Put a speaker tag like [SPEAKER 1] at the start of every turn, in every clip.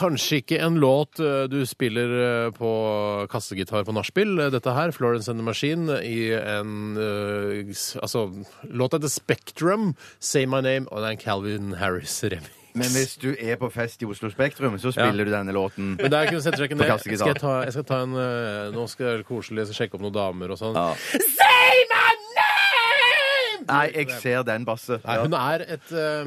[SPEAKER 1] Kanskje ikke en låt eh, du spiller eh, på kassegitar på nachspiel. eh, Dette her, Florence and the Machine, i en eh, s- Altså, låta heter Spectrum, Say My Name, og det er en Calvin Harris-remix.
[SPEAKER 2] Men hvis du er på fest i Oslo Spektrum, så spiller
[SPEAKER 1] Ja.
[SPEAKER 2] du denne låten.
[SPEAKER 1] Men der kunne du sette seg ikke
[SPEAKER 2] På
[SPEAKER 1] ned.
[SPEAKER 2] kassegitar.
[SPEAKER 1] Skal jeg, ta, jeg skal ta en eh, Nå skal jeg være koselig, jeg skal sjekke opp noen damer og sånn.
[SPEAKER 2] Ja.
[SPEAKER 1] Say my name!
[SPEAKER 2] Nei, jeg ser den, Basse.
[SPEAKER 1] Nei, hun er et, eh,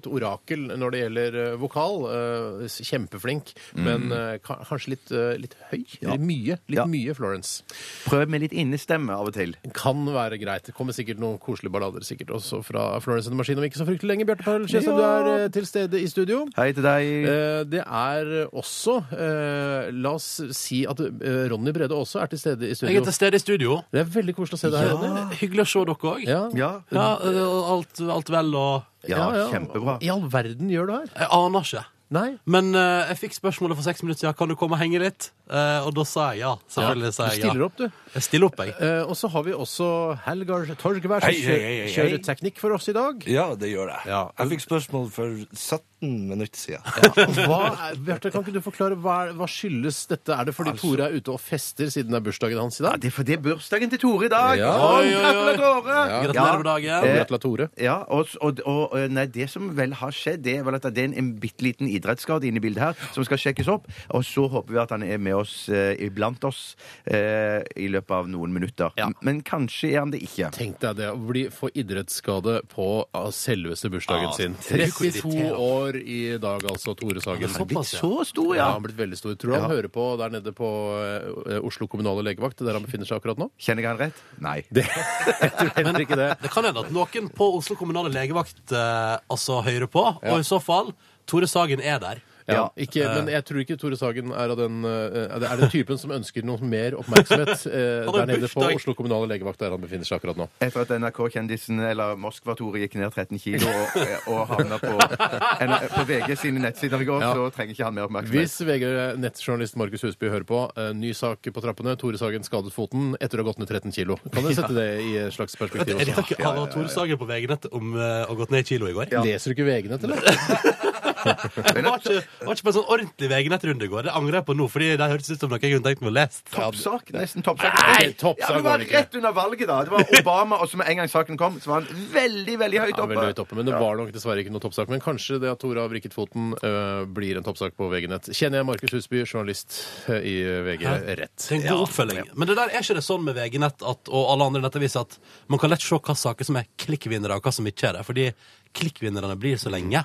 [SPEAKER 1] et orakel når det gjelder eh, vokal. Eh, s- Kjempeflink, men eh, ka- kanskje litt, eh, litt høy.
[SPEAKER 2] Mm. Ja.
[SPEAKER 1] Eller mye. Litt
[SPEAKER 2] Ja.
[SPEAKER 1] mye, Florence.
[SPEAKER 2] Prøv med litt innestemme av og til.
[SPEAKER 1] Kan være greit. Det kommer sikkert noen koselige ballader sikkert også fra Florence and the Machine om ikke så fryktelig lenge. Bjarte Paul Tjøstheim, du er eh, til stede i studio.
[SPEAKER 2] Hei til deg.
[SPEAKER 1] Eh, Det er også eh, La oss si at eh, Ronny Brede også er til stede i
[SPEAKER 3] Jeg er
[SPEAKER 1] studio.
[SPEAKER 3] til stede i studio. Eh,
[SPEAKER 1] Det er veldig koselig å se deg her, Ronny.
[SPEAKER 3] Hyggelig å se dere òg.
[SPEAKER 1] Ja.
[SPEAKER 2] Ja.
[SPEAKER 3] Ja, eh, og alt, alt vel og
[SPEAKER 2] ja, kjempebra.
[SPEAKER 1] I all verden gjør du her?
[SPEAKER 3] Jeg aner ikke.
[SPEAKER 1] Nei?
[SPEAKER 3] Men eh, jeg fikk spørsmålet for seks minutter siden kan du komme og henge litt. Eh, og da sa jeg ja. Selvfølgelig sa
[SPEAKER 1] Du
[SPEAKER 3] jeg ja.
[SPEAKER 1] stiller opp, du.
[SPEAKER 3] Jeg stiller opp, jeg.
[SPEAKER 1] Eh, og så har vi også Helgar Torgvær, som
[SPEAKER 4] Hei, hei, hei, hei.
[SPEAKER 1] kjører teknikk for oss i dag.
[SPEAKER 4] Ja, det gjør jeg.
[SPEAKER 1] Ja.
[SPEAKER 4] Jeg fikk spørsmål for 17 minutter siden.
[SPEAKER 1] Hva, er- Bjarte, kan ikke du forklare hva, er- hva skyldes dette? Er det fordi
[SPEAKER 2] Altså-
[SPEAKER 1] Tore er ute og fester siden det er bursdagen hans i
[SPEAKER 2] Ja,
[SPEAKER 1] dag?
[SPEAKER 2] det er for det er bursdagen til Tore i dag!
[SPEAKER 1] Ja.
[SPEAKER 2] Sånn,
[SPEAKER 3] Oi, oi, oi.
[SPEAKER 2] Gratulerer! Ja.
[SPEAKER 3] Gratulerer med dagen.
[SPEAKER 2] Eh,
[SPEAKER 1] Gratulerer, Tore.
[SPEAKER 2] Ja, og, og, og nei, Det som vel har skjedd, det er vel at det er en, en bitte liten idrettsskade inne i bildet her, som skal sjekkes opp. Og så håper vi at han er med oss eh, iblant oss eh, i løpet av noen minutter. Men kanskje er han det ikke.
[SPEAKER 1] Tenk deg det, å bli, få idrettsskade på av selveste bursdagen
[SPEAKER 2] Ja,
[SPEAKER 1] sin.
[SPEAKER 2] Ah, det er jo
[SPEAKER 1] 32 år i dag, altså, Tore Sagen.
[SPEAKER 2] Han er blitt
[SPEAKER 3] Såpass, ja.
[SPEAKER 2] så stor,
[SPEAKER 1] Ja,
[SPEAKER 2] ja.
[SPEAKER 1] han har blitt veldig stor. Tror du han hører på der nede på eh, Oslo kommunale legevakt, der han befinner seg akkurat nå?
[SPEAKER 2] Kjenner jeg han rett? Nei.
[SPEAKER 1] Jeg tror heller ikke det.
[SPEAKER 3] Det kan hende at noen på Oslo kommunale legevakt eh, altså hører på. Og i så fall, Tore Sagen er der.
[SPEAKER 1] Ja, ikke,
[SPEAKER 3] eh.
[SPEAKER 1] men jeg tror ikke Tore Sagen er av den eh, Er den typen som ønsker noe mer oppmerksomhet eh,
[SPEAKER 3] Han har
[SPEAKER 1] der nede på
[SPEAKER 3] bursdag.
[SPEAKER 1] Oslo kommunale legevakt, der han befinner seg akkurat nå.
[SPEAKER 2] Etter at NRK-kjendisen eller Moskva-Tore gikk ned 13 kilo og, og havna på, på VG sine nettsider i går,
[SPEAKER 1] Ja.
[SPEAKER 2] så trenger ikke han mer oppmerksomhet.
[SPEAKER 1] Hvis VG-nettjournalist Markus Husby hører på, eh, ny sak på trappene, Tore Sagen skadet foten etter å ha gått ned 13 kilo. Kan dere sette det i et slags perspektiv
[SPEAKER 3] Er det
[SPEAKER 1] også?
[SPEAKER 3] ikke han og Tore Sagen på VG-nettet om eh, å ha gått ned i kilo i går?
[SPEAKER 1] Leser du ikke VG-nett, eller?
[SPEAKER 3] Det var ikke, var ikke på en sånn ordentlig VG-nettrunde i går. Det angrer jeg på nå, fordi det hørtes ut som noe jeg kunne tenkt meg å lese.
[SPEAKER 2] Toppsak. Nesten toppsak.
[SPEAKER 1] Nei, toppsak
[SPEAKER 2] ja, det
[SPEAKER 1] var
[SPEAKER 2] var
[SPEAKER 1] det ikke.
[SPEAKER 2] rett under valget, da. Det var Obama, og så med en gang saken kom, så var han veldig, veldig høyt
[SPEAKER 1] Ja,
[SPEAKER 2] oppe.
[SPEAKER 1] veldig høyt oppe, men det var nok dessverre ikke noe toppsak. Men kanskje det at Tore har vrikket foten, eh, blir en toppsak på VG-nett. Kjenner jeg Markus Husby, journalist eh, i VG, rett?
[SPEAKER 3] Det er en god oppfølging. Men det der er ikke det sånn med VG-nett at- og alle andre nettaviser at man kan lett se hva saker som er klikkvinnere, og hva som ikke er det. Fordi klikkvinnerne blir så lenge.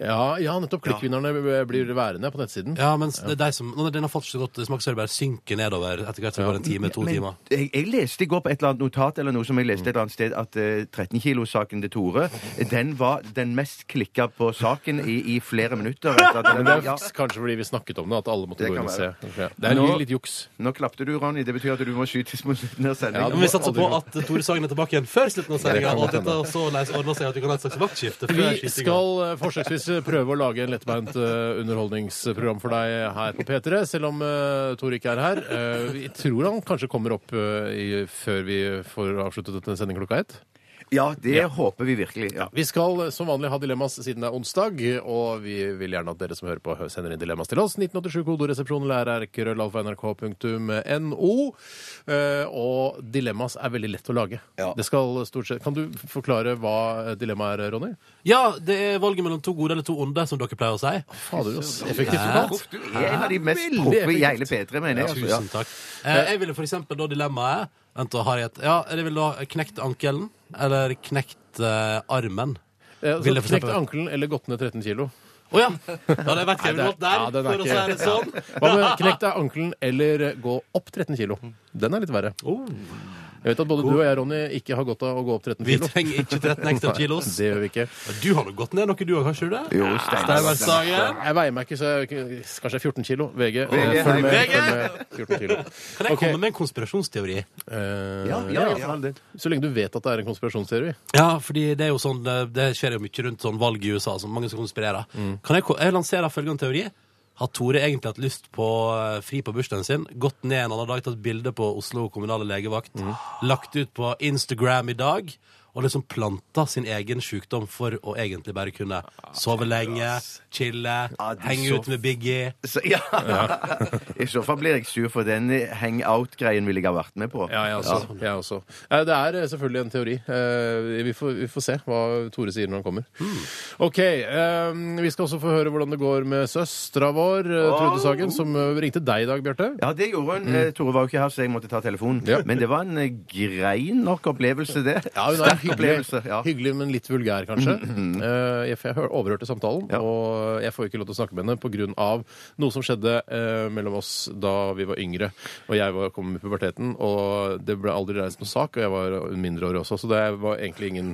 [SPEAKER 1] Ja, ja nettopp. Klikkvinnerne blir værende på nettsiden.
[SPEAKER 3] Ja, mens det er de som, når den har fått så godt smak, så er det bare synker nedover etter hvert som det går en time, to timer.
[SPEAKER 2] Jeg, jeg leste i går på et eller annet notat eller noe som jeg leste et eller annet sted, at eh, 13 kilo-saken til Tore den var den mest klikka på saken i, i flere minutter. etter at-
[SPEAKER 1] Men det er
[SPEAKER 2] Ja.
[SPEAKER 1] kanskje fordi vi snakket om det, at alle måtte
[SPEAKER 2] Det
[SPEAKER 1] gå inn
[SPEAKER 2] kan
[SPEAKER 1] og se.
[SPEAKER 2] være.
[SPEAKER 1] Ja. Det er
[SPEAKER 2] Nå-
[SPEAKER 1] litt juks.
[SPEAKER 2] Nå klapte du, Ronny. Det betyr at du må skytes mot slutten
[SPEAKER 1] Ja,
[SPEAKER 2] av sendingen.
[SPEAKER 3] Men vi satser på at Tore Sagen er tilbake igjen før slutten av sendinga, og at dette også leis- ordner seg, at vi kan ha et slags vaktskifte før
[SPEAKER 1] Vi
[SPEAKER 3] skytinga.
[SPEAKER 1] skal eh, forsøksvis prøve å lage en lettbeint eh, underholdningsprogram for deg her på P3, selv om eh, Tor ikke er her. Eh, Vi tror han kanskje kommer opp eh, i, før vi får avsluttet denne sendingen klokka ett.
[SPEAKER 2] Ja, det håper vi virkelig. Ja.
[SPEAKER 1] Vi skal eh, som vanlig ha dilemmas siden det er onsdag, og vi vil gjerne at dere som hører på, hø- sender inn dilemmas til oss. 1987-kodoresepsjonen lærer.krøllalfa.nrk.no. Eh, Og dilemmas er veldig lett å lage.
[SPEAKER 4] Ja.
[SPEAKER 1] Det skal stort sett Kan du forklare hva dilemmaet er, Ronny?
[SPEAKER 3] Ja, det er valget mellom to gode eller to onde, som dere pleier å si.
[SPEAKER 1] Fader, ass. Effektivt fortalt.
[SPEAKER 2] Uff, Du er en av de mest proppe i hele P3, mener jeg. altså, ja.
[SPEAKER 3] Tusen takk. Eh, jeg ville for eksempel da dilemmaet Vent, da har jeg et Ja, jeg ville da knekt ankelen, eller knekt eh, armen.
[SPEAKER 1] Ja, så
[SPEAKER 3] Vil jeg
[SPEAKER 1] Eh, altså, knekt
[SPEAKER 3] for eksempel-
[SPEAKER 1] ankelen eller gått ned 13 kilo?
[SPEAKER 3] Å ja! Da hadde jeg vært Kevin Holt der,
[SPEAKER 1] ja, den er
[SPEAKER 3] for å si
[SPEAKER 1] ikke-
[SPEAKER 3] det sånn.
[SPEAKER 1] Oh, Hva med knekt ankelen eller gå opp 13 kilo? Den er litt verre. Jeg vet at både du og jeg, Ronny, ikke har godt av å gå opp 13
[SPEAKER 3] Vi
[SPEAKER 1] kilo.
[SPEAKER 3] trenger ikke 13 ekstra kilos.
[SPEAKER 1] Det gjør vi ikke.
[SPEAKER 3] Du har nok gått ned noe, du òg, har ikke du det?
[SPEAKER 2] Jo, Steinar.
[SPEAKER 3] Steinar Sagen.
[SPEAKER 1] Jeg veier meg ikke, så jeg, kanskje jeg er 14 kilo. VG. eh,
[SPEAKER 2] VG,
[SPEAKER 1] Følg med.
[SPEAKER 3] VG.
[SPEAKER 1] Følg med 14 kilo.
[SPEAKER 3] Kan jeg
[SPEAKER 1] Ok.
[SPEAKER 3] komme med en konspirasjonsteori?
[SPEAKER 1] Eh,
[SPEAKER 2] Ja, ja, ja, for all del.
[SPEAKER 1] Så lenge du vet at det er en konspirasjonsteori.
[SPEAKER 3] Ja, fordi det er jo sånn eh, Det skjer jo mye rundt sånn valg i USA, som mange som konspirerer. Kan jeg, ko- jeg lanserer følgende teori? Har Tore egentlig hatt lyst på eh, fri på bursdagen sin? Gått ned en annen dag, tatt bilde på Oslo kommunale legevakt, lagt ut på Instagram i dag, og liksom planta sin egen sykdom for å egentlig bare kunne sove lenge, chille,
[SPEAKER 2] det er
[SPEAKER 3] henge
[SPEAKER 2] så-
[SPEAKER 3] ut med Biggie.
[SPEAKER 2] Så, ja. I så fall blir jeg sur for den hangout-greien ville jeg ha vært med på.
[SPEAKER 1] Ja, jeg også. Jeg også. Eh, Det er eh, selvfølgelig en teori. Eh, Vi får, vi får se hva Tore sier når han kommer. OK. eh, Vi skal også få høre hvordan det går med søstera vår, eh, Trude Sagen, som eh, ringte deg i dag, Bjarte.
[SPEAKER 2] Ja, det gjorde hun. Eh, Tore var jo ikke her, så jeg måtte ta telefonen.
[SPEAKER 1] Ja.
[SPEAKER 2] Men det var en eh, grei nok opplevelse, det.
[SPEAKER 1] Ja, hun er
[SPEAKER 2] Sterk
[SPEAKER 1] hyggelig,
[SPEAKER 2] opplevelse. Ja. Mm.
[SPEAKER 1] hyggelig, men litt vulgær, kanskje. Eh, jeg, for jeg hør- overhørte samtalen,
[SPEAKER 2] Ja.
[SPEAKER 1] og jeg får jo ikke lov til å snakke med henne pga. noe som skjedde eh, mellom oss da vi var yngre, og jeg var, kom i puberteten. Og det ble aldri reist noen sak, og jeg var mindreårig også, så det var egentlig ingen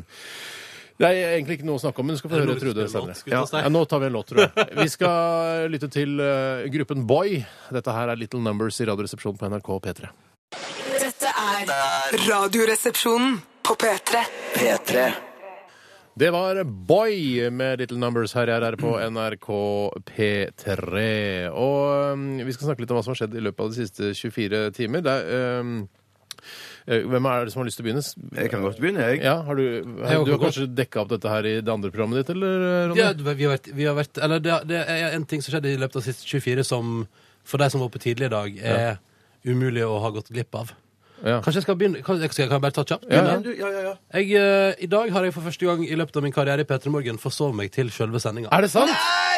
[SPEAKER 1] det er egentlig ikke noe å snakke om, men du skal få
[SPEAKER 3] Er det
[SPEAKER 1] høre
[SPEAKER 3] noe vi
[SPEAKER 1] Trude
[SPEAKER 3] skal spille
[SPEAKER 1] senere.
[SPEAKER 3] låt? Skal vi ta
[SPEAKER 1] Ja.
[SPEAKER 3] oss der?
[SPEAKER 1] Ja, nå tar vi en låt, tror jeg. Vi skal lytte til eh, gruppen Boy. Dette her er Little Numbers i Radioresepsjonen på NRK P3.
[SPEAKER 5] Dette er Radioresepsjonen på P3.
[SPEAKER 6] P3
[SPEAKER 1] Det var Boy med Little Numbers her jeg er på NRK P3. Og um, vi skal snakke litt om hva som har skjedd i løpet av de siste 24 timer. Det er, um, eh, hvem er det som har lyst til å begynne? S-
[SPEAKER 2] Jeg kan godt begynne, jeg.
[SPEAKER 1] Ja, har du,
[SPEAKER 3] kan
[SPEAKER 1] du har kanskje dekka opp dette her i det andre programmet ditt, eller, eh, Ronny?
[SPEAKER 3] Ja, vi har vært, vi har vært Eller det, det er en ting som skjedde i løpet av siste 24 som for deg som var oppe tidlig i dag, er umulig å ha gått glipp av.
[SPEAKER 1] Ja.
[SPEAKER 3] Kanskje jeg skal begynne? Kan, skal jeg, kan jeg bare ta kjapt?
[SPEAKER 1] Ja,
[SPEAKER 2] Ja, du, ja, ja, ja.
[SPEAKER 3] Jeg, eh, I dag har jeg for første gang i løpet av min karriere i P3 Morgen forsovet meg til selve sendinga.
[SPEAKER 1] Er det sant?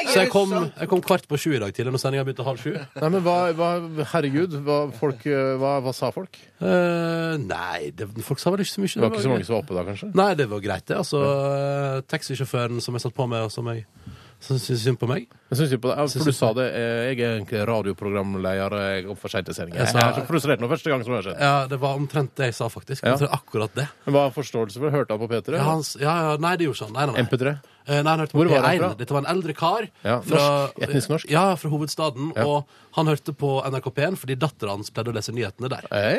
[SPEAKER 3] Så jeg kom, jeg kom kvart på sju i dag tidlig når sendinga begynte halv sju.
[SPEAKER 1] Nei, men hva, hva Herregud, hva, folk, eh, hva, hva sa folk? Det
[SPEAKER 3] Eh, nei, det, folk sa vel ikke så mye.
[SPEAKER 1] var ikke så mange som var oppe da, kanskje?
[SPEAKER 3] Nei, det var greit, det. Altså, eh, taxisjåføren som jeg satt på med, og som jeg som syntes synd på meg.
[SPEAKER 1] Jeg synes jo på det. Ja, For du sa det. eh, Jeg er egentlig radioprogramleder. Jeg er opp for sent til sending. Jeg
[SPEAKER 3] sa-
[SPEAKER 1] er så frustrert nå. Første gang som det har skjedd.
[SPEAKER 3] Ja, det var omtrent det jeg sa, faktisk.
[SPEAKER 1] Ja.
[SPEAKER 3] Jeg tror akkurat det.
[SPEAKER 1] Men Hva er forståelse for? Hørte han på P3?
[SPEAKER 3] Ja, han, s- ja, ja, nei, det gjorde ikke han. Nei, nei, nei.
[SPEAKER 1] MP3?
[SPEAKER 3] Eh, nei, han hørte på
[SPEAKER 1] Hvor var han
[SPEAKER 3] P1.
[SPEAKER 1] fra?
[SPEAKER 3] Dette var en eldre kar.
[SPEAKER 1] Ja, norsk. Etnisk norsk.
[SPEAKER 3] Ja, fra hovedstaden.
[SPEAKER 1] Ja.
[SPEAKER 3] Og han hørte på NRK P1 fordi dattera hans pleide å lese nyhetene der.
[SPEAKER 1] Hei!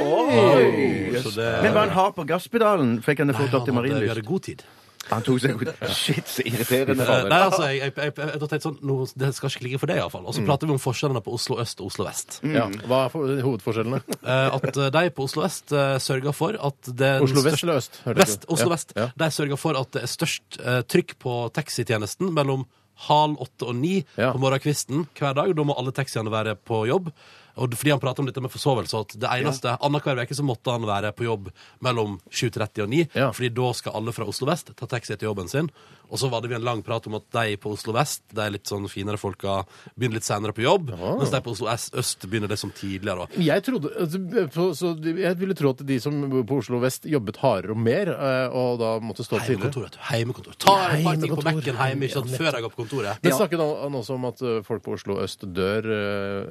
[SPEAKER 3] Så det,
[SPEAKER 2] Men var han hard på gasspedalen? Fikk han det
[SPEAKER 3] Nei,
[SPEAKER 2] fort opp til
[SPEAKER 3] han hadde, vi
[SPEAKER 2] Marienlyst?
[SPEAKER 3] hadde god tid.
[SPEAKER 2] Han tok seg ut. Shit, så irriterende.
[SPEAKER 3] Eh, nei, altså, jeg, jeg, jeg, jeg, jeg tenkte sånn, nå, Det skal ikke ligge for deg, iallfall. Og så prater vi om forskjellene på Oslo øst og Oslo vest.
[SPEAKER 1] Ja. Hva er for, hovedforskjellene?
[SPEAKER 3] Eh, at eh, de på Oslo vest uh, sørger for at det er den
[SPEAKER 1] Oslo vest
[SPEAKER 3] største-
[SPEAKER 1] eller øst? Hørte
[SPEAKER 3] Vest,
[SPEAKER 1] ikke.
[SPEAKER 3] Oslo
[SPEAKER 1] Ja,
[SPEAKER 3] Vest.
[SPEAKER 1] ja.
[SPEAKER 3] De sørger for at det er størst eh, trykk på taxitjenesten mellom halv åtte og ni
[SPEAKER 1] Ja.
[SPEAKER 3] på morgenkvisten hver dag. Da må alle taxiene være på jobb. Og det- fordi han prater om dette med forsovelse, at det eneste annenhver uke så måtte han være på jobb mellom 7.30 og 9,
[SPEAKER 1] Ja.
[SPEAKER 3] fordi da skal alle fra Oslo vest ta taxi til jobben sin. Og så hadde vi en lang prat om at de på Oslo vest, de litt sånn finere folka, begynner litt senere på jobb, mens de på Oslo S- øst begynner det som tidligere. Og
[SPEAKER 1] Jeg, trodde, altså, så, så, jeg ville tro at de som bor på Oslo vest, jobbet hardere og mer, eh, og da måtte stå opp tidligere.
[SPEAKER 3] Heimekontor, vet du. Heimekontor. Ta et par ting på
[SPEAKER 1] Heimekontor.
[SPEAKER 3] Mac-en hjemme, ikke sant, før jeg går på kontoret.
[SPEAKER 1] Men snakket han- han også om at eh, folk på Oslo øst dør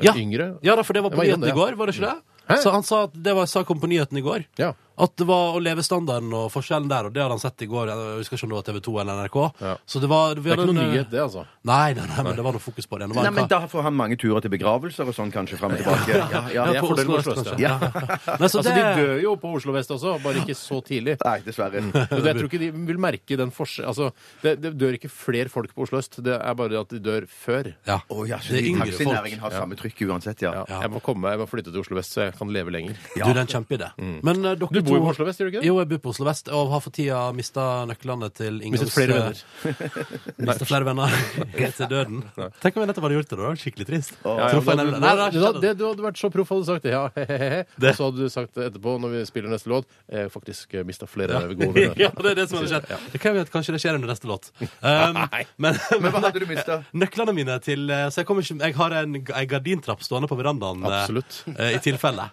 [SPEAKER 1] eh, yngre?
[SPEAKER 3] Ja, da, for det var
[SPEAKER 1] Jeg
[SPEAKER 3] på
[SPEAKER 1] var innom
[SPEAKER 3] nyhetene
[SPEAKER 1] det,
[SPEAKER 3] i
[SPEAKER 1] ja.
[SPEAKER 3] går, var det ikke det?
[SPEAKER 1] Hæ?
[SPEAKER 3] Så han sa at det var, sa kom på nyheten i går.
[SPEAKER 1] Ja.
[SPEAKER 3] At det var å leve standarden og forskjellen der, og det hadde han sett i går. Jeg husker ikke om det var TV 2 eller NRK.
[SPEAKER 1] Ja.
[SPEAKER 3] Så det var vi
[SPEAKER 1] Det er ikke
[SPEAKER 3] hadde
[SPEAKER 1] noe
[SPEAKER 3] en, eh,
[SPEAKER 1] nyhet, det, altså.
[SPEAKER 3] Nei, nei, nei, men det var noe fokus på det. det var
[SPEAKER 2] Nei,
[SPEAKER 3] en
[SPEAKER 2] men
[SPEAKER 3] kar-
[SPEAKER 2] da får han mange turer til begravelser og sånn, kanskje, fram og tilbake. Ja, ja,
[SPEAKER 1] det er
[SPEAKER 3] på
[SPEAKER 1] fordelen med Oslo
[SPEAKER 3] Oslo Øst,
[SPEAKER 1] Øst,
[SPEAKER 3] kanskje. Ja. Nei, så
[SPEAKER 1] Altså,
[SPEAKER 3] det,
[SPEAKER 1] De dør jo på Oslo vest også, bare ikke så tidlig.
[SPEAKER 2] Nei, dessverre.
[SPEAKER 1] Så Jeg tror ikke de vil merke den forskjellen altså, det, det dør ikke flere folk på Oslo øst, det er bare at de dør før.
[SPEAKER 3] ja.
[SPEAKER 2] Å ja, så
[SPEAKER 3] det er
[SPEAKER 2] de
[SPEAKER 3] yngre folk.
[SPEAKER 2] taxinæringen har samme trykk uansett, ja.
[SPEAKER 1] Ja. Jeg må komme, jeg må flytte til Oslo vest, så jeg kan leve lenger.
[SPEAKER 3] Du, det er en kjempeidé.
[SPEAKER 2] Mm.
[SPEAKER 3] Men eh,
[SPEAKER 1] Du
[SPEAKER 3] dere
[SPEAKER 1] bor jo
[SPEAKER 3] to-
[SPEAKER 1] på Oslo Vest, gjør du ikke det?
[SPEAKER 3] Jo, jeg bor på Oslo Vest, og har for tida mista nøklene til inngangs...
[SPEAKER 1] Mistet flere venner.
[SPEAKER 3] Mista flere venner til døden. Tenk om jeg nettopp hadde gjort det, da. Skikkelig trist.
[SPEAKER 1] Ja, ja,
[SPEAKER 3] Truffet
[SPEAKER 1] da-
[SPEAKER 3] en
[SPEAKER 1] du,
[SPEAKER 3] nevne. Nei, det har
[SPEAKER 1] du,
[SPEAKER 3] ikke
[SPEAKER 1] da-
[SPEAKER 3] skjedd.
[SPEAKER 1] det, du hadde vært så proff hadde du sagt det. Ja, he-he-he. Og så hadde du sagt det etterpå, når vi spiller neste låt, eh, faktisk mista flere gode venner.
[SPEAKER 3] ja, det er det som hadde skjedd. Det kan jo være at kanskje det skjer under neste låt. Um, men,
[SPEAKER 2] Men hva hadde du mista?
[SPEAKER 3] Nøklene mine til eh, Så jeg, kommer ikke, jeg har en, en gardintrapp stående på verandaen. eh,
[SPEAKER 1] Absolutt.
[SPEAKER 3] eh, I tilfelle.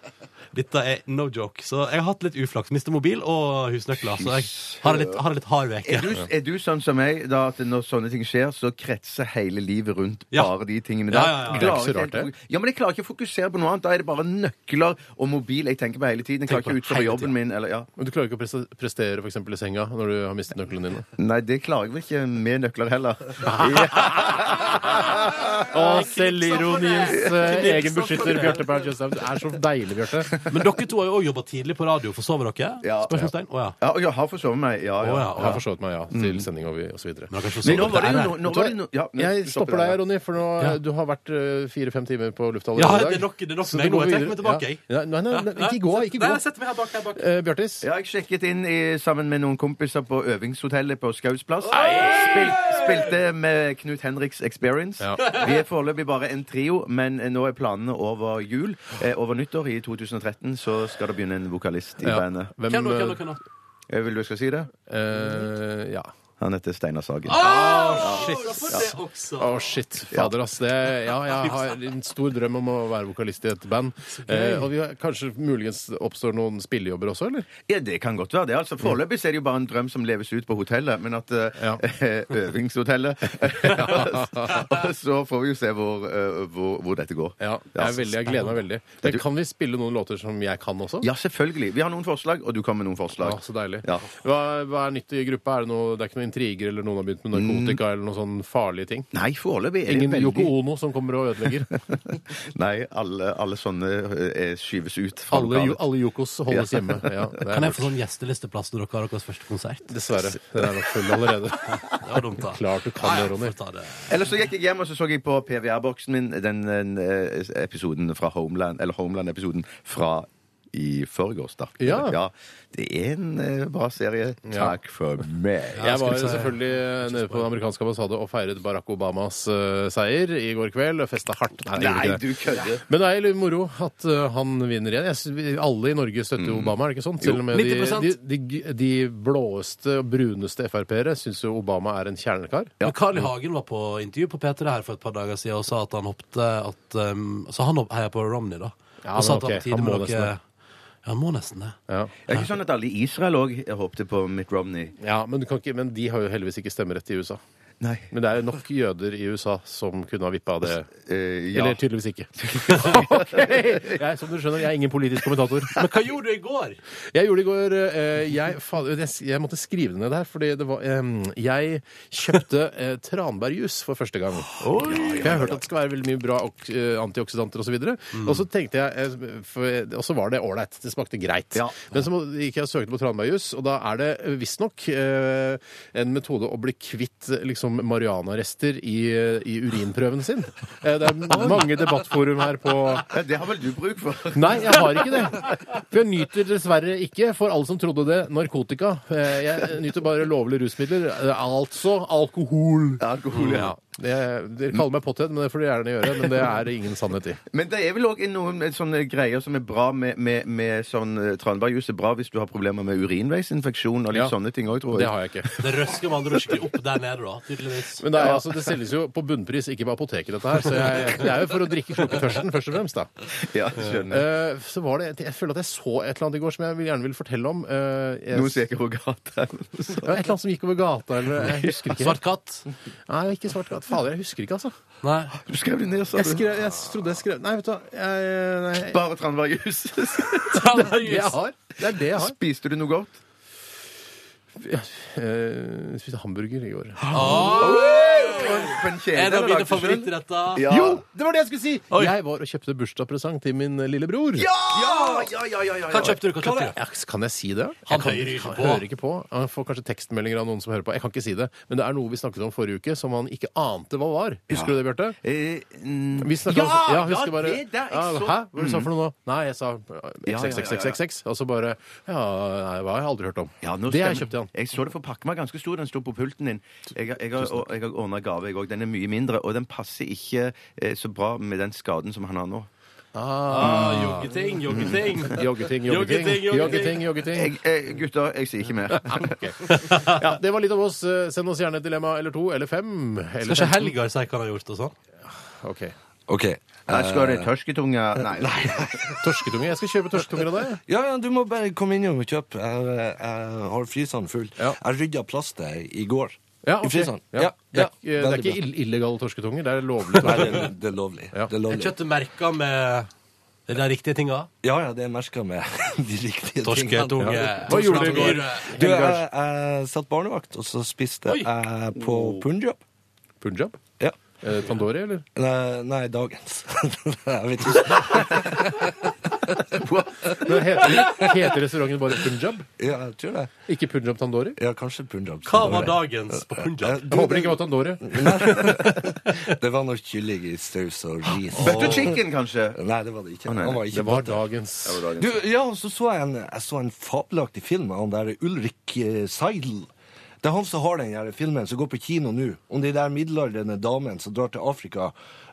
[SPEAKER 3] Dette er no joke. Så jeg har hatt litt uflaks. Mistet mobil og husnøkler. Så jeg har en litt, har en litt hard
[SPEAKER 2] Er
[SPEAKER 3] uke.
[SPEAKER 2] du, er du sånn som meg, da at når sånne ting skjer, så kretser hele livet rundt
[SPEAKER 3] Ja.
[SPEAKER 2] bare de tingene der?
[SPEAKER 3] Ja, ja,
[SPEAKER 2] Klarer
[SPEAKER 3] ja.
[SPEAKER 1] Det er ikke så
[SPEAKER 2] helt
[SPEAKER 1] rart, det.
[SPEAKER 2] å- Ja, men jeg klarer ikke å fokusere på noe annet. Da er det bare nøkler og mobil jeg tenker på hele tiden. Jeg klarer
[SPEAKER 3] Tenk på
[SPEAKER 2] ikke å
[SPEAKER 3] det
[SPEAKER 2] utføre
[SPEAKER 3] hele
[SPEAKER 2] jobben
[SPEAKER 3] tiden.
[SPEAKER 2] min, eller ja.
[SPEAKER 1] Men du klarer ikke å preste- prestere for eksempel i senga når du har mistet nøklene dine?
[SPEAKER 2] Nei, det klarer jeg vel ikke med nøkler heller.
[SPEAKER 1] Og
[SPEAKER 3] eh,
[SPEAKER 1] selvironiens egen beskytter Bjarte Paul Tjøstheim. Det er så deilig, Bjarte.
[SPEAKER 3] Men dere to har jo òg jobba tidlig på radio. Forsover dere?
[SPEAKER 2] Ja.
[SPEAKER 3] Spørsmålstegn? Å ja.
[SPEAKER 2] Ja, og jeg har forsovet meg. Ja,
[SPEAKER 3] Å,
[SPEAKER 2] ja.
[SPEAKER 3] ja. Mm.
[SPEAKER 1] Jeg har forstått meg ja til sending og vi- og så videre.
[SPEAKER 3] Men dere
[SPEAKER 2] Men
[SPEAKER 3] forsover
[SPEAKER 2] nå var det
[SPEAKER 3] dere.
[SPEAKER 2] jo no, nå var det no, ja, nå-
[SPEAKER 1] Jeg stopper deg,
[SPEAKER 2] der, ja.
[SPEAKER 1] Ronny, for nå,
[SPEAKER 3] Ja.
[SPEAKER 1] du har vært eh, fire-fem timer på lufta
[SPEAKER 3] Ja,
[SPEAKER 1] allerede i dag.
[SPEAKER 3] det er nok- det er nok
[SPEAKER 1] Så
[SPEAKER 3] meg
[SPEAKER 1] du
[SPEAKER 3] nå.
[SPEAKER 1] går
[SPEAKER 3] Jeg trekker
[SPEAKER 1] videre.
[SPEAKER 3] meg tilbake, jeg.
[SPEAKER 1] Ja. Nei, nei, nei, ikke gå. Ikke
[SPEAKER 3] Nei,
[SPEAKER 1] gå.
[SPEAKER 3] jeg setter meg her bak. Her bak.
[SPEAKER 1] Eh, Bjartis,
[SPEAKER 2] Ja, jeg sjekket inn i, sammen med noen kompiser på øvingshotellet på Skausplass. Spil, spilte med Knut Henriks Experience.
[SPEAKER 1] Ja.
[SPEAKER 2] Vi er foreløpig bare en trio, men nå er planene over jul. Eh, over nyttår i 2013 så skal det begynne en vokalist i
[SPEAKER 1] Ja.
[SPEAKER 2] bandet.
[SPEAKER 1] hvem
[SPEAKER 3] Hvem, hvem, hvem, hvem?
[SPEAKER 2] Eh, Vil du jeg skal si det?
[SPEAKER 1] eh, Ja.
[SPEAKER 2] Han heter Steinar Sagen.
[SPEAKER 1] Ah!
[SPEAKER 3] Shit. Det også.
[SPEAKER 1] Å, shit. Fader, ass. Det, ja, jeg har en stor drøm om å være vokalist i et band. Eh, og vi har, kanskje muligens oppstår noen spillejobber også, eller?
[SPEAKER 2] Ja, det kan godt være det.
[SPEAKER 1] Mm.
[SPEAKER 2] altså. Foreløpig så er det jo bare en drøm som leves ut på hotellet, men at eh,
[SPEAKER 1] Ja.
[SPEAKER 2] Øvingshotellet. Og så får vi jo se hvor, eh, hvor, hvor dette går.
[SPEAKER 1] Ja, jeg, er veldig, jeg gleder meg veldig. Men kan vi spille noen låter som jeg kan også?
[SPEAKER 2] Ja, selvfølgelig. Vi har noen forslag, og du kom med noen forslag.
[SPEAKER 1] Ja, så deilig.
[SPEAKER 2] Ja.
[SPEAKER 1] Hva, hva er nytt i gruppa? Er det, noe, det er ikke noen intriger eller noen har begynt med narkotika eller noen sånne farlige ting?
[SPEAKER 2] Nei, foreløpig er det
[SPEAKER 1] Ingen
[SPEAKER 2] veldig
[SPEAKER 1] Yoko Ono som kommer og ødelegger?
[SPEAKER 2] Nei, alle, alle sånne eh, er- skyves ut. fra
[SPEAKER 1] Alle,
[SPEAKER 2] lokalet.
[SPEAKER 1] jo- alle Yokos holdes
[SPEAKER 2] Ja.
[SPEAKER 1] hjemme. Ja, det er
[SPEAKER 3] Kan jeg
[SPEAKER 1] lurt.
[SPEAKER 3] få sånn gjestelisteplass når dere har deres første konsert?
[SPEAKER 1] Dessverre. Den er nok full allerede.
[SPEAKER 3] Det var dumt, da.
[SPEAKER 1] Klart du kan det,
[SPEAKER 3] Ja, ja,
[SPEAKER 1] Ronny.
[SPEAKER 3] får ta det.
[SPEAKER 2] Eller så gikk jeg hjem og så så jeg på PVR-boksen min, den, eh, episoden fra Homeland, eller Homeland-episoden fra i forgårs, da.
[SPEAKER 1] Ja.
[SPEAKER 2] Det er en eh, bra serie.
[SPEAKER 1] Ja.
[SPEAKER 2] Takk for meg.
[SPEAKER 1] Jeg var
[SPEAKER 3] skulle si-
[SPEAKER 1] selvfølgelig nede på den amerikanske ambassade og feiret Barack Obamas eh, seier i går kveld. og Festa hardt. Nei, jeg gjorde
[SPEAKER 2] Nei,
[SPEAKER 1] ikke det.
[SPEAKER 2] du kødder.
[SPEAKER 1] Men det er litt moro at eh, han vinner igjen. Jeg, sy- alle i Norge støtter
[SPEAKER 3] Mm.
[SPEAKER 1] jo Obama, er det ikke sånn? Selv og med de,
[SPEAKER 3] 90%.
[SPEAKER 1] de, de, de blåeste og bruneste Frp-ere syns jo Obama er en kjernekar.
[SPEAKER 3] Men Carl I. Hagen var på intervju på P3 her for et par dager siden og sa at han hoppet at, um, Så han hopp- heia på Romney, da.
[SPEAKER 1] Ja,
[SPEAKER 3] og
[SPEAKER 1] men
[SPEAKER 3] sa at han,
[SPEAKER 1] ok,
[SPEAKER 3] tidlig
[SPEAKER 1] han må
[SPEAKER 3] med noe-
[SPEAKER 1] nesten det.
[SPEAKER 3] Ja, han må nesten det.
[SPEAKER 1] Ja.
[SPEAKER 2] Det er ikke sånn at alle i Israel òg håpte på Mitt Romney.
[SPEAKER 1] Ja, men, du kan ikke, men de har jo heldigvis ikke stemmerett i USA.
[SPEAKER 2] Nei.
[SPEAKER 1] Men det er jo nok jøder i USA som kunne ha vippa av det.
[SPEAKER 2] Eh, ja.
[SPEAKER 1] Eller tydeligvis ikke. ok! Jeg, som du skjønner, jeg er ingen politisk kommentator.
[SPEAKER 3] Men hva gjorde du i går?
[SPEAKER 1] Jeg gjorde det i går eh, jeg, faen, jeg, jeg måtte skrive det ned her, fordi det var eh, Jeg kjøpte eh, tranbærjus for første gang. For jeg har hørt at det skal være veldig mye bra ok, eh, antioksidanter osv. Og så tenkte jeg eh, for- Og så var det ålreit. Det smakte greit.
[SPEAKER 2] Ja.
[SPEAKER 1] Men så må- gikk jeg og søkte på tranbærjus, og da er det visstnok eh, en metode å bli kvitt eh, liksom marihuanarester i, eh, i urinprøven sin. Eh, det er mange debattforum her på
[SPEAKER 2] Ja, Eh, Det har vel du bruk for?
[SPEAKER 1] Nei, jeg har ikke det. For jeg nyter dessverre ikke, for alle som trodde det, narkotika. Eh, Jeg nyter bare lovlige rusmidler, eh, altså alkohol.
[SPEAKER 2] Alkohol, ja.
[SPEAKER 1] Ja. Det- Dere kaller meg potthead, men det får dere gjerne gjøre. Men det er det ingen sannhet i.
[SPEAKER 2] Men det er vel òg noen sånne greier som er bra med, med, med sånn eh, tranbærjus. er bra hvis du har problemer med urinveisinfeksjon og litt
[SPEAKER 1] Ja.
[SPEAKER 2] sånne ting òg, tror jeg.
[SPEAKER 1] Det har jeg ikke.
[SPEAKER 3] Det røsker med andre ord skikkelig opp der nede, da. Tydeligvis.
[SPEAKER 1] Men det, er, altså, det selges jo på bunnpris, ikke på apoteket, dette her. Så jeg, det er jo for å drikke slukke tørsten, først og fremst, da.
[SPEAKER 2] Ja, skjønner.
[SPEAKER 1] Eh, Så var det Jeg føler at jeg så et eller annet i går som jeg vil- gjerne vil fortelle om. Eh, Jeg,
[SPEAKER 2] Noen som gikk over gata.
[SPEAKER 1] Ja, et eller annet som gikk over gata, eller Jeg husker ikke.
[SPEAKER 3] Svart katt?
[SPEAKER 1] Nei, ikke svart gata. Fader, jeg husker ikke, altså.
[SPEAKER 3] Nei.
[SPEAKER 2] Du skrev det ned, sa
[SPEAKER 1] Jeg,
[SPEAKER 2] du.
[SPEAKER 1] skrev, jeg trodde jeg skrev Nei, vet du hva. Jeg, nei,
[SPEAKER 2] Bare tranbærjus.
[SPEAKER 1] Det jeg har. Det er det jeg har.
[SPEAKER 2] Spiste du noe godt?
[SPEAKER 1] Eh, spiste hamburger i går.
[SPEAKER 2] På en
[SPEAKER 3] Er
[SPEAKER 2] kjede
[SPEAKER 3] det
[SPEAKER 2] eller
[SPEAKER 3] mine
[SPEAKER 2] lagde du selv?
[SPEAKER 3] favorittretter?
[SPEAKER 2] Ja.
[SPEAKER 1] Jo, det var det jeg skulle si!
[SPEAKER 3] Oi.
[SPEAKER 1] Jeg var og kjøpte bursdagspresang til min eh, lillebror.
[SPEAKER 2] Ja! Ja, ja, ja, ja,
[SPEAKER 3] Hva
[SPEAKER 2] ja.
[SPEAKER 3] kjøpte du? Hva kjøpte du?
[SPEAKER 1] Ja, kan jeg si det?
[SPEAKER 3] Han
[SPEAKER 1] jeg kan,
[SPEAKER 3] hører ikke
[SPEAKER 1] han
[SPEAKER 3] på.
[SPEAKER 1] hører ikke på. Han får kanskje tekstmeldinger av noen som hører på. Jeg kan ikke si det, men det er noe vi snakket om forrige uke som han ikke ante hva var. Husker du det, Bjarte?
[SPEAKER 2] Eh, mm,
[SPEAKER 1] Vi snakket
[SPEAKER 2] ja,
[SPEAKER 1] om,
[SPEAKER 2] ja,
[SPEAKER 1] husker
[SPEAKER 2] det der, jeg
[SPEAKER 1] ja,
[SPEAKER 2] så-
[SPEAKER 1] Hæ? Hva du sa du for noe nå? Nei, jeg sa
[SPEAKER 2] ja, ja, ja.
[SPEAKER 1] XXXXXX, og så bare Ja, nei, hva har jeg aldri hørt om?
[SPEAKER 2] Ja, nå
[SPEAKER 1] det har jeg
[SPEAKER 2] stemmer.
[SPEAKER 1] kjøpt til han.
[SPEAKER 2] Jeg så det for pakken var ganske stor. Den sto på pulten din. Jeg, har- jeg, har- og jeg har ordna gave, jeg òg. Den er mye mindre, og den passer ikke eh, så bra med den skaden som han har nå.
[SPEAKER 3] Ah, joggeting, joggeting.
[SPEAKER 1] Joggeting,
[SPEAKER 3] Joggeting,
[SPEAKER 1] joggeting,
[SPEAKER 3] joggeting.
[SPEAKER 1] joggeting. joggeting.
[SPEAKER 2] Jeg, eh, gutter, jeg sier ikke mer.
[SPEAKER 1] Ja, det var litt om oss. Eh, Send oss gjerne et dilemma eller to, eller fem. Eller
[SPEAKER 3] Skal
[SPEAKER 1] fem.
[SPEAKER 3] ikke Helgar si hva han har gjort og sånn?
[SPEAKER 1] Ok.
[SPEAKER 4] OK. Jeg
[SPEAKER 2] Nei, skal du ha tørsketunge? Nei.
[SPEAKER 1] Torsketunge. Jeg skal kjøpe torsketunger av deg.
[SPEAKER 4] Ja, ja, du må bare komme innom og kjøpe. Jeg, jeg har fryseren full.
[SPEAKER 1] Ja.
[SPEAKER 4] Jeg rydda plastet i går.
[SPEAKER 1] Ja,
[SPEAKER 4] I
[SPEAKER 1] ok.
[SPEAKER 4] fryseren.
[SPEAKER 1] sånn. Ja. Det, er, det er
[SPEAKER 4] veldig
[SPEAKER 1] ikke
[SPEAKER 4] bra.
[SPEAKER 1] ill- illegale torsketunger, det er lovlig.
[SPEAKER 4] Nei, det, det er lovlig.
[SPEAKER 1] Ja.
[SPEAKER 4] Det er lovlig.
[SPEAKER 3] Kjøttet merka med det der riktige tinga.
[SPEAKER 4] Ja, ja, det er merka med de riktige
[SPEAKER 3] Torsketunge.
[SPEAKER 4] tingene.
[SPEAKER 1] Hva gjorde du i går?
[SPEAKER 4] Du, jeg, jeg satt barnevakt, og så spiste
[SPEAKER 3] Oi. Oh.
[SPEAKER 4] jeg på punjab.
[SPEAKER 1] Punjab?
[SPEAKER 4] Ja.
[SPEAKER 1] Eh, Tandori, eller?
[SPEAKER 4] Nei, nei, dagens. jeg vet ikke.
[SPEAKER 1] Men heter, heter restauranten bare Punjab?
[SPEAKER 4] Ja, jeg tror det.
[SPEAKER 1] Ikke Punjab Tandori?
[SPEAKER 4] Ja, kanskje punjab.
[SPEAKER 3] Hva var dagens på
[SPEAKER 4] Eh,
[SPEAKER 3] punjab?
[SPEAKER 1] Jeg håper det ikke var Tandori.
[SPEAKER 4] Det var noe kylling i saus og ris.
[SPEAKER 2] Butter chicken, kanskje?
[SPEAKER 4] Nei, det var det ikke.
[SPEAKER 2] Å, nei.
[SPEAKER 4] Han var ikke
[SPEAKER 1] Det var dagens
[SPEAKER 4] Du, ja, og så så jeg en, jeg så en fabelaktig film av han der Ulrik eh, Seidel. Det er han som har den her filmen som går på kino nå, om de der middelaldrende damene som drar til Afrika.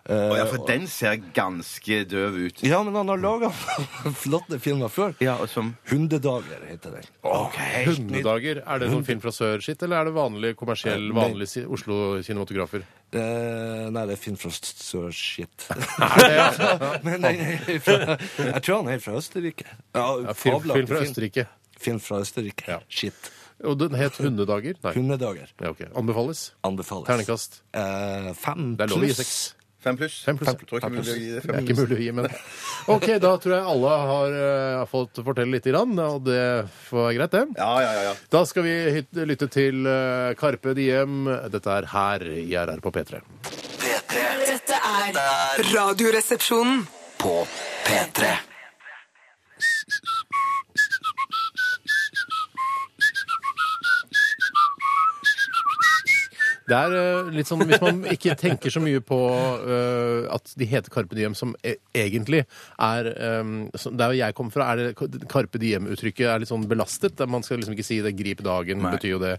[SPEAKER 4] Eh,
[SPEAKER 2] Å, ja, for den ser ganske døv ut.
[SPEAKER 4] ja, men han har laga flotte filmer før.
[SPEAKER 2] Ja, og som
[SPEAKER 4] Hundedager heter den.
[SPEAKER 1] Hundedager. Er det sånn film fra sør sitt, eller er det vanlig kommersiell, vanlig si- Oslo-kinematografer?
[SPEAKER 4] Eh, nei, det er Finn fra Sør-shit.
[SPEAKER 1] ja.
[SPEAKER 4] Men den er fra, jeg tror han er fra Østerrike.
[SPEAKER 1] Ja, film,
[SPEAKER 4] fabelaktig
[SPEAKER 1] film fra Østerrike.
[SPEAKER 4] Film fra Østerrike.
[SPEAKER 1] Ja.
[SPEAKER 4] Shit.
[SPEAKER 1] Og den het Hundedager? Nei.
[SPEAKER 4] Hundedager
[SPEAKER 1] Ja, ok. Anbefales.
[SPEAKER 4] anbefales.
[SPEAKER 1] Ternekast.
[SPEAKER 4] Eh, fem
[SPEAKER 1] Det er lov å gi
[SPEAKER 4] pluss.
[SPEAKER 1] seks.
[SPEAKER 2] Fem pluss.
[SPEAKER 1] Fem pluss.
[SPEAKER 2] Tror ikke vi vil gi det
[SPEAKER 1] Det
[SPEAKER 2] fem.
[SPEAKER 1] er ikke mulig å gi, men OK, da tror jeg alle har eh, fått fortelle lite grann, og det får være greit, det.
[SPEAKER 2] Ja, ja, ja, ja.
[SPEAKER 1] Da skal vi hyt- lytte til eh, Karpe Diem. Dette er her i RR på P3.
[SPEAKER 6] P3
[SPEAKER 5] Dette er Radioresepsjonen.
[SPEAKER 6] på P3.
[SPEAKER 1] Det er eh, litt sånn, Hvis man ikke tenker så mye på eh, at de heter Carpe Diem, som e egentlig er eh, så Der jeg kommer fra, er det Carpe Diem-uttrykket er litt sånn belastet. der Man skal liksom ikke si det. Grip dagen betyr jo det.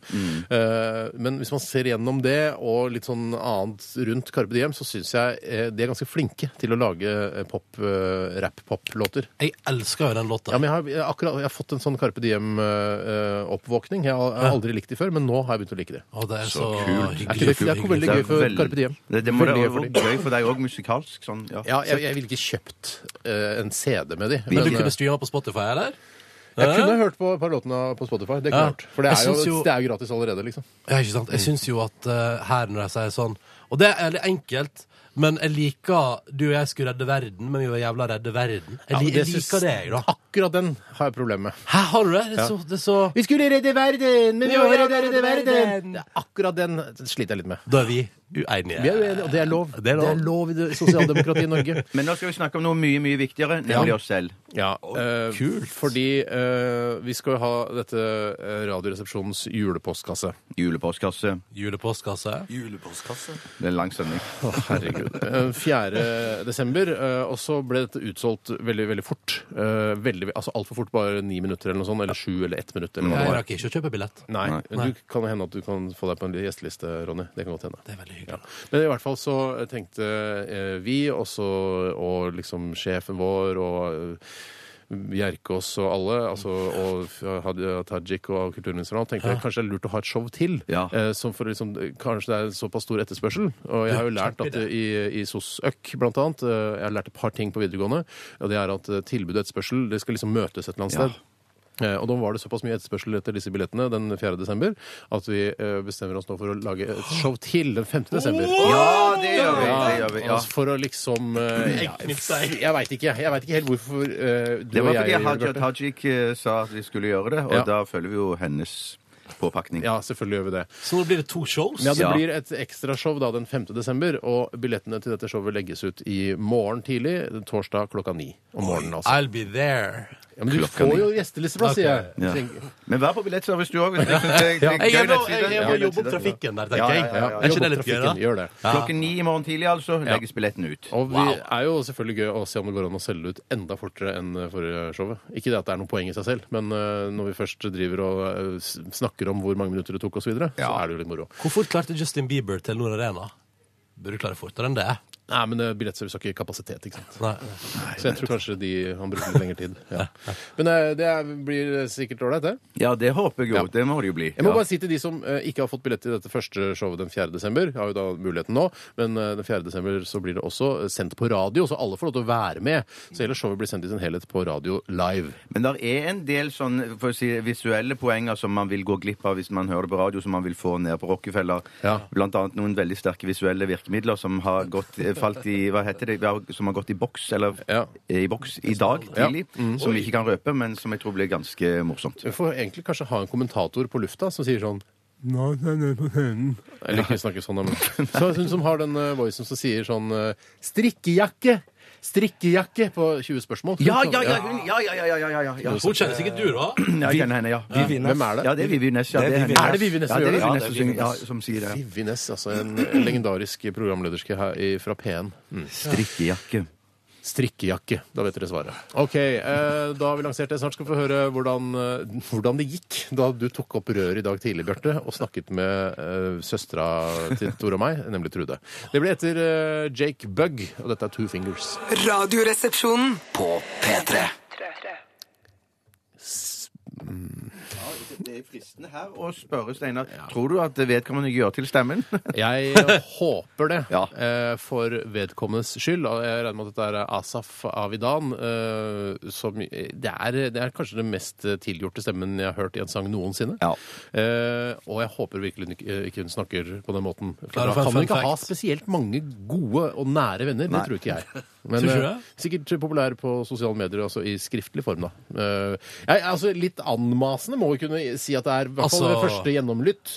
[SPEAKER 1] Eh, men hvis man ser gjennom det og litt sånn annet rundt Carpe Diem, så syns jeg eh, de er ganske flinke til å lage eh, pop, eh, rap-pop-låter.
[SPEAKER 3] Jeg elsker jo den låta.
[SPEAKER 1] Ja, men jeg har, jeg, har akkurat, jeg har fått en sånn Carpe Diem-oppvåkning. jeg, har- jeg har aldri likt de før, men nå har jeg begynt å like de.
[SPEAKER 3] Å, det er så,
[SPEAKER 2] kult.
[SPEAKER 1] Er ikke det- det er ikke veldig
[SPEAKER 2] Det er
[SPEAKER 1] gøy for
[SPEAKER 2] veldig-
[SPEAKER 1] Carpe Diem.
[SPEAKER 2] Det, det må
[SPEAKER 1] Veldig
[SPEAKER 2] være
[SPEAKER 1] gøy for de.
[SPEAKER 2] gøy for deg òg, musikalsk. Sånn, ja.
[SPEAKER 1] Ja, jeg, jeg ville ikke kjøpt eh, en CD med de.
[SPEAKER 3] Men
[SPEAKER 1] Men
[SPEAKER 3] du kunne streama på Spotify, eller?
[SPEAKER 1] eh, jeg kunne hørt på et par låtene på Spotify. Det kunne
[SPEAKER 3] Ja.
[SPEAKER 1] jeg hørt. For det er,
[SPEAKER 3] Jeg syns
[SPEAKER 1] jo,
[SPEAKER 3] jo-
[SPEAKER 1] det er jo gratis allerede, liksom.
[SPEAKER 3] Ja, ikke sant? Jeg syns jo at eh, her når jeg sier sånn Og det er litt enkelt, men jeg liker Du og jeg skulle redde verden, men vi var jævla redde verden. Jeg,
[SPEAKER 1] Ja,
[SPEAKER 3] li-
[SPEAKER 1] men
[SPEAKER 3] jeg
[SPEAKER 1] syns-
[SPEAKER 3] liker det, jeg, da.
[SPEAKER 1] Akkurat den har jeg problemer med.
[SPEAKER 3] Hæ, har du det? Det er så, det er så
[SPEAKER 1] Vi skulle redde verden, men vi
[SPEAKER 5] var
[SPEAKER 1] var
[SPEAKER 5] redde
[SPEAKER 1] redde, redde verden!
[SPEAKER 5] verden.
[SPEAKER 1] Ja, Akkurat den sliter jeg litt med.
[SPEAKER 3] Da er vi uenige.
[SPEAKER 1] Vi er uenige, og det er lov.
[SPEAKER 3] Det er lov.
[SPEAKER 1] i det sosialdemokratiet i Norge.
[SPEAKER 2] Men nå skal vi snakke om noe mye mye viktigere, nemlig oss selv.
[SPEAKER 1] Ja, eh, Fordi eh, vi skal jo ha dette eh, Radioresepsjonens julepostkasse.
[SPEAKER 2] Julepostkasse.
[SPEAKER 3] Julepostkasse.
[SPEAKER 4] Julepostkasse.
[SPEAKER 2] Det er en lang sending.
[SPEAKER 1] Å, herregud. Eh, 4. desember, eh, og så ble dette utsolgt veldig, veldig fort. Eh, Veldig, altså altfor fort, bare ni minutter eller noe sånt, eller sju eller ett minutt. Eller noe
[SPEAKER 3] Jeg
[SPEAKER 1] sånt.
[SPEAKER 3] rakk ikke å kjøpe billett.
[SPEAKER 1] Nei,
[SPEAKER 2] Nei.
[SPEAKER 1] men du kan hende at du kan få deg på en gjesteliste, Ronny. Det kan godt hende.
[SPEAKER 3] Det er veldig
[SPEAKER 1] Ja.
[SPEAKER 3] hyggelig.
[SPEAKER 1] Men i hvert fall så tenkte eh, vi også, og liksom sjefen vår og eh, Bjerkås og alle, altså, og Hadia Tajik og kulturministeren, og alt, tenkte jeg kanskje det er lurt å ha et show til.
[SPEAKER 2] Ja.
[SPEAKER 1] eh, Som for liksom, kanskje det er såpass stor etterspørsel. Og jeg har jo lært at eh, i, i SOS-ØK, blant annet, eh, jeg har lært et par ting på videregående, og det er at eh, tilbud og etterspørsel, det skal liksom møtes et eller annet
[SPEAKER 2] Ja.
[SPEAKER 1] sted. Eh, Og da var det såpass mye etterspørsel etter disse billettene den 4. desember at vi eh, bestemmer oss nå for å lage et show til den 5. desember.
[SPEAKER 2] Ja, det gjør vi! Det gjør vi. Ja.
[SPEAKER 1] Altså for å liksom eh, ja, Jeg veit ikke. Jeg vet ikke helt hvorfor eh, du
[SPEAKER 2] Det
[SPEAKER 1] og
[SPEAKER 2] var
[SPEAKER 1] jeg
[SPEAKER 2] fordi
[SPEAKER 1] gjør
[SPEAKER 2] Haja
[SPEAKER 1] det. Bjarte.
[SPEAKER 2] Tajik eh, sa at vi skulle gjøre det, og
[SPEAKER 1] Ja.
[SPEAKER 2] da følger vi jo hennes påpakning.
[SPEAKER 1] Ja, selvfølgelig gjør vi det.
[SPEAKER 3] Så nå blir det to shows.
[SPEAKER 1] Ja, Det
[SPEAKER 2] Ja.
[SPEAKER 1] blir et ekstrashow da den 5. desember, og billettene til dette showet legges ut i morgen tidlig. Torsdag klokka ni om morgenen, altså.
[SPEAKER 3] I'll be there.
[SPEAKER 1] Ja, men du
[SPEAKER 2] Klokka
[SPEAKER 1] får
[SPEAKER 2] ni.
[SPEAKER 1] jo gjestelisteplass, sier jeg.
[SPEAKER 2] Ja.
[SPEAKER 1] Tenk-
[SPEAKER 2] Men vær på billettservice, du òg. hvis du synes det er- det er
[SPEAKER 3] Jeg
[SPEAKER 2] gøy
[SPEAKER 3] er nå-
[SPEAKER 2] nettside.
[SPEAKER 3] jeg er
[SPEAKER 2] Ja,
[SPEAKER 3] på jobb opp
[SPEAKER 2] nettside.
[SPEAKER 3] trafikken der,
[SPEAKER 2] Ja,
[SPEAKER 3] tenker
[SPEAKER 2] ja,
[SPEAKER 3] jeg.
[SPEAKER 2] ja, ja.
[SPEAKER 3] Er
[SPEAKER 1] Jobb
[SPEAKER 3] ikke det litt gøy,
[SPEAKER 1] og trafikken,
[SPEAKER 3] da?
[SPEAKER 1] Gjør det.
[SPEAKER 2] Klokken ni i morgen tidlig altså, legges billetten ut.
[SPEAKER 1] Og vi er jo selvfølgelig gøy å se om det går an å selge ut enda fortere enn eh, forrige showet. Ikke det at det er noe poeng i seg selv, men eh, når vi først driver og eh, s- snakker om hvor mange minutter det tok osv., så, videre, så
[SPEAKER 2] Ja.
[SPEAKER 1] er det jo litt moro.
[SPEAKER 3] Hvor fort klarte Justin Bieber til Nord Arena? Burde klare fortere enn det.
[SPEAKER 1] Nei, men eh, billettservice har ikke kapasitet, ikke sant.
[SPEAKER 3] Nei.
[SPEAKER 1] Så jeg tror kanskje de, han bruker litt lengre tid. Ja. Men eh, det er, blir sikkert ålreit, det.
[SPEAKER 2] Ja, det håper jeg jo.
[SPEAKER 1] Ja.
[SPEAKER 2] Det må det jo bli.
[SPEAKER 1] Jeg må
[SPEAKER 2] Ja.
[SPEAKER 1] bare si til de som eh, ikke har fått billett til dette første showet den 4. desember, jeg har jo da muligheten nå, men eh, den 4. desember så blir det også eh, sendt på radio, så alle får lov til å være med. Så hele showet blir sendt i sin helhet på radio live.
[SPEAKER 2] Men det er en del sånn, for å si, visuelle poenger som man vil gå glipp av hvis man hører det på radio, som man vil få ned på Rockefeller.
[SPEAKER 1] Ja.
[SPEAKER 2] Blant annet noen veldig sterke visuelle virkemidler som har gått, eh, falt i Hva heter det? Ja, Som har gått i boks, eller
[SPEAKER 1] Ja.
[SPEAKER 2] eh, i boks i dag
[SPEAKER 1] Ja.
[SPEAKER 2] tidlig. Som vi ikke kan røpe, men som jeg tror blir ganske morsomt.
[SPEAKER 1] Vi får egentlig kanskje ha en kommentator på lufta som sier sånn Nå er det på scenen. Eller ikke snakke sånn, da, men Så hun som har den eh, voicen som sier sånn eh, Strikkejakke! Strikkejakke på 20 spørsmål.
[SPEAKER 2] Ja, ja, ja! Hun, ja, ja, ja, ja, ja, ja, ja.
[SPEAKER 3] Hun kjenner sikkert du, da.
[SPEAKER 2] Ja, jeg kjenner henne, ja.
[SPEAKER 4] Vivi
[SPEAKER 1] Hvem er det?
[SPEAKER 2] Ja, det er Vivi Ness. Ja,
[SPEAKER 4] Det er Vivi
[SPEAKER 2] henne.
[SPEAKER 1] Er det Vivi Ness
[SPEAKER 2] ja,
[SPEAKER 1] som
[SPEAKER 2] det
[SPEAKER 1] gjør
[SPEAKER 2] er
[SPEAKER 1] det?
[SPEAKER 4] Ja, det er Vivi
[SPEAKER 2] Vivi Ness som, synger- ja,
[SPEAKER 4] Ness.
[SPEAKER 2] som sier det.
[SPEAKER 1] Vivi Ness, altså en legendarisk programlederske her i, fra P1. Mm.
[SPEAKER 2] Strikkejakke.
[SPEAKER 1] Strikkejakke. Da vet dere svaret. Ok, eh, Da har vi lansert det. Snart skal vi få høre hvordan, eh, hvordan det gikk da du tok opp røret i dag tidlig, Bjarte, og snakket med eh, søstera til Tor og meg, nemlig Trude. Det blir etter eh, Jake Bugg, og dette er Two Fingers.
[SPEAKER 5] Radioresepsjonen.
[SPEAKER 6] På P3.
[SPEAKER 2] Det er fristende her å spørre, Steinar. Tror du at vedkommende gjør til stemmen?
[SPEAKER 1] Jeg håper det,
[SPEAKER 2] Ja.
[SPEAKER 1] eh, for vedkommendes skyld. Og jeg regner med at dette er Asaf Avidan. Eh, som, det, er, det er kanskje den mest tilgjorte stemmen jeg har hørt i en sang noensinne.
[SPEAKER 2] Ja.
[SPEAKER 1] Eh, og jeg håper virkelig ikke, ikke hun snakker på den måten. For
[SPEAKER 3] Klarer
[SPEAKER 1] da
[SPEAKER 3] å få en
[SPEAKER 1] kan hun
[SPEAKER 3] fun
[SPEAKER 1] ikke ha
[SPEAKER 3] fact.
[SPEAKER 1] spesielt mange gode og nære venner. Det tror ikke jeg. Men
[SPEAKER 3] Tror ikke du
[SPEAKER 1] eh,
[SPEAKER 3] det?
[SPEAKER 1] sikkert populær på sosiale medier, altså i skriftlig form, da. Eh, jeg, altså, litt anmasende må vi kunne si at det er, i hvert fall
[SPEAKER 3] Altså-
[SPEAKER 1] ved første gjennomlytt.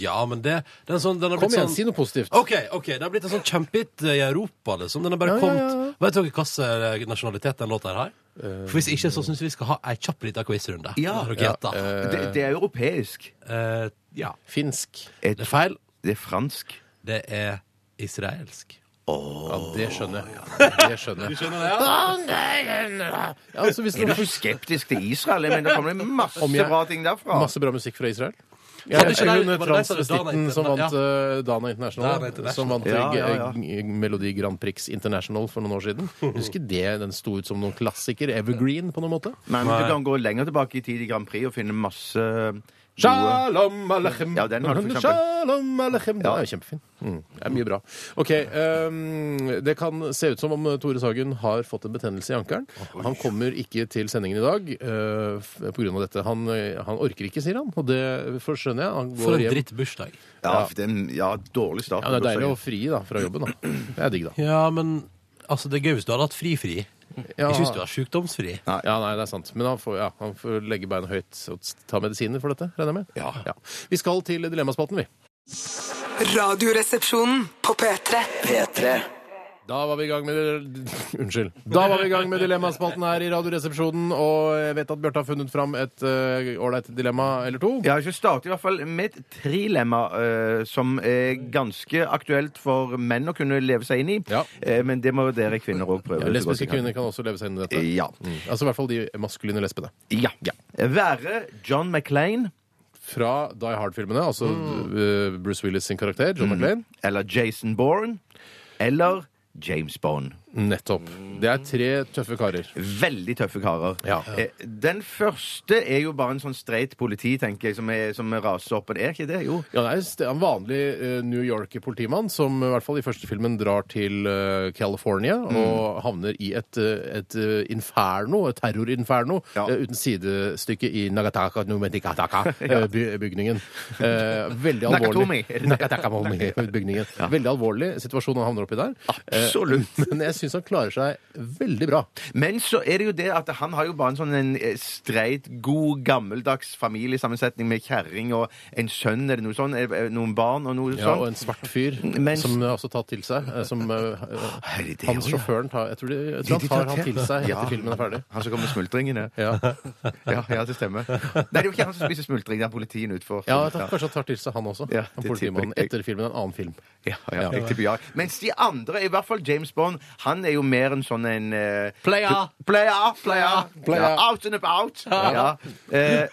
[SPEAKER 3] Ja, men det den er sånn, den har
[SPEAKER 1] Kom
[SPEAKER 3] blitt
[SPEAKER 1] igjen,
[SPEAKER 3] sånn,
[SPEAKER 1] si noe positivt.
[SPEAKER 3] OK, ok, det har blitt en sånn kjempehit i Europa, liksom. Den har bare
[SPEAKER 1] Ja, ja,
[SPEAKER 3] kommet
[SPEAKER 1] ja, Eh, ja.
[SPEAKER 3] Vet dere hvilken nasjonalitet den låta her har? For hvis ikke, så syns vi vi skal ha ei kjapp lita quizrunde.
[SPEAKER 2] Ja.
[SPEAKER 3] Har dere gjetta?
[SPEAKER 2] Det, det er europeisk.
[SPEAKER 3] Eh, ja.
[SPEAKER 1] Finsk.
[SPEAKER 2] Jeg
[SPEAKER 3] Det er feil.
[SPEAKER 2] Det er fransk.
[SPEAKER 3] Det er israelsk.
[SPEAKER 1] Ja, det skjønner jeg. Det skjønner jeg.
[SPEAKER 3] Skjønner du det?
[SPEAKER 1] Ja, altså, hvis
[SPEAKER 2] Er du
[SPEAKER 1] det
[SPEAKER 2] så skeptisk til Israel? Jeg mener, det kommer masse
[SPEAKER 1] Om jeg-
[SPEAKER 2] bra ting derfra.
[SPEAKER 1] Masse bra musikk fra Israel. Ja,
[SPEAKER 3] Var
[SPEAKER 1] jeg
[SPEAKER 3] det ikke
[SPEAKER 1] husker
[SPEAKER 3] der-
[SPEAKER 1] hun
[SPEAKER 3] var det der som det Dana
[SPEAKER 1] transvestitten som vant eh, Dana International.
[SPEAKER 3] Dana International.
[SPEAKER 1] Som vant
[SPEAKER 2] Ja, ja, ja.
[SPEAKER 1] eh, G- Melodi Grand Prix International for noen år siden. Husker det den sto ut som noen klassiker? Evergreen, på noen måte?
[SPEAKER 2] Nei, men Du kan gå lenger tilbake i tid i Grand Prix og finne masse gode
[SPEAKER 1] Shalom alechem.
[SPEAKER 2] Ja, den har du for eksempel.
[SPEAKER 1] Shalom alechem. Den er jo kjempefin. Mm, det er mye bra. OK. ehm, det kan se ut som om eh, Tore Sagen har fått en betennelse i ankelen. Han kommer ikke til sendingen i dag eh, f- på grunn av dette. Han, eh, han orker ikke, sier han. Og det skjønner jeg. Han
[SPEAKER 3] For
[SPEAKER 1] går
[SPEAKER 3] en
[SPEAKER 1] hjem.
[SPEAKER 3] drittbursdag.
[SPEAKER 2] Ja, for det er en ja, dårlig start.
[SPEAKER 1] Ja, det er deilig å
[SPEAKER 2] å si.
[SPEAKER 1] fri da, fra jobben. da. Det er digg, da.
[SPEAKER 3] Ja, men altså, det er gøy hvis du hadde hatt fri-fri.
[SPEAKER 1] Ja,
[SPEAKER 3] Ikke hvis du har sjukdomsfri.
[SPEAKER 1] Ja, nei, det er sant. Men han får, ja, han får legge beina høyt og ta medisiner for dette, regner jeg med.
[SPEAKER 3] Ja.
[SPEAKER 1] Vi skal til Dilemmaspalten, vi.
[SPEAKER 5] Radioresepsjonen på P3.
[SPEAKER 6] P3.
[SPEAKER 1] Da var vi i gang med Unnskyld. Da var vi i gang med Dilemmaspalten her i Radioresepsjonen, og jeg vet at Bjarte har funnet fram et eh, ålreit dilemma eller to.
[SPEAKER 2] Jeg har ikke startet i hvert fall med et trilemma eh, som er ganske aktuelt for menn å kunne leve seg inn i.
[SPEAKER 1] Ja.
[SPEAKER 2] Eh, men det må dere kvinner òg prøve.
[SPEAKER 1] Ja,
[SPEAKER 2] så godt
[SPEAKER 1] lesbiske
[SPEAKER 2] dere kan.
[SPEAKER 1] kvinner kan også leve seg inn i dette.
[SPEAKER 2] Ja.
[SPEAKER 1] Mm. Altså i hvert fall de maskuline lesbene.
[SPEAKER 2] Ja. Være John McClain
[SPEAKER 1] Fra Die Hard-filmene, altså eh, Bruce Willis sin karakter, John McClane.
[SPEAKER 2] eller Jason Bourne eller James Bond.
[SPEAKER 1] Nettopp. Det er tre tøffe karer.
[SPEAKER 2] Veldig tøffe karer.
[SPEAKER 1] Ja.
[SPEAKER 2] Eh, Den første er jo bare en sånn streit politi, tenker jeg, som, er, som raser opp. Men Er ikke det? Jo.
[SPEAKER 1] Ja, det er en st- en vanlig eh, New York-politimann som eh, i hvert fall i første filmen drar til eh, California
[SPEAKER 2] Mm.
[SPEAKER 1] og havner i et, eh, et eh, inferno, et terrorinferno,
[SPEAKER 2] Ja.
[SPEAKER 1] eh, uten sidestykke i Nagataka Numetikataka, eh, by- bygningen. Eh, veldig alvorlig.
[SPEAKER 2] Nakatomi.
[SPEAKER 1] Nakataka-bygningen. Veldig alvorlig situasjon han havner oppi der. Eh,
[SPEAKER 2] Absolutt.
[SPEAKER 1] Men jeg syns han klarer seg veldig bra.
[SPEAKER 2] Men så er det jo det at han har jo bare en sånn en eh, streit, god, gammeldags familiesammensetning med kjerring og en sønn, er det noe sånn? Er det Noen barn og noe
[SPEAKER 1] Ja, og
[SPEAKER 2] sånn?
[SPEAKER 1] en svart fyr
[SPEAKER 2] Mens-
[SPEAKER 1] som har også tatt til seg. eh, Som, eh,
[SPEAKER 2] Er det det
[SPEAKER 1] han
[SPEAKER 2] også, ja?
[SPEAKER 1] sjåføren tar Jeg tror, de, jeg tror han
[SPEAKER 2] De- de
[SPEAKER 1] tar
[SPEAKER 2] tar
[SPEAKER 1] han
[SPEAKER 2] til.
[SPEAKER 1] til seg
[SPEAKER 2] Ja.
[SPEAKER 1] etter filmen er ferdig.
[SPEAKER 2] Han som kommer med smultringene?
[SPEAKER 1] Ja.
[SPEAKER 2] Ja, ja, det stemmer. Nei, det er jo ikke han som spiser smultring, det er politien utfor.
[SPEAKER 1] Ja, jeg tar, kanskje han tar til seg han også.
[SPEAKER 2] Ja,
[SPEAKER 1] han
[SPEAKER 2] det tipper
[SPEAKER 1] politimannen
[SPEAKER 2] jeg.
[SPEAKER 1] etter filmen, en annen film.
[SPEAKER 2] Ja, ja, jeg tipper ja. Mens de andre, i hvert fall James Bond, han han er jo mer en sånn en eh,
[SPEAKER 3] Player!
[SPEAKER 2] Player, player.
[SPEAKER 1] Player.
[SPEAKER 2] Ja, out and about. Ja. Eh,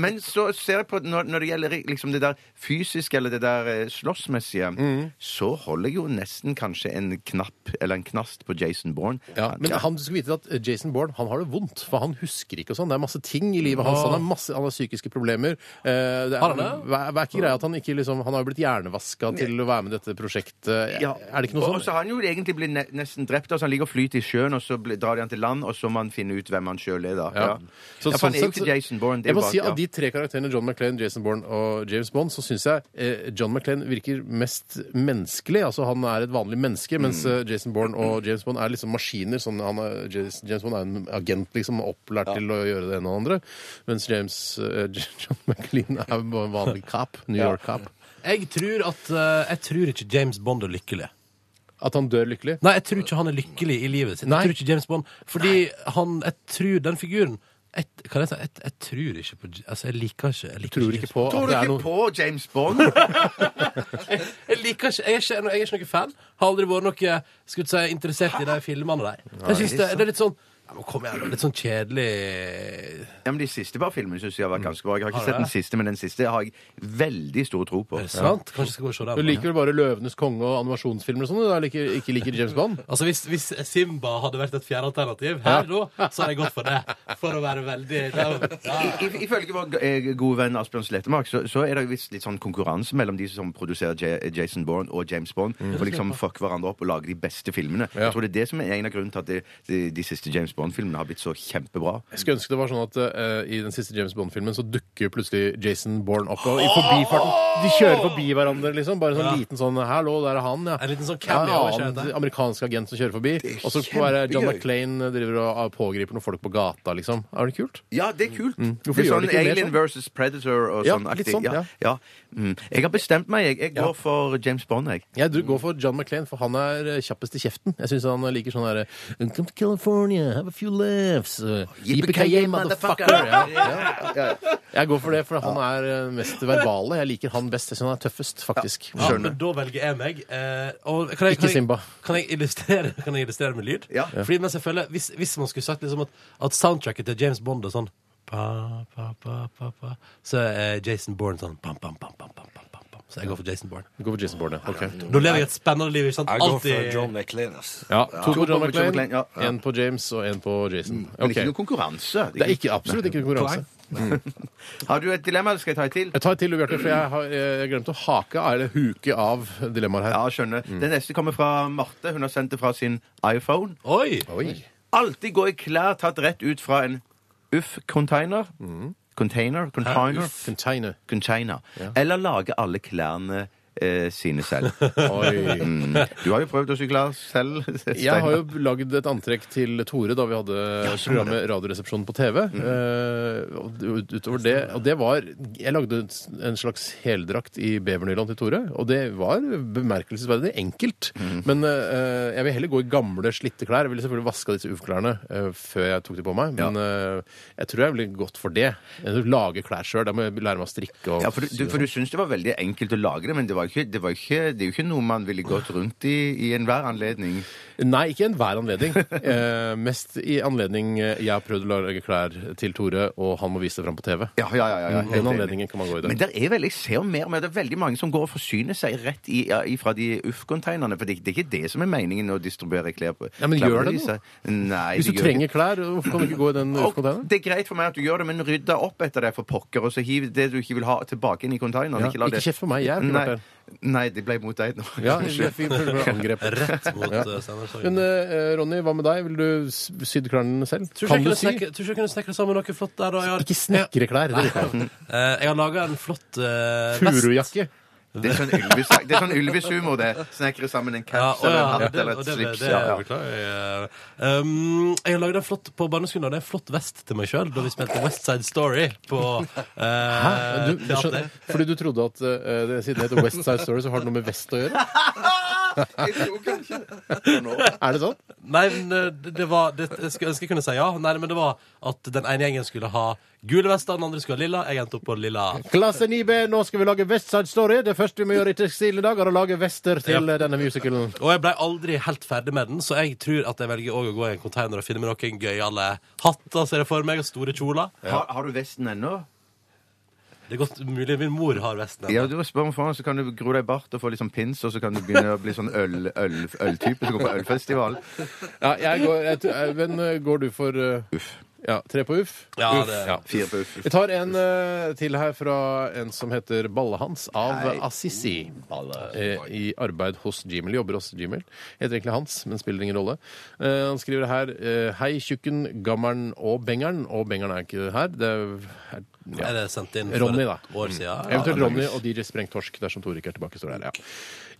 [SPEAKER 2] men så ser jeg på at når, når det gjelder liksom det der fysiske eller det der eh, slåssmessige, så holder jeg jo nesten kanskje en knapp eller en knast på Jason Bourne.
[SPEAKER 1] Ja, men han, du skal vite at eh, Jason Bourne han har det vondt, for han husker ikke og sånn. Det er masse ting i livet hans. Han har, masse, han har psykiske problemer. Eh, det er,
[SPEAKER 3] Har han det?
[SPEAKER 1] Hva, hva er ikke greia at han ikke liksom Han har jo blitt hjernevaska til å være med i dette prosjektet.
[SPEAKER 2] Ja.
[SPEAKER 1] Er det ikke noe
[SPEAKER 2] Og så
[SPEAKER 1] sånn?
[SPEAKER 2] har han jo egentlig blitt ne nesten drept. Altså han ligger og flyter i sjøen, og så blir- drar de han til land, og så må han finne ut hvem han sjøl er, da. Ja. Ja.
[SPEAKER 1] Så sånn
[SPEAKER 2] for han er jo
[SPEAKER 1] sett-
[SPEAKER 2] ikke Jason Bourne. Det er
[SPEAKER 1] jeg må
[SPEAKER 2] jo bare-
[SPEAKER 1] si Av
[SPEAKER 2] ja.
[SPEAKER 1] de tre karakterene, John McClain, Jason Bourne og James Bond, så syns jeg eh, John McClain virker mest menneskelig. Altså Han er et vanlig menneske, mens
[SPEAKER 2] Mm.
[SPEAKER 1] eh, Jason Bourne og James Bond er liksom maskiner. Sånn, han er, James, James Bond er en agent liksom opplært til å gjøre det ene og det andre. Mens James, eh, John McClain er en vanlig cop. New York-cop.
[SPEAKER 3] Jeg tror at eh, Jeg tror ikke James Bond er lykkelig.
[SPEAKER 1] At han dør lykkelig?
[SPEAKER 3] Nei, jeg tror ikke han er lykkelig i livet sitt.
[SPEAKER 1] Nei.
[SPEAKER 3] Jeg tror ikke James Bond Fordi han Jeg tror den figuren jeg, Kan jeg si Jeg, jeg tror ikke på J- Altså, jeg liker ikke Jeg liker
[SPEAKER 1] Tror ikke på at
[SPEAKER 2] Tror du
[SPEAKER 1] det
[SPEAKER 2] ikke
[SPEAKER 1] er noe
[SPEAKER 2] på James Bond?
[SPEAKER 3] Jeg liker ikke, jeg er ikke, jeg er ikke noen fan. Har aldri vært noe skulle si, interessert i de filmene der. Jeg synes det, det er litt sånn ja, men Kom igjen, det er litt sånn kjedelig
[SPEAKER 2] Ja, men De siste par filmene syns jeg har vært ganske bra. Jeg har ikke sett den siste, men den siste har jeg veldig stor tro på.
[SPEAKER 3] Er det sant? Kanskje jeg skal gå og se
[SPEAKER 1] Du
[SPEAKER 3] den.
[SPEAKER 1] liker vel bare 'Løvenes konge' og animasjonsfilmer og sånn? Du da liker, ikke liker James Bond?
[SPEAKER 3] Altså, hvis, hvis Simba hadde vært et fjerde alternativ her nå, så hadde jeg gått for det. For å være veldig ja.
[SPEAKER 2] I- i- Ifølge vår g- eh, gode venn Asbjørn Slettemark så, så er det visst litt sånn konkurranse mellom de som produserer Ja- Jason Bourne og James Bond, for liksom fucke hverandre opp og lage de beste filmene.
[SPEAKER 1] Mm. Ja.
[SPEAKER 2] Jeg tror det er det som er en av grunnen til at de, de, de siste James Bond-filmene har blitt så kjempebra.
[SPEAKER 1] Jeg skulle ønske det var sånn at eh, i den siste James Bond-filmen så dukker plutselig Jason Bourne opp. Og i forbifarten, De kjører forbi hverandre, liksom. Bare sånn liten sånn 'hallo, der er han', ja.
[SPEAKER 3] En liten sånn
[SPEAKER 1] Ja, en
[SPEAKER 3] cameo. ikke
[SPEAKER 1] annen
[SPEAKER 3] sant?
[SPEAKER 1] amerikansk agent som kjører forbi. Og så være John
[SPEAKER 2] kjempegøy.
[SPEAKER 1] McClain driver og ah, pågriper noen folk på gata, liksom. Er det kult?
[SPEAKER 2] Ja, det er kult.
[SPEAKER 1] Mm. Hvorfor
[SPEAKER 2] Det
[SPEAKER 1] gjør
[SPEAKER 2] er sånn
[SPEAKER 1] de ikke mer
[SPEAKER 2] Alien
[SPEAKER 1] sånn?
[SPEAKER 2] versus Predator og
[SPEAKER 1] Ja,
[SPEAKER 2] sånn
[SPEAKER 1] litt
[SPEAKER 2] aktig.
[SPEAKER 1] sånn, ja.
[SPEAKER 2] ja. ja. Mm. Jeg har bestemt meg. Jeg, jeg går for James Bond, jeg.
[SPEAKER 1] Jeg dr- går for John McClain, for han er eh, kjappest i kjeften. Jeg syns han liker sånn herre Come to California, have a few laughs. uh, Yippee-ki-yay, motherfucker. Ja, ja, ja. Jeg går for det, for han er eh, mest verbale. Jeg liker han best. Jeg syns han er tøffest, faktisk.
[SPEAKER 3] Ja, men da velger jeg meg. Eh, og kan jeg,
[SPEAKER 1] Ikke
[SPEAKER 3] kan
[SPEAKER 1] Simba.
[SPEAKER 3] Jeg, kan, jeg illustrere, kan jeg illustrere med lyd?
[SPEAKER 2] Ja.
[SPEAKER 3] Fordi mens jeg føler, hvis, hvis man skulle sagt liksom at, at soundtracket til James Bond er sånn pa, pa, pa, pa, pa, Så er Jason Bourne sånn pam, pam, pam, pam, pam, pam, pam, pam. Så jeg går for Jason Bourne.
[SPEAKER 1] Gå for Jason Bourne, ja. Ok.
[SPEAKER 3] Da lever jeg et spennende liv. ikke sant?
[SPEAKER 4] Jeg går for
[SPEAKER 3] Alltid-
[SPEAKER 4] John McLean, ass.
[SPEAKER 1] Ja, to på John
[SPEAKER 2] på John
[SPEAKER 1] McClain,
[SPEAKER 2] McClane, ja. Ja. Mm.
[SPEAKER 1] en på James og en på Jason.
[SPEAKER 2] Men
[SPEAKER 1] Ok.
[SPEAKER 2] ikke noe konkurranse.
[SPEAKER 1] Det er ikke, absolutt ikke konkurranse.
[SPEAKER 2] Har du et dilemma, eller skal jeg ta et til?
[SPEAKER 1] Jeg tar et til, Bjarte, for jeg har jeg glemte å hake av, eller huke av dilemmaet her.
[SPEAKER 2] Ja, skjønner.
[SPEAKER 1] Mm.
[SPEAKER 2] Den neste kommer fra Marte. Hun har sendt det fra sin iPhone.
[SPEAKER 3] Oi!
[SPEAKER 1] Oi.
[SPEAKER 2] Alltid gå i klær tatt rett ut fra en uff-container.
[SPEAKER 1] Mm.
[SPEAKER 2] Container, container,
[SPEAKER 1] Container.
[SPEAKER 2] container. Eller lage alle klærne eh, sine selv.
[SPEAKER 1] Oi.
[SPEAKER 2] Mm. Du har jo prøvd å sy klær selv. Steinar.
[SPEAKER 1] Jeg har jo lagd et antrekk til Tore da vi hadde
[SPEAKER 2] stemmer Mm.
[SPEAKER 1] programmet Radioresepsjonen på TV. Eh, og ut- utover det, og det var Jeg lagde en slags heldrakt i bevernyland til Tore, og det var bemerkelsesverdig enkelt.
[SPEAKER 2] Mm.
[SPEAKER 1] Men eh, jeg vil heller gå i gamle, slitte klær. Jeg ville selvfølgelig vaska disse UF-klærne eh, før jeg tok de på meg, men eh, jeg tror jeg ville gått for det. Jeg Lage klær sjøl. Da må jeg lære meg å strikke og
[SPEAKER 2] ja, for du, du, for du syns det var veldig enkelt å lage det, men det, var ikke, det, var ikke, det er jo ikke noe man ville gått rundt i i enhver anledning.
[SPEAKER 1] Nei, ikke enhver anledning. Eh, mest i anledning eh, jeg har prøvd å lage klær til Tore, og han må vise det fram på TV.
[SPEAKER 2] Ja, ja, ja, ja, helt
[SPEAKER 1] Mm, Den
[SPEAKER 2] enig.
[SPEAKER 1] anledningen kan man gå i det.
[SPEAKER 2] Men der er vel, jeg ser jo mer og mer, det er veldig mange som går og forsyner seg rett i, ja, ifra de UFF-containerne. For det, det er ikke det som er meningen å distribuere klær på.
[SPEAKER 1] Ja, men
[SPEAKER 2] klær på
[SPEAKER 1] gjør det
[SPEAKER 2] viset. Nei,
[SPEAKER 1] Hvis
[SPEAKER 2] det
[SPEAKER 1] du
[SPEAKER 2] gjør
[SPEAKER 1] trenger
[SPEAKER 2] ikke.
[SPEAKER 1] klær, hvorfor kan du ikke gå i den
[SPEAKER 2] og,
[SPEAKER 1] UF-containeren?
[SPEAKER 2] Det er greit for meg at du gjør det, men rydda opp etter deg for pokker, og så hiv det du ikke vil ha, tilbake inn i containeren.
[SPEAKER 1] Ja,
[SPEAKER 2] ikke la
[SPEAKER 1] ikke
[SPEAKER 2] det-
[SPEAKER 1] kjeft på meg, jeg har ikke vært
[SPEAKER 2] Nei, nei, det ble mot deg nå.
[SPEAKER 1] Ja, jeg fikk prøve å angrepe.
[SPEAKER 3] Rett mot
[SPEAKER 1] Ja.
[SPEAKER 3] eh, Steinar Sagen.
[SPEAKER 1] Men eh, Ronny, hva med deg? Vil du s- sydd klærne selv?
[SPEAKER 3] Tror ikke
[SPEAKER 1] Kan
[SPEAKER 3] jeg
[SPEAKER 1] du
[SPEAKER 3] kunne
[SPEAKER 1] sy?
[SPEAKER 3] snekre- tror ikke jeg kunne snekre sammen noe flott der. Da. Jeg har,
[SPEAKER 1] Ikke snekre klær. det vil jeg ikke.
[SPEAKER 3] Eh, jeg har laga en flott eh, vest.
[SPEAKER 1] Furujakke.
[SPEAKER 2] Det er sånn Ylvis- det er sånn Ylvis-humor, det. Snekre sammen en
[SPEAKER 3] Ja,
[SPEAKER 2] caps
[SPEAKER 3] å,
[SPEAKER 2] eller
[SPEAKER 3] ja,
[SPEAKER 2] en hatt
[SPEAKER 3] det,
[SPEAKER 2] eller
[SPEAKER 3] og
[SPEAKER 2] et
[SPEAKER 3] det, det,
[SPEAKER 2] slips.
[SPEAKER 3] det,
[SPEAKER 2] ja.
[SPEAKER 3] beklager jeg. Um, jeg har laget en flott på barneskolen, og det er en flott vest til meg sjøl da vi spilte West Side Story på
[SPEAKER 1] Hæ?
[SPEAKER 3] uh,
[SPEAKER 1] Du, eh, du skjønner,
[SPEAKER 3] teater.
[SPEAKER 1] fordi du trodde at eh, det, siden det heter West Side Story, så har det noe med vest å gjøre?
[SPEAKER 2] Jeg tror kanskje det. Nå.
[SPEAKER 1] Er det sånn?
[SPEAKER 3] Nei, men eh, det det var det, Jeg skulle ønske jeg kunne si ja. Nei, men det var at den ene gjengen skulle ha gule vester, den andre skulle ha lilla. Jeg endte opp på lilla.
[SPEAKER 1] Klasse 9B, nå skal vi lage West Side Story. Det første vi må gjøre i Tekstil i dag, er å lage vester til eh, denne musicalen.
[SPEAKER 3] Og jeg ble aldri helt ferdig med den, så jeg tror at jeg velger også å gå i en container og finne meg noen gøyale hatter, ser jeg for meg, og store kjoler.
[SPEAKER 2] Har, har du vesten ennå?
[SPEAKER 3] Det er godt mulig min mor har vesten.
[SPEAKER 2] Ja, du må spørre om foran, så kan du gro deg bart og få litt sånn pins, og så kan du begynne å bli sånn øl, øl, øltype som går på ølfestival.
[SPEAKER 1] Ja, jeg går, jeg, tror- Even, eh, går du for Uff. Ja, tre på uff?
[SPEAKER 3] Ja,
[SPEAKER 1] Uff.
[SPEAKER 3] det-
[SPEAKER 2] Fire på uff.
[SPEAKER 1] Jeg tar en eh, til her fra en som heter Balle-Hans av Assisi. Eh, I arbeid hos Gmail. Jobber hos Gmail. Heter egentlig Hans, men spiller ingen rolle. Eh, han skriver her eh, Hei, tjukken, gammeren og bengeren. Og bengeren er ikke her. Det er, ja. Mm.
[SPEAKER 3] Er det sendt inn
[SPEAKER 1] Ronny,
[SPEAKER 3] for
[SPEAKER 1] da.
[SPEAKER 3] et år siden? Ja.
[SPEAKER 1] Eventuelt Ronny og DJ Sprengt Torsk dersom Tore ikke er tilbake. står der, ja.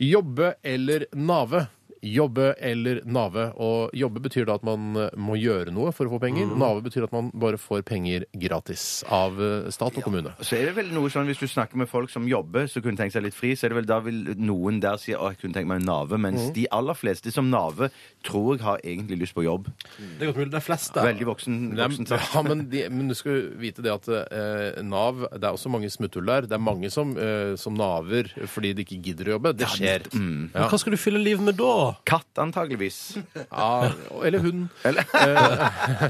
[SPEAKER 1] Jobbe eller nave. Jobbe eller nave. Og jobbe betyr da at man eh, må gjøre noe for å få penger. Nave betyr at man bare får penger gratis av eh, stat og kommune.
[SPEAKER 2] Så er det vel noe sånn, Hvis du snakker med folk som jobber, som kunne tenkt seg litt fri, så er det vel da vil noen der si å, jeg kunne tenkt meg en nave, mens
[SPEAKER 3] Mhm.
[SPEAKER 2] de aller fleste som nave tror jeg har egentlig lyst på jobb.
[SPEAKER 3] Det er godt mulig. De fleste.
[SPEAKER 2] Veldig voksen.
[SPEAKER 1] Nei,
[SPEAKER 2] voksen
[SPEAKER 1] men- ja, men, de, men du skal jo vite det at eh, Nav Det er også mange smutthull der. Det er mange som, eh, som naver fordi de ikke gidder å jobbe. Det skjer.
[SPEAKER 3] Men hva skal du fylle livet med da?
[SPEAKER 2] Katt, antageligvis.
[SPEAKER 1] Ja, eller hund. Eller,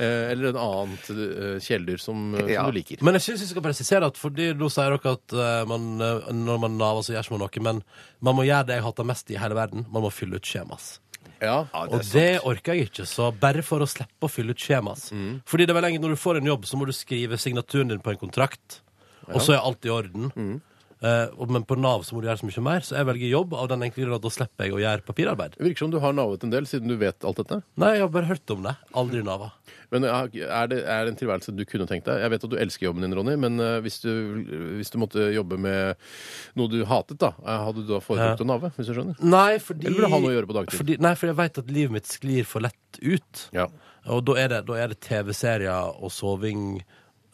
[SPEAKER 1] eller en annet eh, kjæledyr som, eh,
[SPEAKER 2] Ja.
[SPEAKER 1] som du liker.
[SPEAKER 3] Men jeg synes vi skal presisere at fordi nå sier dere at eh, man, eh, når man naver, så gjør ikke man noe. Men man må gjøre det jeg hater mest i hele verden. Man må fylle ut skjemas.
[SPEAKER 1] Ja.
[SPEAKER 3] og det orker jeg ikke, så bare for å slippe å fylle ut skjemas.
[SPEAKER 1] Mm.
[SPEAKER 3] Fordi det er vel egentlig når du får en jobb, så må du skrive signaturen din på en kontrakt, og så er alt i orden.
[SPEAKER 1] Mm.
[SPEAKER 3] Eh, og- men på Nav så må du gjøre så mye mer, så jeg velger jobb av den enkle grunn at da slipper jeg å gjøre papirarbeid.
[SPEAKER 1] Det virker som du har navet en del, siden du vet alt dette.
[SPEAKER 3] Nei, jeg har bare hørt om det. Aldri Nava.
[SPEAKER 1] Men ja, er det, er det en tilværelse du kunne tenkt deg? Jeg vet at du elsker jobben din, Ronny, men eh, hvis du, hvis du måtte jobbe med noe du hatet, da, eh, hadde du da foretrukket å nave? Hvis du skjønner?
[SPEAKER 3] Nei, fordi
[SPEAKER 1] Eller vil du ha noe å gjøre på dagtid?
[SPEAKER 3] Fordi, nei, for jeg veit at livet mitt sklir for lett ut.
[SPEAKER 1] Ja.
[SPEAKER 3] Og da er det, da er det TV-serier og soving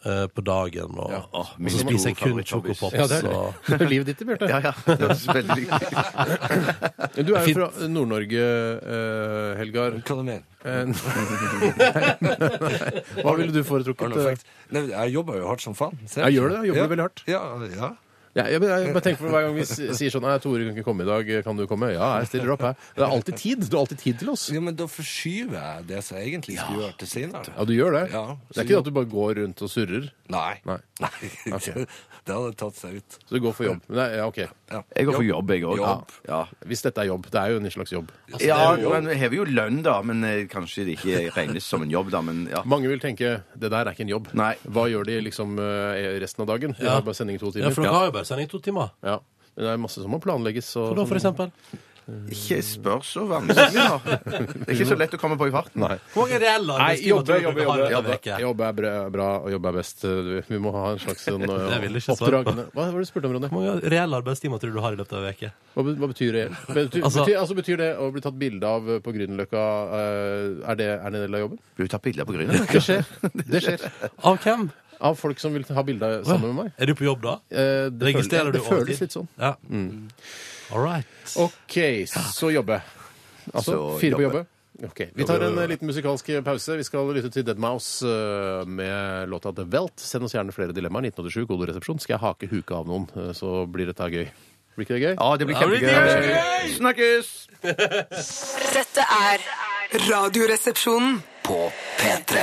[SPEAKER 3] eh, på dagen, og,
[SPEAKER 1] Ja.
[SPEAKER 3] og
[SPEAKER 2] min
[SPEAKER 3] så spiser jeg
[SPEAKER 2] store
[SPEAKER 3] kun
[SPEAKER 2] favorittfavoris.
[SPEAKER 3] sjokopops.
[SPEAKER 1] Ja, det er
[SPEAKER 3] og-
[SPEAKER 1] det. er livet ditt, Bjarte.
[SPEAKER 2] Ja, ja. Det høres veldig
[SPEAKER 1] Du er jo fra Nord-Norge, eh, Helgar.
[SPEAKER 4] Hva du mener
[SPEAKER 1] Eh, Hva ville du foretrukket?
[SPEAKER 4] Arne
[SPEAKER 1] eh?
[SPEAKER 4] Fekt. Nei, jeg jobber jo hardt som faen.
[SPEAKER 1] Ja, gjør det, jeg jobber veldig hardt.
[SPEAKER 4] Ja, ja.
[SPEAKER 1] Ja, jeg, jeg bare tenker på Hver gang vi s- sier sånn Nei, 'Tore kan ikke komme i dag, kan du komme?' Ja, jeg stiller opp. Jeg. Det er alltid tid. Du har alltid tid til oss.
[SPEAKER 4] ja, men da forskyver jeg det som jeg egentlig skulle gjøre til senere.
[SPEAKER 1] Ja, du gjør det.
[SPEAKER 4] Ja,
[SPEAKER 1] det
[SPEAKER 4] så
[SPEAKER 1] er ikke det at du bare går rundt og surrer.
[SPEAKER 4] Nei.
[SPEAKER 1] Nei. Ok.
[SPEAKER 4] det hadde tatt seg ut.
[SPEAKER 1] Så du går for jobb. Men det er, ja, ok.
[SPEAKER 4] Ja.
[SPEAKER 2] Jeg går for jobb, jeg òg.
[SPEAKER 4] Jobb.
[SPEAKER 2] Ja.
[SPEAKER 1] Hvis dette er jobb. Det er jo en slags jobb.
[SPEAKER 2] Ja, men vi hever Altså, jo lønn, da. Men eh, kanskje det ikke regnes som en jobb, da. Men ja.
[SPEAKER 1] Mange vil tenke 'det der er ikke en jobb'.
[SPEAKER 2] Nei.
[SPEAKER 1] Hva gjør de liksom eh, resten av dagen? De
[SPEAKER 3] Ja.
[SPEAKER 1] har bare sending i to timer.
[SPEAKER 3] Ja, for dere har jo bare sending i to timer.
[SPEAKER 1] Ja. Men det er masse som må planlegges. Og,
[SPEAKER 3] Og da, for eksempel.
[SPEAKER 2] Ikke spør så vanskelig, da. Det er ikke så lett å komme på i farten. Nei.
[SPEAKER 3] Hvor mange reelle
[SPEAKER 1] Nei, jobbe, jobbe, jobbe.
[SPEAKER 3] jobbe,
[SPEAKER 1] Jobbe, jobbe er bra- bra, og jobbe er best. Du, Vi må ha en slags sånn,
[SPEAKER 3] Det vil
[SPEAKER 1] eh,
[SPEAKER 3] jeg ikke svare
[SPEAKER 1] oppdrag.
[SPEAKER 3] på.
[SPEAKER 1] Hva var det du spurte om, Ronny?
[SPEAKER 3] Hvor mange reelle arbeidstimer tror du du har i løpet av en uke?
[SPEAKER 1] Hva, be- hva betyr det? Betyr,
[SPEAKER 3] Altså-
[SPEAKER 1] betyr, altså, betyr det å bli tatt bilde av eh, på Grünerløkka eh, er, det- er det en del av jobben?
[SPEAKER 2] Blir du tatt bilder på grynet?
[SPEAKER 1] Det skjer. Det skjer.
[SPEAKER 3] Av hvem?
[SPEAKER 1] Av folk som vil ha bilde sammen med meg.
[SPEAKER 3] Er du på jobb da?
[SPEAKER 1] Eh, det
[SPEAKER 3] Registrerer
[SPEAKER 1] føles,
[SPEAKER 3] du
[SPEAKER 1] det føles litt sånn.
[SPEAKER 3] Ja. All right.
[SPEAKER 1] OK, så jobbe. Altså
[SPEAKER 2] Så
[SPEAKER 1] fire på
[SPEAKER 2] jobbe.
[SPEAKER 1] jobbe. Ok, Vi tar en eh, liten musikalsk pause. Vi skal lytte til Dead Mouse eh, med låta The Welt. Send oss gjerne flere dilemmaer. 1987, koderesepsjon. Skal jeg hake huka av noen, eh, så blir dette gøy. Blir ikke det gøy?
[SPEAKER 2] Ja, det blir
[SPEAKER 3] Ja, det blir
[SPEAKER 2] kjempegøy. Snakkes!
[SPEAKER 7] Dette er Radioresepsjonen.
[SPEAKER 6] På P3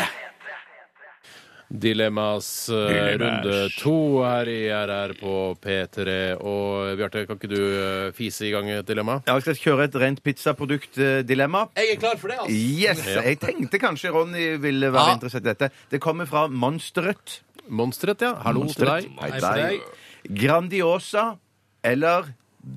[SPEAKER 1] Dilemmas eh, runde to her i RR på P3. Og Bjarte, kan ikke du eh, fise i gang et dilemma?
[SPEAKER 2] Ja, jeg skal kjøre et rent pizzaprodukt-dilemma.
[SPEAKER 3] Jeg er klar for det, altså.
[SPEAKER 2] Yes! Jeg tenkte kanskje Ronny ville være
[SPEAKER 3] Ja.
[SPEAKER 2] interessert i dette. Det kommer fra Monsteret.
[SPEAKER 1] Monsteret, ja. Hallo til
[SPEAKER 2] Monsteret.
[SPEAKER 1] deg.
[SPEAKER 2] Hei
[SPEAKER 3] Hei
[SPEAKER 2] til
[SPEAKER 3] for
[SPEAKER 2] deg. Grandiosa eller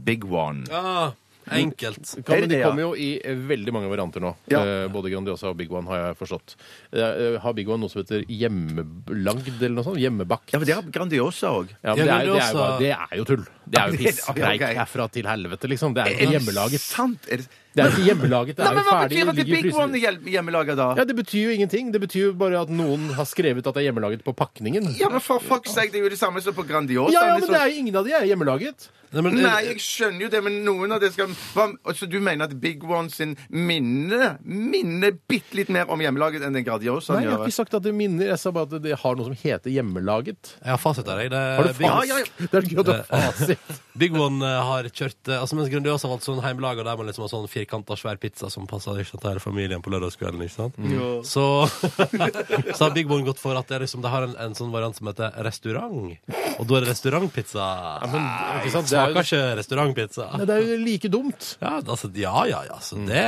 [SPEAKER 2] Big One?
[SPEAKER 3] Ja, enkelt.
[SPEAKER 1] Ja,
[SPEAKER 2] Er
[SPEAKER 1] men
[SPEAKER 2] det
[SPEAKER 1] de
[SPEAKER 2] det, ja?
[SPEAKER 1] kommer jo i eh, veldig mange varianter nå.
[SPEAKER 2] Ja.
[SPEAKER 1] Eh, Både Grandiosa og Big One, har jeg forstått. Eh, eh, Har Big One noe som heter hjemmelagd eller noe sånt? Hjemmebakt?
[SPEAKER 2] Ja, for det har Grandiosa òg.
[SPEAKER 1] Ja, men det, er, jo- det, er jo,
[SPEAKER 3] Grandiosa-
[SPEAKER 1] bare- det er jo tull. Det er jo
[SPEAKER 2] Ja,
[SPEAKER 1] piss.
[SPEAKER 2] det- ok,
[SPEAKER 1] Preik
[SPEAKER 2] ok.
[SPEAKER 1] herfra til helvete, liksom. Det er jo ikke hjemmelaget.
[SPEAKER 2] Sant? Er det,
[SPEAKER 1] Det er ikke hjemmelaget. Det
[SPEAKER 2] Nei,
[SPEAKER 1] er
[SPEAKER 2] men
[SPEAKER 1] jo
[SPEAKER 2] Hva
[SPEAKER 1] ferdig.
[SPEAKER 2] betyr
[SPEAKER 1] det
[SPEAKER 2] at det er
[SPEAKER 1] ligger i
[SPEAKER 2] Big
[SPEAKER 1] fryser-
[SPEAKER 2] One hjem- hjemmelaga, da?
[SPEAKER 1] Ja, Det betyr jo ingenting. Det betyr jo bare at noen har skrevet at det er hjemmelaget på pakningen.
[SPEAKER 2] Ja, men for fuck's sake, det er jo det samme som på Grandiosa.
[SPEAKER 1] Ja, ja, men
[SPEAKER 2] liksom.
[SPEAKER 1] det sånn- er jo ingen av de er hjemmelaget.
[SPEAKER 3] Nei, men, eh,
[SPEAKER 2] Nei, jeg skjønner jo det, men noen av det skal hva- Altså, Du mener at Big One sin minne minner bitte litt mer om hjemmelaget enn den Grandiosaen
[SPEAKER 1] Nei, jeg har
[SPEAKER 2] Sånn gjør?
[SPEAKER 1] ikke sagt at det minner. Jeg sa bare at det har noe som heter hjemmelaget.
[SPEAKER 3] Jeg har fasit der, jeg. Det,
[SPEAKER 1] Har du
[SPEAKER 3] Big,
[SPEAKER 1] fasit? Det er gøy at du har fasit.
[SPEAKER 3] Big One eh, har kjørt eh, Altså Mens Grandiosa valgte sånn heimelaga der man liksom har sånn firkanta, svær pizza som passer ikke sant, til hele familien på lørdagskvelden, ikke sant? Så, så har Big One gått for at det, er liksom, det har en, en sånn variant som heter restaurant. Og da er det restaurantpizza.
[SPEAKER 1] men, ikke sant, det er jo-
[SPEAKER 3] Smaker ikke restaurantpizza.
[SPEAKER 1] Nei, det er jo like dumt.
[SPEAKER 3] Ja, altså, ja, ja, ja.
[SPEAKER 1] Mm.
[SPEAKER 3] Så det,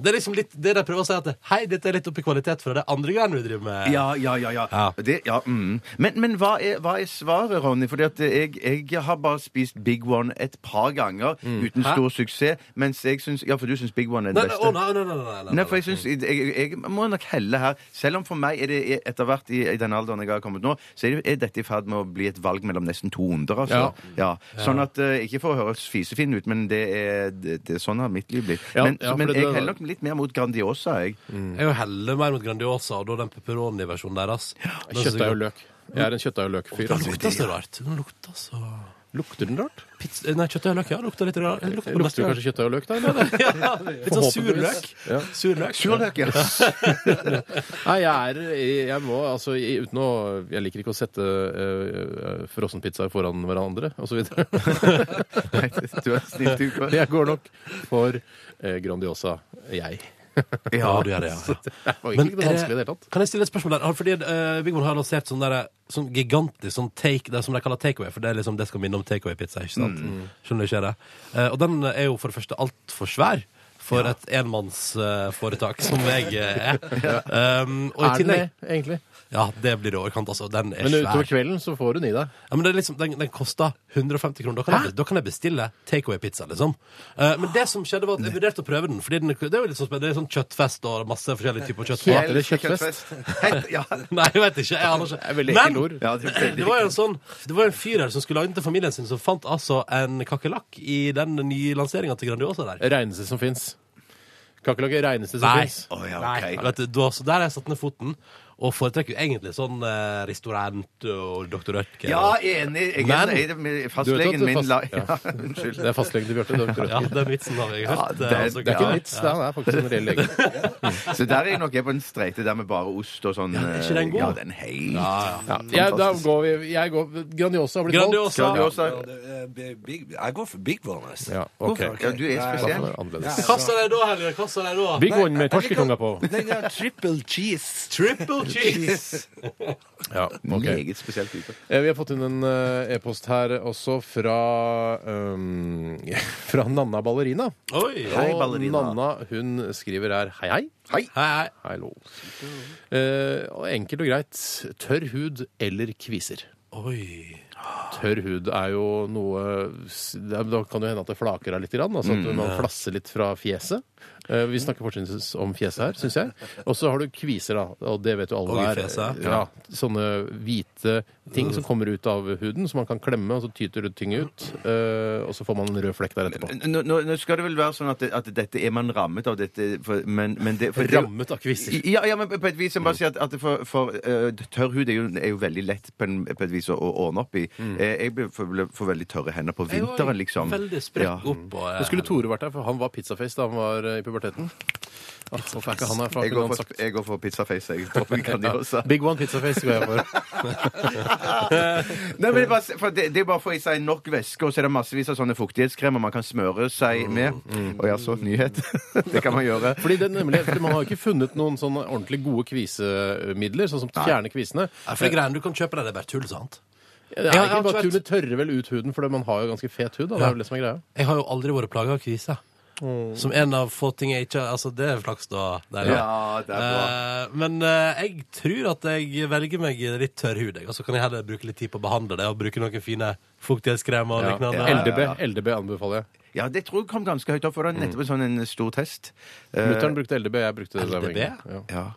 [SPEAKER 3] det er liksom litt det de prøver å si, at hei, dette er litt opp i kvalitet fra det andre greiene du driver med.
[SPEAKER 2] Ja, ja, ja. ja.
[SPEAKER 3] Ja.
[SPEAKER 2] Det, ja mm. Men, men hva, er, hva er svaret, Ronny? Fordi at jeg, jeg har bare spist Big One et par ganger uten
[SPEAKER 3] Hæ?
[SPEAKER 2] stor suksess, mens jeg syns Ja, for du syns Big One er
[SPEAKER 3] Nei,
[SPEAKER 2] den
[SPEAKER 3] nei,
[SPEAKER 2] beste.
[SPEAKER 3] å, nei, nei, nei, nei, nei,
[SPEAKER 2] Nei, for jeg synes, jeg, jeg, jeg må nok helle her. Selv om for meg er det etter hvert i, i den alderen jeg har kommet nå, så er, det, er dette i ferd med å bli et valg mellom nesten 200, altså. Ja. Sånn at eh, Ikke for å høres fisefin ut, men det er, det, det er sånn har mitt liv blitt.
[SPEAKER 1] Ja,
[SPEAKER 2] men
[SPEAKER 1] ja, for
[SPEAKER 2] men
[SPEAKER 1] det-
[SPEAKER 2] jeg heller nok litt mer mot Grandiosa, jeg.
[SPEAKER 3] Mm. Jeg heller mer mot Grandiosa og da den pepperoni-versjonen deres. Den synes
[SPEAKER 1] Kjøttdeig
[SPEAKER 3] jeg-
[SPEAKER 1] og løk. Jeg er en kjøttdeig og løk-fyr. altså.
[SPEAKER 3] Den lukter så rart. Den lukter så
[SPEAKER 1] Lukter den rart?
[SPEAKER 3] Pizza eh, Nei, kjøttdeig og løk, ja. det Lukter litt rart. Det Lukter
[SPEAKER 1] Lukter
[SPEAKER 3] lukter
[SPEAKER 1] kanskje kjøttdeig og løk, da? Eller?
[SPEAKER 3] ja, Litt sånn sur løk.
[SPEAKER 1] Forhåpentligvis. Ja.
[SPEAKER 3] Sur løk.
[SPEAKER 2] Surløk, ja.
[SPEAKER 1] Nei, jeg er Jeg må altså i- uten å Jeg liker ikke å sette uh, frossenpizzaer foran hverandre og så videre.
[SPEAKER 2] Nei, du er snill, du. går.
[SPEAKER 1] Jeg går nok for eh, Grandiosa, jeg.
[SPEAKER 3] Ja, du gjør det, ja. ja.
[SPEAKER 1] Det var
[SPEAKER 3] Men
[SPEAKER 1] egentlig ikke noe
[SPEAKER 3] er
[SPEAKER 1] vanskelig i det hele tatt.
[SPEAKER 3] Kan jeg stille et spørsmål der? Har- Fordi eh, Big One har lansert sånn, der, sånn gigantisk sånn take, det som de kaller takeaway, for det, er liksom, det skal minne om takeaway-pizza, ikke sant?
[SPEAKER 1] Mm.
[SPEAKER 3] Skjønner du ikke det? Eh, og den er jo for det første altfor svær for et enmannsforetak som jeg eh, er. Um, og i
[SPEAKER 1] Er den
[SPEAKER 3] tillegg
[SPEAKER 1] det, egentlig?
[SPEAKER 3] Ja, det blir det i overkant, altså. Den er
[SPEAKER 1] Men utover
[SPEAKER 3] svær.
[SPEAKER 1] kvelden så får hun i deg.
[SPEAKER 3] Ja, men det er liksom, den, den koster 150 kroner. Da kan, jeg, da kan jeg bestille takeaway-pizza, liksom. Eh, men det som skjedde, var at jeg vurderte å prøve den. Fordi den, det er jo litt sånn, spen- det er sånn kjøttfest og masse forskjellige typer kjøtt.
[SPEAKER 1] Smaker det kjøttfest?
[SPEAKER 2] Helt- Ja.
[SPEAKER 3] Nei, jeg vet ikke. Jeg aner
[SPEAKER 1] Det
[SPEAKER 3] ikke.
[SPEAKER 1] er veldig ekkelt ord.
[SPEAKER 2] Ja, det,
[SPEAKER 3] det var jo en sånn Det var en fyr her som skulle lage den til familien sin, som fant altså en kakerlakk i den nye lanseringa til Grandiosa der.
[SPEAKER 1] Reneste som fins. Kakerlakk er reneste som
[SPEAKER 3] Nei.
[SPEAKER 1] fins.
[SPEAKER 2] Å, ja,
[SPEAKER 3] Nei,
[SPEAKER 2] ok.
[SPEAKER 3] vet du, da, så der har jeg satt ned foten, og foretrekker jo egentlig sånn eh, restaurant og Dr. Rødtke.
[SPEAKER 2] ja, enig. Jeg
[SPEAKER 3] Men-
[SPEAKER 2] er enig med
[SPEAKER 1] Du vet at
[SPEAKER 2] fastlegen
[SPEAKER 1] du
[SPEAKER 2] min.
[SPEAKER 1] fast-
[SPEAKER 2] La,
[SPEAKER 1] ja.
[SPEAKER 2] ja, unnskyld.
[SPEAKER 1] Det er fastlegen til Bjarte. Det,
[SPEAKER 3] Ja,
[SPEAKER 1] er ikke-
[SPEAKER 3] den vitsen har jeg hørt.
[SPEAKER 2] Ja,
[SPEAKER 3] eh,
[SPEAKER 2] det-
[SPEAKER 3] altså,
[SPEAKER 1] det er ikke
[SPEAKER 3] ja.
[SPEAKER 1] en vits, det er- det er faktisk en reell lege.
[SPEAKER 2] Så der er jeg nok jeg på den streite der med bare ost og sånn.
[SPEAKER 3] Ja, er ikke den god?
[SPEAKER 2] Ja, den er helt
[SPEAKER 1] Ja, jeg, da
[SPEAKER 2] Fantastisk.
[SPEAKER 1] går vi jeg går, Grandiosa blir valgt.
[SPEAKER 3] Grandiosa.
[SPEAKER 2] Grandiosa.
[SPEAKER 4] Ja, det er bi- big, jeg går for Big One. altså.
[SPEAKER 1] Ja, ok.
[SPEAKER 4] Hvorfor?
[SPEAKER 2] Ja, du er
[SPEAKER 4] Nei,
[SPEAKER 1] Da får
[SPEAKER 2] spesiell.
[SPEAKER 1] det være annerledes.
[SPEAKER 4] Ja.
[SPEAKER 3] Kassa deg da, Helge. Kassa deg da.
[SPEAKER 1] Big one med torsketunga på.
[SPEAKER 4] Den der triple cheese.
[SPEAKER 3] Triple cheese.
[SPEAKER 1] Ja, ok.
[SPEAKER 2] Meget spesiell type.
[SPEAKER 1] Eh, Vi har fått inn en eh, e-post her også fra, um, fra Nanna Ballerina.
[SPEAKER 3] Oi. Hei,
[SPEAKER 2] Hei,
[SPEAKER 1] Og
[SPEAKER 2] ballerina.
[SPEAKER 1] Nanna hun skriver her hei, hei. Hei.
[SPEAKER 3] hei.
[SPEAKER 1] Hallo. Eh, og enkelt og greit. Tørr hud eller kviser?
[SPEAKER 3] Oi.
[SPEAKER 1] Tørr hud er jo noe s- det er- Da kan det jo hende at det flaker av litt. Grann, altså at man flasser litt fra fjeset. Eh, vi snakker fortrinnsvis om fjeset her, syns jeg. Og så har du kviser, da. Og det vet jo alle
[SPEAKER 3] Og i
[SPEAKER 1] er
[SPEAKER 3] fjeset.
[SPEAKER 1] ja, Sånne hvite ting som kommer ut av huden, som man kan klemme, og så tyter det ting ut. eh, og så får man en rød flekk der etterpå.
[SPEAKER 2] Nå, nå, nå skal det vel være sånn at, at dette er man rammet av dette, for, men, men det for det-
[SPEAKER 1] Rammet av kviser.
[SPEAKER 2] Ja, ja, men på et vis jeg må bare si at, at for, for eh, tørr hud er jo, er jo veldig lett på, en, på et vis å, å ordne opp i.
[SPEAKER 1] Mm.
[SPEAKER 2] Eh, jeg ble- får ble- får veldig tørre hender på
[SPEAKER 3] Jeg var
[SPEAKER 2] vinteren, liksom.
[SPEAKER 3] Veldig sprekk opp. Og, eh,
[SPEAKER 1] Nå skulle Tore vært her, for han var pizzaface da han var eh, i puberteten. Ah, Hvorfor er ikke han her? For han kunne
[SPEAKER 2] Jeg går
[SPEAKER 1] han
[SPEAKER 2] for,
[SPEAKER 1] sagt
[SPEAKER 2] jeg går for pizzaface, jeg. På Grandiosa.
[SPEAKER 1] ja, Big one pizzaface går jeg for.
[SPEAKER 2] Nei, men det, er bare, for det, det er bare for å få i seg nok væske, og så er det massevis av sånne fuktighetskremer man kan smøre seg med. Og ja, så nyhet. det kan man gjøre.
[SPEAKER 1] Mm, Fordi det er nemlig, for Man har ikke funnet noen sånne ordentlig gode kvisemidler, sånn som fjerner kvisene.
[SPEAKER 3] Ja, for det greiene du kan kjøpe deg, det er bare tull, sant?
[SPEAKER 1] Det er
[SPEAKER 3] Jeg
[SPEAKER 1] ikke
[SPEAKER 3] har ikke
[SPEAKER 1] bare
[SPEAKER 3] vært-
[SPEAKER 1] tunet tørrer vel ut huden, for man har jo ganske fet hud. Da. Det er jo det som er greia.
[SPEAKER 3] Jeg har jo aldri vært plaga av kvise. Som en av få ting jeg ikke Altså, det er flaks, da. Der,
[SPEAKER 2] Ja, det er bra.
[SPEAKER 3] Eh, men eh, jeg tror at jeg velger meg litt tørr hud, jeg. Og så kan jeg heller bruke litt tid på å behandle det, og bruke noen fine fuktighetskremer og
[SPEAKER 1] Ja.
[SPEAKER 3] lignende.
[SPEAKER 2] ja, ja.
[SPEAKER 1] LDB, LDB anbefaler jeg.
[SPEAKER 2] Ja, det tror jeg kom
[SPEAKER 1] Mm.
[SPEAKER 2] ganske høyt opp, for det er nettopp en sånn en stor test. Eh,
[SPEAKER 1] Mutter'n brukte LDB, jeg brukte det. der med
[SPEAKER 3] LDB?
[SPEAKER 1] en gang. Ja.
[SPEAKER 2] ja.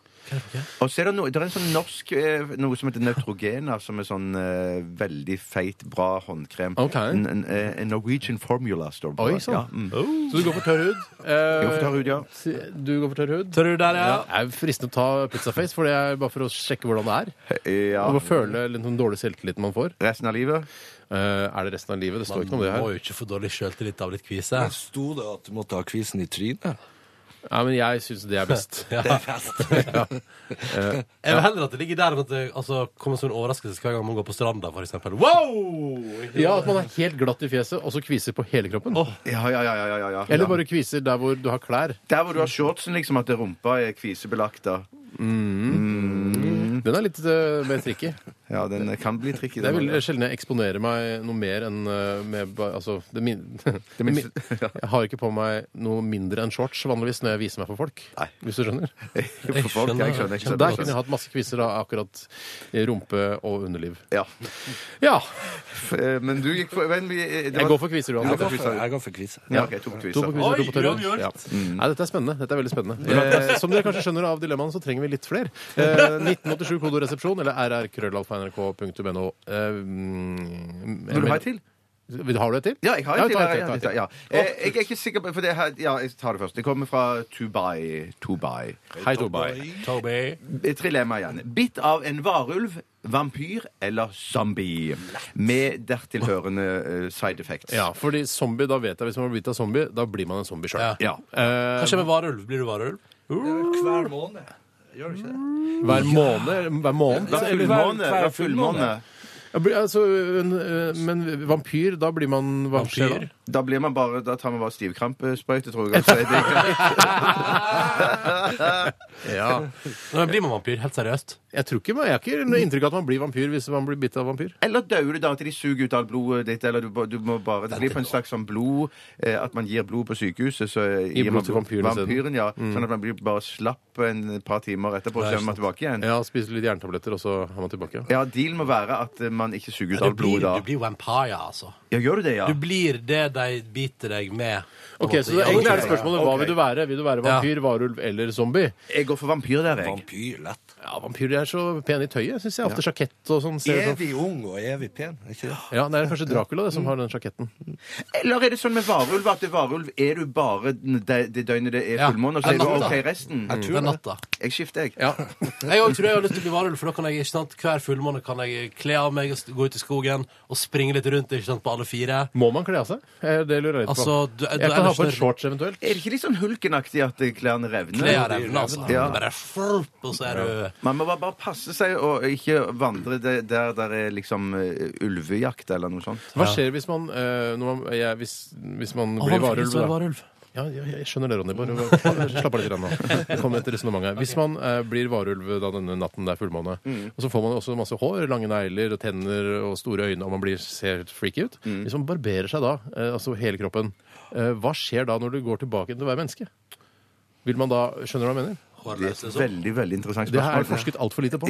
[SPEAKER 2] Og så er det, no, det er en sånn norsk eh, noe som heter Neutrogena, som er sånn eh, veldig feit, bra håndkrem.
[SPEAKER 1] Ok.
[SPEAKER 2] En, en, eh, en Norwegian formula står det på.
[SPEAKER 1] Oi sånn. sann.
[SPEAKER 2] Ja, mm.
[SPEAKER 1] Så du går for tørr hud? Eh,
[SPEAKER 2] Jeg får ta Rudi, ja.
[SPEAKER 1] Du går for tørr hud?
[SPEAKER 3] Tør du der, ja?
[SPEAKER 1] Ja. Det er fristende å ta pizzaface, for det er bare for å sjekke hvordan det er.
[SPEAKER 2] Ja.
[SPEAKER 1] Og føle litt sånn dårlig selvtillit man får.
[SPEAKER 2] Resten av livet.
[SPEAKER 1] Eh, er det resten av livet? Det står ikke noe om det
[SPEAKER 3] Må
[SPEAKER 1] her.
[SPEAKER 3] jo ikke få dårlig sjøltillit av litt kvise.
[SPEAKER 4] Sto det at du måtte ha kvisen i trynet?
[SPEAKER 1] Nei, men jeg syns det er best.
[SPEAKER 3] Ja. Jeg vil heller at det ligger der enn at det altså, kommer som en overraskelse hver gang man går på stranda, for eksempel. Wow!
[SPEAKER 1] Ja, At man er helt glatt i fjeset, og så kviser på hele kroppen.
[SPEAKER 2] Ja, ja, ja, ja, ja, ja.
[SPEAKER 1] Eller bare kviser der hvor du har klær.
[SPEAKER 2] Der hvor du har shortsen, liksom, at rumpa er kvisebelagt. da. Mm.
[SPEAKER 1] Den er litt eh, mer tricky.
[SPEAKER 2] Ja, den kan bli tricky.
[SPEAKER 1] Det er
[SPEAKER 2] den
[SPEAKER 1] veldig
[SPEAKER 2] også.
[SPEAKER 1] sjelden jeg eksponerer meg noe mer enn eh, med ba- Altså, det min... det min-
[SPEAKER 2] minste- ja.
[SPEAKER 1] Jeg har ikke på meg noe mindre enn shorts vanligvis når jeg viser meg for folk.
[SPEAKER 2] Nei.
[SPEAKER 1] Hvis du skjønner.
[SPEAKER 2] For folk, jeg skjønner ikke
[SPEAKER 1] Så
[SPEAKER 2] så
[SPEAKER 1] der kunne jeg hatt masse kviser av akkurat rumpe og underliv.
[SPEAKER 2] Ja.
[SPEAKER 1] Ja.
[SPEAKER 2] Eh, Men du gikk for Men vi eh, det
[SPEAKER 1] Jeg
[SPEAKER 2] var-
[SPEAKER 1] går for kviser
[SPEAKER 2] Jeg går
[SPEAKER 1] uansett.
[SPEAKER 2] for kviser.
[SPEAKER 4] Jeg går for kvise.
[SPEAKER 2] Ja, ok,
[SPEAKER 1] To
[SPEAKER 2] to på
[SPEAKER 1] på
[SPEAKER 2] kviser.
[SPEAKER 1] kviser, to
[SPEAKER 3] Oi,
[SPEAKER 1] på tørrhud.
[SPEAKER 3] uavgjort.
[SPEAKER 1] Ja. Mm. Nei, dette er spennende. Dette er veldig spennende. Eh, som dere kanskje skjønner av dilemmaene, så trenger vi litt flere. Eh, 1987 kodoresepsjon eller rrkrøllalfa.nrk.no. Eh, mm,
[SPEAKER 2] Vil du ha et til?
[SPEAKER 1] Vil- Har du et til?
[SPEAKER 2] Ja, jeg har
[SPEAKER 1] Ja,
[SPEAKER 2] et til.
[SPEAKER 1] ta
[SPEAKER 2] Jeg,
[SPEAKER 1] ta
[SPEAKER 2] jeg,
[SPEAKER 1] et til.
[SPEAKER 2] jeg, Eh, jeg er ikke sikker på for det her, Ja, jeg tar det først. Det kommer fra Dubai. Dubai.
[SPEAKER 1] Hei, Tobai.
[SPEAKER 3] Toby.
[SPEAKER 2] Trilemma igjen. Bitt av en varulv, vampyr eller zombie. Med dertil hørende eh, side effects.
[SPEAKER 1] Ja, fordi zombie, da vet jeg hvis man blir bitt av zombie, da blir man en zombie Eh, sjøl.
[SPEAKER 3] Ja.
[SPEAKER 2] Ja.
[SPEAKER 3] Hva skjer med varulv? Blir du varulv?
[SPEAKER 4] Hver måned. Gjør du ikke det?
[SPEAKER 1] Hver måned? Hver måned?
[SPEAKER 2] Det er
[SPEAKER 1] eller hver-
[SPEAKER 2] fullmåne. Det er fullmåne.
[SPEAKER 1] Ja, blir- Altså, en, eh, men vampyr, da blir man hva skjer da?
[SPEAKER 3] Vampyr?
[SPEAKER 2] Da blir man bare, da tar man bare stivkrampesprøyte, tror jeg. Altså, det er greit.
[SPEAKER 1] Ja.
[SPEAKER 3] Nei, men blir man vampyr? Helt seriøst?
[SPEAKER 1] Jeg tror ikke, man- jeg har ikke noe inntrykk av at man blir vampyr hvis man blir bitt av vampyr.
[SPEAKER 2] Eller dør du da til de suger ut alt blodet ditt? Eller du, ba- du må bare, det blir på en slags sånn blod eh, At man gir blod på sykehuset, så eh,
[SPEAKER 1] Gir blod til vampyren isteden.
[SPEAKER 2] vampyren ja,
[SPEAKER 3] Mm.
[SPEAKER 2] Sånn at man blir bare slapp en par timer etterpå, så
[SPEAKER 3] Nei,
[SPEAKER 2] er man tilbake igjen.
[SPEAKER 1] Ja, Spiser litt jerntabletter, og så er man tilbake.
[SPEAKER 2] Ja, Dealen må være at eh, man ikke suger ut
[SPEAKER 3] Du
[SPEAKER 2] alt
[SPEAKER 3] blir,
[SPEAKER 2] blodet da.
[SPEAKER 3] du blir vampire, altså.
[SPEAKER 2] Ja, gjør du det, ja?
[SPEAKER 3] Du blir det de biter deg med. på en
[SPEAKER 1] Ok,
[SPEAKER 3] måte.
[SPEAKER 1] så det, egentlig er det
[SPEAKER 2] ok,
[SPEAKER 1] spørsmålet
[SPEAKER 2] ja,
[SPEAKER 1] hva
[SPEAKER 2] ok.
[SPEAKER 1] vil du være? Vil du være vampyr, varulv eller zombie?
[SPEAKER 2] Jeg går for vampyr der, jeg.
[SPEAKER 4] Vampyr, lett.
[SPEAKER 1] Ja, Vampyrer er så pene i tøyet, syns jeg. Ofte sjakett og sånn. ser det sånn. Mm.
[SPEAKER 4] Evig ung og evig pen, er ikke det?
[SPEAKER 1] Ja, Det er kanskje Dracula det, som har den sjaketten.
[SPEAKER 2] Eller er det sånn med varulv at det er varulv er du bare det, det døgnet det er
[SPEAKER 3] Ja.
[SPEAKER 2] fullmåne, og så
[SPEAKER 3] En
[SPEAKER 2] er du
[SPEAKER 3] natt,
[SPEAKER 2] OK
[SPEAKER 3] da.
[SPEAKER 2] resten?
[SPEAKER 3] Den natta.
[SPEAKER 2] Jeg skifter, jeg.
[SPEAKER 1] Ja.
[SPEAKER 3] Jeg også tror jeg har lyst til å bli varulv, for da kan jeg ikke sant, hver fullmåne kan jeg kle av meg og st- gå ut i skogen og springe litt rundt ikke sant, på alle fire.
[SPEAKER 1] Må man kle av seg? Eh, Det lurer jeg litt på.
[SPEAKER 3] Altså, du- du-
[SPEAKER 1] jeg kan ha på en
[SPEAKER 3] ellers-
[SPEAKER 1] shorts eventuelt.
[SPEAKER 2] Er det ikke litt sånn hulkenaktig at eh, klærne revner?
[SPEAKER 3] Kle av revnen, altså.
[SPEAKER 2] Ja.
[SPEAKER 3] Bare flurp, og så er du
[SPEAKER 2] Man må bare, bare passe seg og ikke vandre de- der der er liksom eh, ulvejakt eller noe sånt.
[SPEAKER 1] Hva skjer hvis man, eh, når man jeg, hvis, hvis man
[SPEAKER 3] Å,
[SPEAKER 1] blir
[SPEAKER 3] han
[SPEAKER 1] varulv?
[SPEAKER 3] finnes vel
[SPEAKER 1] da?
[SPEAKER 3] varulv.
[SPEAKER 1] Ja, ja, jeg skjønner det, Ronny. Bare bare slapp av litt grann nå. Det kommer et resonnement her. Hvis man eh, blir varulv da denne natten det er fullmåne, og så får man også masse hår, lange negler og tenner og store øyne, og man blir, ser freaky ut Hvis man barberer seg da, eh, altså hele kroppen, eh, hva skjer da når du går tilbake til å være menneske? Vil man da Skjønner du hva jeg mener?
[SPEAKER 2] Det er
[SPEAKER 3] Hårløs,
[SPEAKER 2] et
[SPEAKER 3] liksom.
[SPEAKER 2] veldig veldig interessant
[SPEAKER 1] Det her er
[SPEAKER 2] spørsmål.
[SPEAKER 1] det forsket altfor lite på.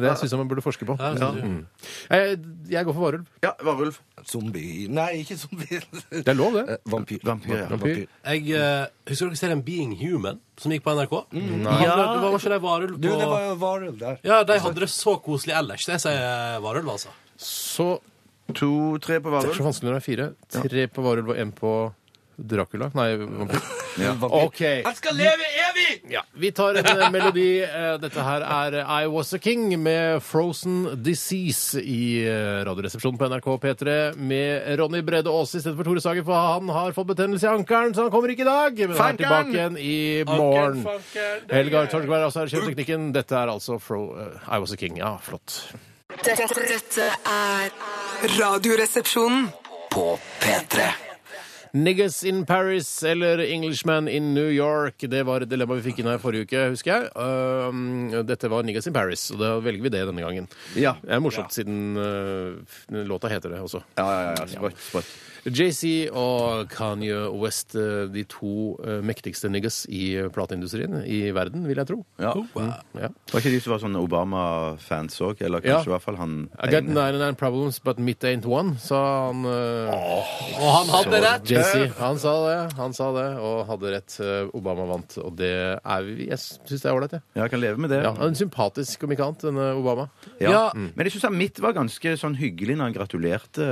[SPEAKER 1] Det syns jeg man burde forske på.
[SPEAKER 3] Ja, det
[SPEAKER 1] Ja.
[SPEAKER 3] synes jeg.
[SPEAKER 1] Mm. Jeg, jeg går for varulv.
[SPEAKER 2] Ja, varulv.
[SPEAKER 4] Zombie Nei, ikke zombie.
[SPEAKER 1] Det er lov, det.
[SPEAKER 4] Vampyr.
[SPEAKER 2] Vampyr, ja.
[SPEAKER 1] Eh, Vampyr.
[SPEAKER 3] Jeg eh, Husker dere serien Being Human, som gikk på NRK?
[SPEAKER 1] Mm,
[SPEAKER 3] Ja. Det var ikke de varulv
[SPEAKER 4] Du, det var
[SPEAKER 3] på
[SPEAKER 4] jo varulv der.
[SPEAKER 3] Ja, de hadde det så koselig ellers. Det sier varulv, altså.
[SPEAKER 1] Så
[SPEAKER 2] To-tre på
[SPEAKER 1] Det er så
[SPEAKER 2] varulv.
[SPEAKER 1] vanskelig når det er fire. Tre på varulv og én på Dracula. Nei, vampyr.
[SPEAKER 4] Vampyr.
[SPEAKER 1] OK. Han skal leve evig! Ja. Vi tar en eh, melodi. Eh, Dette her er eh, I Was A King med Frozen Disease i eh, Radioresepsjonen på NRK P3 med Ronny Brede Aase istedenfor Tore Sagen, for han har fått betennelse i ankelen, så han kommer ikke i dag. Men han er tilbake igjen i morgen. Helga Torgvær, altså er kjøpteknikken. Dette er altså Fro eh, I Was A King. Ja, flott.
[SPEAKER 7] Dette, dette er Radioresepsjonen.
[SPEAKER 6] På P3
[SPEAKER 1] Niggas in Paris eller Englishman in New York. Det var et dilemma vi fikk inn her forrige uke, husker jeg. Ehm, dette var Niggas in Paris, og da velger vi det denne gangen.
[SPEAKER 2] Ja.
[SPEAKER 1] Det er morsomt, siden øh, låta heter det også.
[SPEAKER 2] Ja, ja, ja. Sprøtt. sprøtt.
[SPEAKER 1] JC og Kanye West, øh, de to øh, mektigste niggas i uh, plateindustrien i verden, vil jeg tro.
[SPEAKER 2] Ja.
[SPEAKER 1] Mm, ja.
[SPEAKER 2] Var ikke de som var sånn Obama-fans òg? Eller
[SPEAKER 1] Ja.
[SPEAKER 2] kanskje i hvert fall han
[SPEAKER 1] I got
[SPEAKER 2] ene.
[SPEAKER 1] 99 problems, but mitt ain't one, sa han. øh,
[SPEAKER 3] Og han hadde rett!
[SPEAKER 1] JC. Sisi. Han sa det, han sa det, og hadde rett. Eh, Obama vant, og det er vi Jeg syns det er ålreit, jeg.
[SPEAKER 2] Ja, jeg kan leve med det.
[SPEAKER 1] Ja, han er en sympatisk komikant, denne Obama.
[SPEAKER 2] Ja. Mm. Men jeg syns mitt var ganske sånn hyggelig når han gratulerte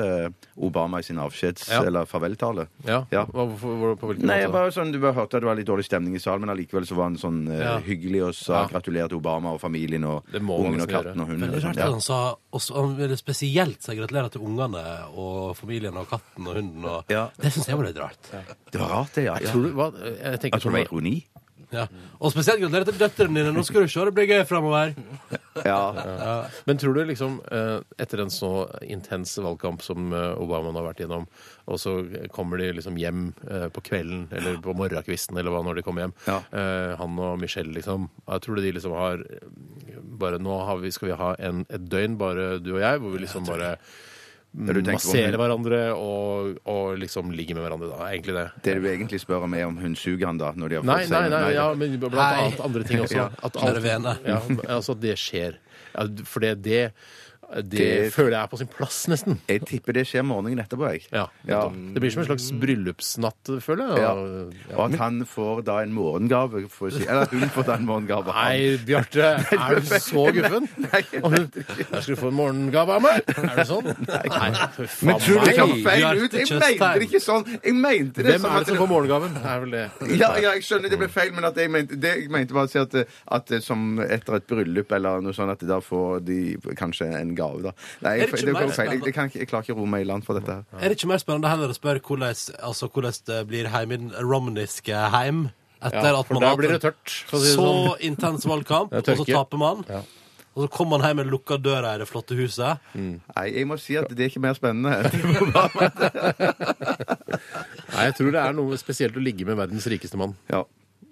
[SPEAKER 2] Obama i sin avskjeds-
[SPEAKER 1] Ja.
[SPEAKER 2] eller farveltale.
[SPEAKER 1] Ja,
[SPEAKER 2] Ja.
[SPEAKER 1] Hva, hvorfor- hvor, på hvilken
[SPEAKER 2] Nei, jeg
[SPEAKER 1] måte?
[SPEAKER 2] bare sånn, Du bare hørte at det var litt dårlig stemning i salen, men allikevel så var han sånn eh,
[SPEAKER 3] Ja.
[SPEAKER 2] hyggelig og sa
[SPEAKER 1] Ja.
[SPEAKER 2] gratulerer til Obama og familien og
[SPEAKER 1] Det må man
[SPEAKER 2] ungen og
[SPEAKER 1] nesten
[SPEAKER 2] katten
[SPEAKER 1] gjøre.
[SPEAKER 2] og hunden.
[SPEAKER 3] Veldig
[SPEAKER 2] og sånn,
[SPEAKER 3] rart at han sa også, han ville spesielt si gratulerer til ungene og familien og katten og hunden. Og,
[SPEAKER 2] Ja.
[SPEAKER 3] Det syns jeg var litt rart.
[SPEAKER 2] ja. Det var rart, det, ja.
[SPEAKER 1] Jeg
[SPEAKER 2] ja.
[SPEAKER 1] tror du, hva, jeg tenker
[SPEAKER 2] Jeg tror det var
[SPEAKER 1] på
[SPEAKER 2] ironi.
[SPEAKER 3] Ja. Og spesielt gratulerer til døtrene dine. Nå skal du se det blir gøy framover.
[SPEAKER 2] Ja.
[SPEAKER 1] Men tror du liksom, eh, etter en så intens valgkamp som eh, Obama nå har vært gjennom, og så kommer de liksom hjem eh, på kvelden eller på morgenkvisten eller hva når de kommer hjem,
[SPEAKER 2] Ja.
[SPEAKER 1] eh, han og Michelle liksom, jeg tror du de liksom har eh, bare nå har vi, skal vi ha en, et døgn bare du og jeg, hvor vi liksom bare
[SPEAKER 2] Ja, du tenker på-
[SPEAKER 1] masserer hverandre og, og liksom ligger med hverandre da, egentlig det.
[SPEAKER 2] Det du egentlig spør om, er om hun suger han, da. Når de har
[SPEAKER 1] Nei,
[SPEAKER 2] fått seg-
[SPEAKER 1] nei, nei, ja, men blant
[SPEAKER 3] Hei.
[SPEAKER 1] annet andre ting også.
[SPEAKER 2] Ja.
[SPEAKER 1] At
[SPEAKER 3] Kjære vene.
[SPEAKER 1] ja, altså at det skjer. Ja, for det, det, det,
[SPEAKER 2] Det-
[SPEAKER 1] føler jeg er på sin plass, nesten.
[SPEAKER 2] Jeg tipper det skjer morgenen etterpå, jeg.
[SPEAKER 1] Ja,
[SPEAKER 2] Ja.
[SPEAKER 1] Det blir som en slags bryllupsnatt, føler
[SPEAKER 2] Ja.
[SPEAKER 1] jeg.
[SPEAKER 2] Og at han får da en morgengave, for å si. Eller hun får da en morgengave.
[SPEAKER 1] Nei, Bjarte, er du så guffen?
[SPEAKER 2] Nei, jeg
[SPEAKER 1] Og hun, Jeg skulle få en morgengave av meg! Er det sånn? Nei, for
[SPEAKER 4] Men tror du
[SPEAKER 1] faen
[SPEAKER 2] Det kom
[SPEAKER 1] meg!
[SPEAKER 3] Bjarte
[SPEAKER 2] feil ut! Jeg
[SPEAKER 3] Tjøstheim.
[SPEAKER 2] mente det ikke sånn! Jeg mente det
[SPEAKER 1] Hvem er det som får morgengaven? Det er vel det.
[SPEAKER 2] Ja, ja, jeg skjønner det ble feil, men at jeg mente, det jeg mente var å si at, at det som etter et bryllup eller noe sånt, at da får de kanskje en gave, da. Nei,
[SPEAKER 3] Er det
[SPEAKER 2] jeg,
[SPEAKER 3] ikke
[SPEAKER 2] det,
[SPEAKER 3] mer
[SPEAKER 2] kom feil. Jeg,
[SPEAKER 3] spennende?
[SPEAKER 2] jeg, kan, ikke- jeg klarer ikke å roe meg i land for dette her.
[SPEAKER 3] Er det ikke mer spennende heller å spørre hvordan, altså, hvordan det blir heimen, romaniske heim? Etter
[SPEAKER 1] Ja,
[SPEAKER 3] at
[SPEAKER 1] for
[SPEAKER 3] man
[SPEAKER 1] da
[SPEAKER 3] har hatt
[SPEAKER 1] blir
[SPEAKER 3] en
[SPEAKER 1] det tørt, for å si det
[SPEAKER 3] så
[SPEAKER 1] sånn.
[SPEAKER 3] intens valgkamp,
[SPEAKER 1] Det
[SPEAKER 3] og
[SPEAKER 1] er
[SPEAKER 3] så
[SPEAKER 1] tørke.
[SPEAKER 3] taper man.
[SPEAKER 1] Ja.
[SPEAKER 3] Og så kommer man hjem med lukka døra i det flotte huset.
[SPEAKER 2] Nei, jeg må si at det er ikke mer spennende.
[SPEAKER 1] Nei, jeg tror det er noe spesielt å ligge med verdens rikeste mann.
[SPEAKER 2] Ja,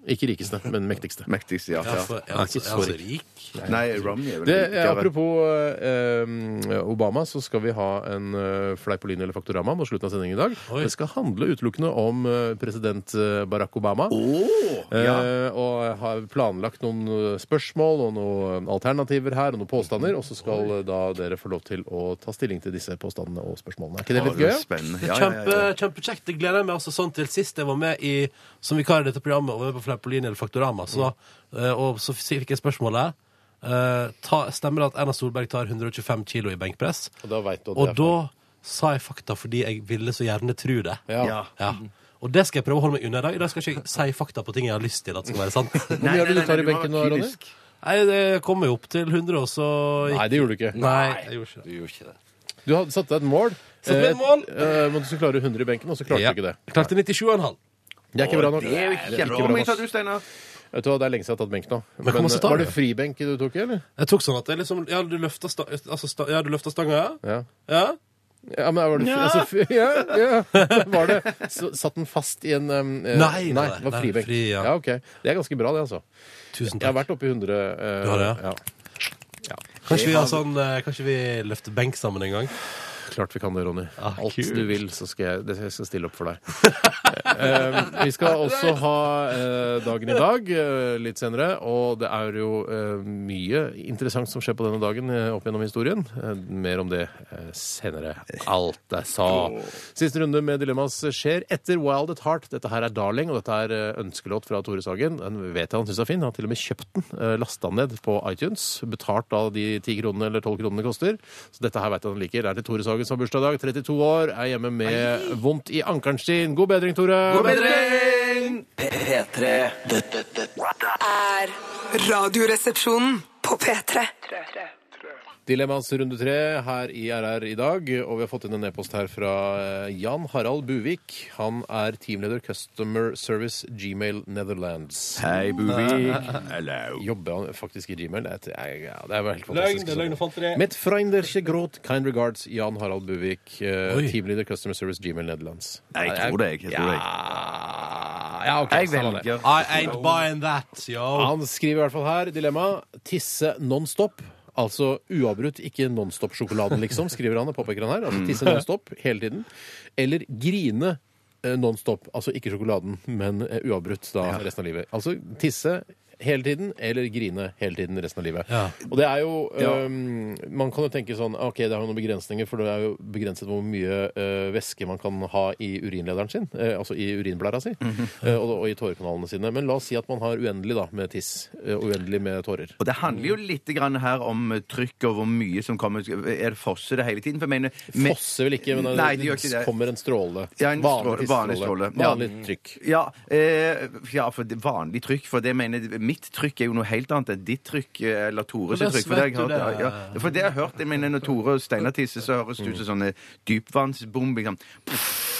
[SPEAKER 1] Ikke rikeste, men mektigste.
[SPEAKER 2] Mektigste, ja.
[SPEAKER 3] Ja,
[SPEAKER 2] ja.
[SPEAKER 3] for,
[SPEAKER 1] Han er
[SPEAKER 3] ja, altså,
[SPEAKER 1] ikke
[SPEAKER 3] så,
[SPEAKER 1] så
[SPEAKER 3] er han så rik.
[SPEAKER 2] Nei, Romney er vel
[SPEAKER 1] Det,
[SPEAKER 2] riktigere.
[SPEAKER 1] apropos eh, eh, Obama, så skal vi ha en eh, Fleipolini eller Faktorama mot slutten av sendingen i dag.
[SPEAKER 3] Oi.
[SPEAKER 1] Det skal handle utelukkende om eh, president eh, Barack Obama.
[SPEAKER 2] Åh, ja.
[SPEAKER 1] Eh, og jeg har planlagt noen eh, spørsmål og noen alternativer her, og noen
[SPEAKER 2] Mm.
[SPEAKER 1] påstander. Og så skal eh, da dere få lov til å ta stilling til disse påstandene og spørsmålene. Er ikke det
[SPEAKER 2] Å,
[SPEAKER 1] litt
[SPEAKER 2] det
[SPEAKER 1] gøy?
[SPEAKER 2] er
[SPEAKER 1] ja?
[SPEAKER 2] spennende.
[SPEAKER 3] Det
[SPEAKER 2] Ja, ja,
[SPEAKER 3] er kjempe,
[SPEAKER 2] ja, ja.
[SPEAKER 3] kjempekjekt. Det gleder jeg meg altså sånn til sist jeg var med i, som vikar i dette programmet og var med på Fleipolini eller Faktorama. Så, eh, og så fikk jeg spørsmålet. eh, ta, stemmer det at Erna Solberg tar 125 kilo i benkpress?
[SPEAKER 1] Og da vet du at det
[SPEAKER 3] Og
[SPEAKER 1] er
[SPEAKER 3] da sa jeg fakta fordi jeg ville så gjerne tro det.
[SPEAKER 1] Ja.
[SPEAKER 2] Ja.
[SPEAKER 3] Ja. Og det skal jeg prøve å holde meg unna i dag. I dag skal jeg ikke si fakta på ting jeg har lyst til at skal være sant.
[SPEAKER 1] Hvor mye er det du tar i
[SPEAKER 2] må være
[SPEAKER 1] benken nå, Ronny?
[SPEAKER 2] kynisk.
[SPEAKER 3] Nei, det kom jo opp til 100, og så
[SPEAKER 1] Nei, det gjorde du ikke.
[SPEAKER 3] Nei, jeg gjorde ikke det.
[SPEAKER 4] Du gjorde ikke det.
[SPEAKER 1] Du hadde satt deg et mål.
[SPEAKER 3] Satt meg et mål.
[SPEAKER 1] Eh, eh, men du skulle klare 100 i benken, og så klarte
[SPEAKER 3] Ja.
[SPEAKER 1] du ikke det.
[SPEAKER 3] Jeg klarte 97,5.
[SPEAKER 1] Det er ikke bra nok.
[SPEAKER 2] Det er jo
[SPEAKER 1] Nei, det er
[SPEAKER 2] kjempebra.
[SPEAKER 1] ikke bra
[SPEAKER 2] Hvor
[SPEAKER 1] nok.
[SPEAKER 2] mye tar du, Steinar?
[SPEAKER 1] Vet du hva, Det er lenge siden jeg har tatt benk nå.
[SPEAKER 3] hvor
[SPEAKER 1] Men,
[SPEAKER 3] masse
[SPEAKER 1] eh,
[SPEAKER 3] tar
[SPEAKER 1] var
[SPEAKER 3] du?
[SPEAKER 1] det fribenk du tok i, eller?
[SPEAKER 3] Jeg tok sånn at jeg liksom Ja, du løfta sta, altså, sta, ja, du løfta stanga, ja?
[SPEAKER 1] Ja.
[SPEAKER 3] ja?
[SPEAKER 1] Ja, men var det, ja. Altså, fri- ja, ja. Var det, så, satt den fast i en um, eh, nei,
[SPEAKER 3] Nei, nei,
[SPEAKER 1] det var
[SPEAKER 3] nei,
[SPEAKER 1] fribenk.
[SPEAKER 3] fri,
[SPEAKER 1] ja.
[SPEAKER 3] ja.
[SPEAKER 1] ok. Det er ganske bra, det, altså.
[SPEAKER 3] Tusen
[SPEAKER 1] Jeg har
[SPEAKER 3] takk.
[SPEAKER 1] vært oppe i 100. eh,
[SPEAKER 3] Du har det, ja? Kanskje vi, har sånn, eh, kanskje vi løfter benk sammen en gang?
[SPEAKER 1] Klart vi kan det, Ronny.
[SPEAKER 3] Ah,
[SPEAKER 1] Alt
[SPEAKER 3] kult.
[SPEAKER 1] du vil, så skal jeg, det, jeg skal stille opp for deg. Eh, vi skal også ha eh, dagen i dag eh, litt senere, og det er jo eh, mye interessant som skjer på denne dagen eh, opp gjennom historien. Eh, mer om det eh, senere. Alt jeg sa. Siste runde med Dilemmas skjer etter Wild at Heart. Dette her er Darling, og dette er eh, ønskelåt fra Tore Sagen. Den vet jeg han syns er fin. Han har til og med kjøpt den, eh, lasta den ned på iTunes. Betalt av de 10 kronene eller 12 kronene det koster. Så dette her vet jeg han liker. Det er til Tore Sagen som har bursdag i dag. 32 år. Er hjemme med vondt i ankeren sin. God bedring, Tore. God
[SPEAKER 6] P3 Dette, dette,
[SPEAKER 7] Er radioresepsjonen på P3.
[SPEAKER 1] Dilemmas runde tre her i RR i dag, og vi har fått inn en e-post her fra eh, Jan Harald Buvik. Han er teamleder Customer Service Gmail Netherlands.
[SPEAKER 2] Hei, Buvik. Hello.
[SPEAKER 1] Jobber han faktisk i Gmail? Det er, ja, det er jo helt fantastisk.
[SPEAKER 3] løgn, fant dere.
[SPEAKER 1] Mitt freinderske gråt, kind regards, Jan Harald Buvik, eh,
[SPEAKER 3] Oi.
[SPEAKER 1] teamleder Customer Service Gmail Netherlands.
[SPEAKER 2] Nei, jeg tror det, jeg tror det.
[SPEAKER 1] Ja, ja ok.
[SPEAKER 2] Jeg
[SPEAKER 1] samme det.
[SPEAKER 2] velger
[SPEAKER 3] I ain't buying that, yo.
[SPEAKER 1] Han skriver i hvert fall her dilemma tisse nonstop. Altså uavbrutt, ikke nonstop-sjokoladen, liksom, skriver han. og påpeker han her. Altså tisse
[SPEAKER 3] Mm.
[SPEAKER 1] nonstop hele tiden. Eller grine eh, nonstop. Altså ikke sjokoladen, men eh, uavbrutt da resten av livet. Altså tisse hele tiden eller grine hele tiden resten av livet.
[SPEAKER 3] Ja.
[SPEAKER 1] Og det er jo øhm, Man kan jo tenke sånn OK, det har jo noen begrensninger, for det er jo begrenset hvor mye øh, væske man kan ha i urinlederen sin. øh, altså i urinblæra si.
[SPEAKER 2] Mhm.
[SPEAKER 1] øh, og, og i tårekanalene sine. Men la oss si at man har uendelig da, med tiss. øh, og uendelig med tårer.
[SPEAKER 2] Og det handler jo
[SPEAKER 1] Mm.
[SPEAKER 2] litt grann her om eh, trykk og hvor mye som kommer. Er det fosser det hele tiden? For jeg mener, med-
[SPEAKER 1] Fosser vel ikke, men
[SPEAKER 2] Nei, det
[SPEAKER 1] det,
[SPEAKER 2] gjør ikke det.
[SPEAKER 1] kommer en stråle.
[SPEAKER 2] Ja, en stråle-
[SPEAKER 1] vanlig
[SPEAKER 2] vanlig
[SPEAKER 1] tidsstråle.
[SPEAKER 2] stråle. Mm. Ja.
[SPEAKER 1] Vanlig trykk.
[SPEAKER 2] Ja, eh, ja, for det vanlig trykk. For det mener jeg- mitt trykk er jo noe helt annet enn ditt trykk eh, eller Tores
[SPEAKER 3] Men da
[SPEAKER 2] trykk. For det har jeg hørt.
[SPEAKER 3] svetter
[SPEAKER 2] Ja,
[SPEAKER 3] det.
[SPEAKER 2] ja. For det har jeg hørt. Jeg mener, når Tore og Steinar tisser, så høres det ut som
[SPEAKER 1] Mm.
[SPEAKER 2] sånne dypvannsbomber. Liksom.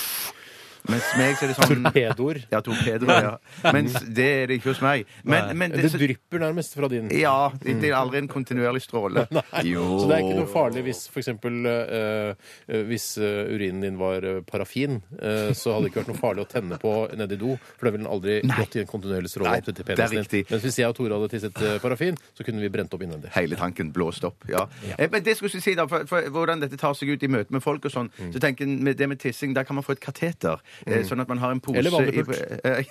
[SPEAKER 2] Mens meg så er det sånn
[SPEAKER 1] Torpedoer.
[SPEAKER 2] Ja, torpedoer, ja. Mens det er det ikke hos meg. Men, men
[SPEAKER 1] Det, drypper nærmest fra din.
[SPEAKER 2] ja, det det er aldri en kontinuerlig stråle.
[SPEAKER 1] Så det er ikke noe farlig hvis for eksempel, eh, eh, hvis eh, urinen din var eh, parafin, eh, så hadde det ikke vært noe farlig å tenne på nede i do, for da ville den aldri gått i en kontinuerlig stråle
[SPEAKER 2] Nei,
[SPEAKER 1] opp til
[SPEAKER 2] det er
[SPEAKER 1] penisen din.
[SPEAKER 2] riktig.
[SPEAKER 1] Mens hvis jeg og Tore hadde tisset eh, parafin, så kunne vi brent opp innvendig.
[SPEAKER 2] hele tanken blåst opp. Ja. Eh, Men det skulle jeg si da, for, for hvordan dette tar seg ut i møte med folk og sånn,
[SPEAKER 1] Mm.
[SPEAKER 2] så tenker jeg med det med tissing, der kan man få et kateter, eh, sånn at man har en pose
[SPEAKER 1] Eller vanlig
[SPEAKER 2] i-
[SPEAKER 1] pult.
[SPEAKER 2] eh,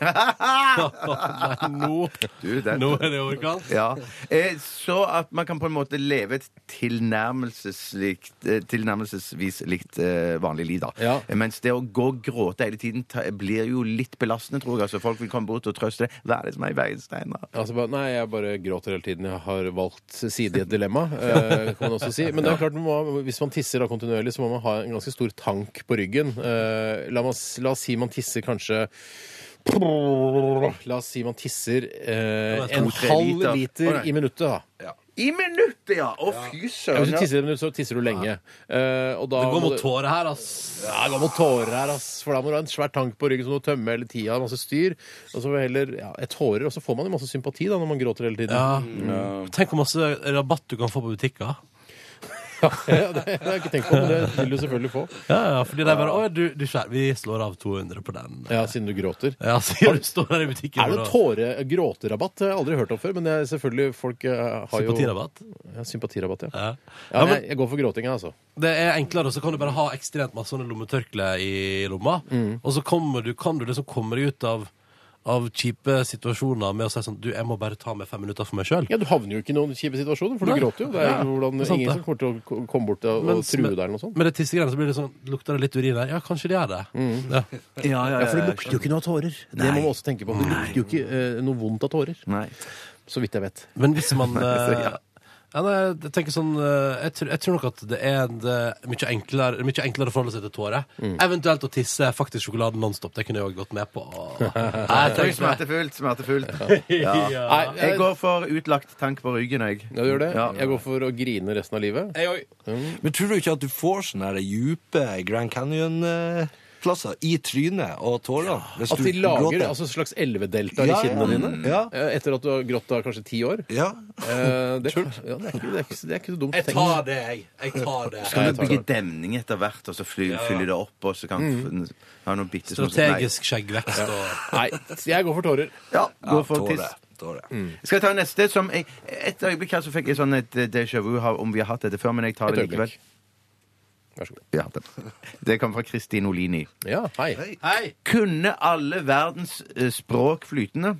[SPEAKER 3] Nå,
[SPEAKER 2] Du, den-
[SPEAKER 3] nå er det overkant.
[SPEAKER 2] Ja. Eh, Så at man kan på en måte leve et tilnærmelseslikt, eh, tilnærmelsesvis likt eh, vanlig liv, da.
[SPEAKER 1] Ja.
[SPEAKER 2] Eh, Mens det å gå og gråte hele tiden ta, blir jo litt belastende, tror jeg. Altså, folk vil komme bort og trøste. Hva er det som er i veien, Steinar?
[SPEAKER 1] Altså bare, nei, jeg bare gråter hele tiden. Jeg har valgt side i et dilemma. Eh, kan man også si. Men det er klart, man må, hvis man tisser da kontinuerlig, så må man ha en ganske stor tank på ryggen. Eh, la, oss, la oss si man tisser kanskje La oss si man tisser eh,
[SPEAKER 3] Det var
[SPEAKER 1] en
[SPEAKER 2] to, tre
[SPEAKER 1] halv
[SPEAKER 2] liter.
[SPEAKER 1] liter,
[SPEAKER 2] Å, nei.
[SPEAKER 1] i minuttet, da.
[SPEAKER 2] I minuttet, ja! Å, fy
[SPEAKER 1] Ja, Hvis
[SPEAKER 2] søren.
[SPEAKER 1] du
[SPEAKER 2] ja.
[SPEAKER 1] tisser i et minutt, så tisser du lenge. Eh, og da
[SPEAKER 3] Det går
[SPEAKER 1] må
[SPEAKER 3] mot
[SPEAKER 1] du-
[SPEAKER 3] tårer her, ass.
[SPEAKER 1] ja, det går mot tårer her, ass. For da må du ha en svær tank på ryggen som du må tømme hele tida. Masse styr. Og så får vi heller ja, et tårer, og så får man jo masse sympati da når man gråter hele tiden.
[SPEAKER 3] Ja. Tenk hvor masse rabatt du kan få på butikker.
[SPEAKER 1] Ja, det, det har jeg ikke tenkt på, men det vil du selvfølgelig få.
[SPEAKER 3] Ja, ja, fordi de bare Å, du, du skjær, vi slår av 200 på den.
[SPEAKER 1] Ja, siden du gråter.
[SPEAKER 3] Ja, sier du står der i butikken
[SPEAKER 1] Er det
[SPEAKER 3] og-
[SPEAKER 1] tåre, gråterabatt? Det har jeg aldri hørt om før, men det er selvfølgelig folk eh, har jo
[SPEAKER 3] Sympatirabatt?
[SPEAKER 1] Ja, sympatirabatt, ja.
[SPEAKER 3] Ja.
[SPEAKER 1] ja
[SPEAKER 3] men-
[SPEAKER 1] men... Jeg går for gråtinga, altså.
[SPEAKER 3] Det er enklere, og så kan du bare ha ekstremt masse sånne lommetørklær i lomma.
[SPEAKER 1] Mm.
[SPEAKER 3] Og så kommer du, kan du liksom komme deg ut av, av kjipe situasjoner med å si sånn Du, jeg må bare ta meg fem minutter for meg sjøl.
[SPEAKER 1] Ja, Du havner jo ikke i noen kjipe situasjoner, for du
[SPEAKER 3] Nei.
[SPEAKER 1] gråter jo. Det er
[SPEAKER 3] Ja,
[SPEAKER 1] jo hvordan,
[SPEAKER 3] det er sant,
[SPEAKER 1] ingen
[SPEAKER 3] det.
[SPEAKER 1] som kommer til å ko- komme bort og, og
[SPEAKER 3] Mens
[SPEAKER 1] true
[SPEAKER 3] med-
[SPEAKER 1] deg eller noe sånt.
[SPEAKER 3] Med det tissegreiene så blir det sånn Lukter det litt urin der? Ja, kanskje det gjør det.
[SPEAKER 1] Mm.
[SPEAKER 3] Ja.
[SPEAKER 1] Ja, for det lukter jo ikke noe av tårer. Det må man også tenke på. Det lukter jo ikke eh, noe vondt av tårer.
[SPEAKER 2] Nei.
[SPEAKER 1] Så vidt jeg vet.
[SPEAKER 3] Men hvis man eh,
[SPEAKER 2] Ja.
[SPEAKER 3] ja, nei, jeg tenker sånn eh, jeg, tror, jeg tror nok at det er en, eh, mye, enklere, mye enklere å forholde seg til tårer.
[SPEAKER 1] Mm.
[SPEAKER 3] Eventuelt å tisse er faktisk sjokoladen nonstop. Det kunne jeg òg gått med på. Nei, jeg
[SPEAKER 2] Oi,
[SPEAKER 3] tenker meg-
[SPEAKER 2] Smertefullt, smertefullt.
[SPEAKER 3] Ja.
[SPEAKER 1] Nei,
[SPEAKER 2] Jeg går for utlagt tank på ryggen, jeg.
[SPEAKER 1] Ja, du gjør det?
[SPEAKER 2] Ja.
[SPEAKER 1] Jeg går for å grine resten av livet.
[SPEAKER 3] Jeg òg.
[SPEAKER 4] Men tror du ikke at du får sånne her dype Grand Canyon-plasser i trynet og tårene? hvis
[SPEAKER 1] At de
[SPEAKER 4] du
[SPEAKER 1] lager
[SPEAKER 4] gråter?
[SPEAKER 1] altså, et slags elvedelta
[SPEAKER 4] Ja,
[SPEAKER 1] i kinnene
[SPEAKER 4] ja.
[SPEAKER 1] dine
[SPEAKER 4] Ja.
[SPEAKER 1] eh, etter at du har grått da kanskje ti år.
[SPEAKER 4] Ja.
[SPEAKER 1] Eh, det, ja, det, er ikke, det, er ikke, det er ikke så dumt.
[SPEAKER 3] Jeg tar det, jeg. Jeg tar det.
[SPEAKER 2] Kan du
[SPEAKER 1] tar
[SPEAKER 2] bygge demning etter hvert, og så fly, fylle det opp, og så kan
[SPEAKER 1] Mm.
[SPEAKER 2] f- ha noe bitte små-
[SPEAKER 3] Strategisk skjeggvekst og
[SPEAKER 1] Nei, jeg går for tårer.
[SPEAKER 2] Nei. Ja, gå for
[SPEAKER 4] tårer,
[SPEAKER 2] tiss.
[SPEAKER 4] tårer.
[SPEAKER 1] Mm.
[SPEAKER 2] Skal jeg ta neste? Som jeg, et øyeblikk her så fikk jeg sånn et eh, déjà vu ha- om vi har hatt dette før, men jeg tar
[SPEAKER 1] Et
[SPEAKER 2] det likevel.
[SPEAKER 1] øyeblikk. Vær så god.
[SPEAKER 2] Ja, det. det kom fra Kristin Olini.
[SPEAKER 1] Ja, hei.
[SPEAKER 3] Hei!
[SPEAKER 2] Kunne alle verdens eh, språk flytende?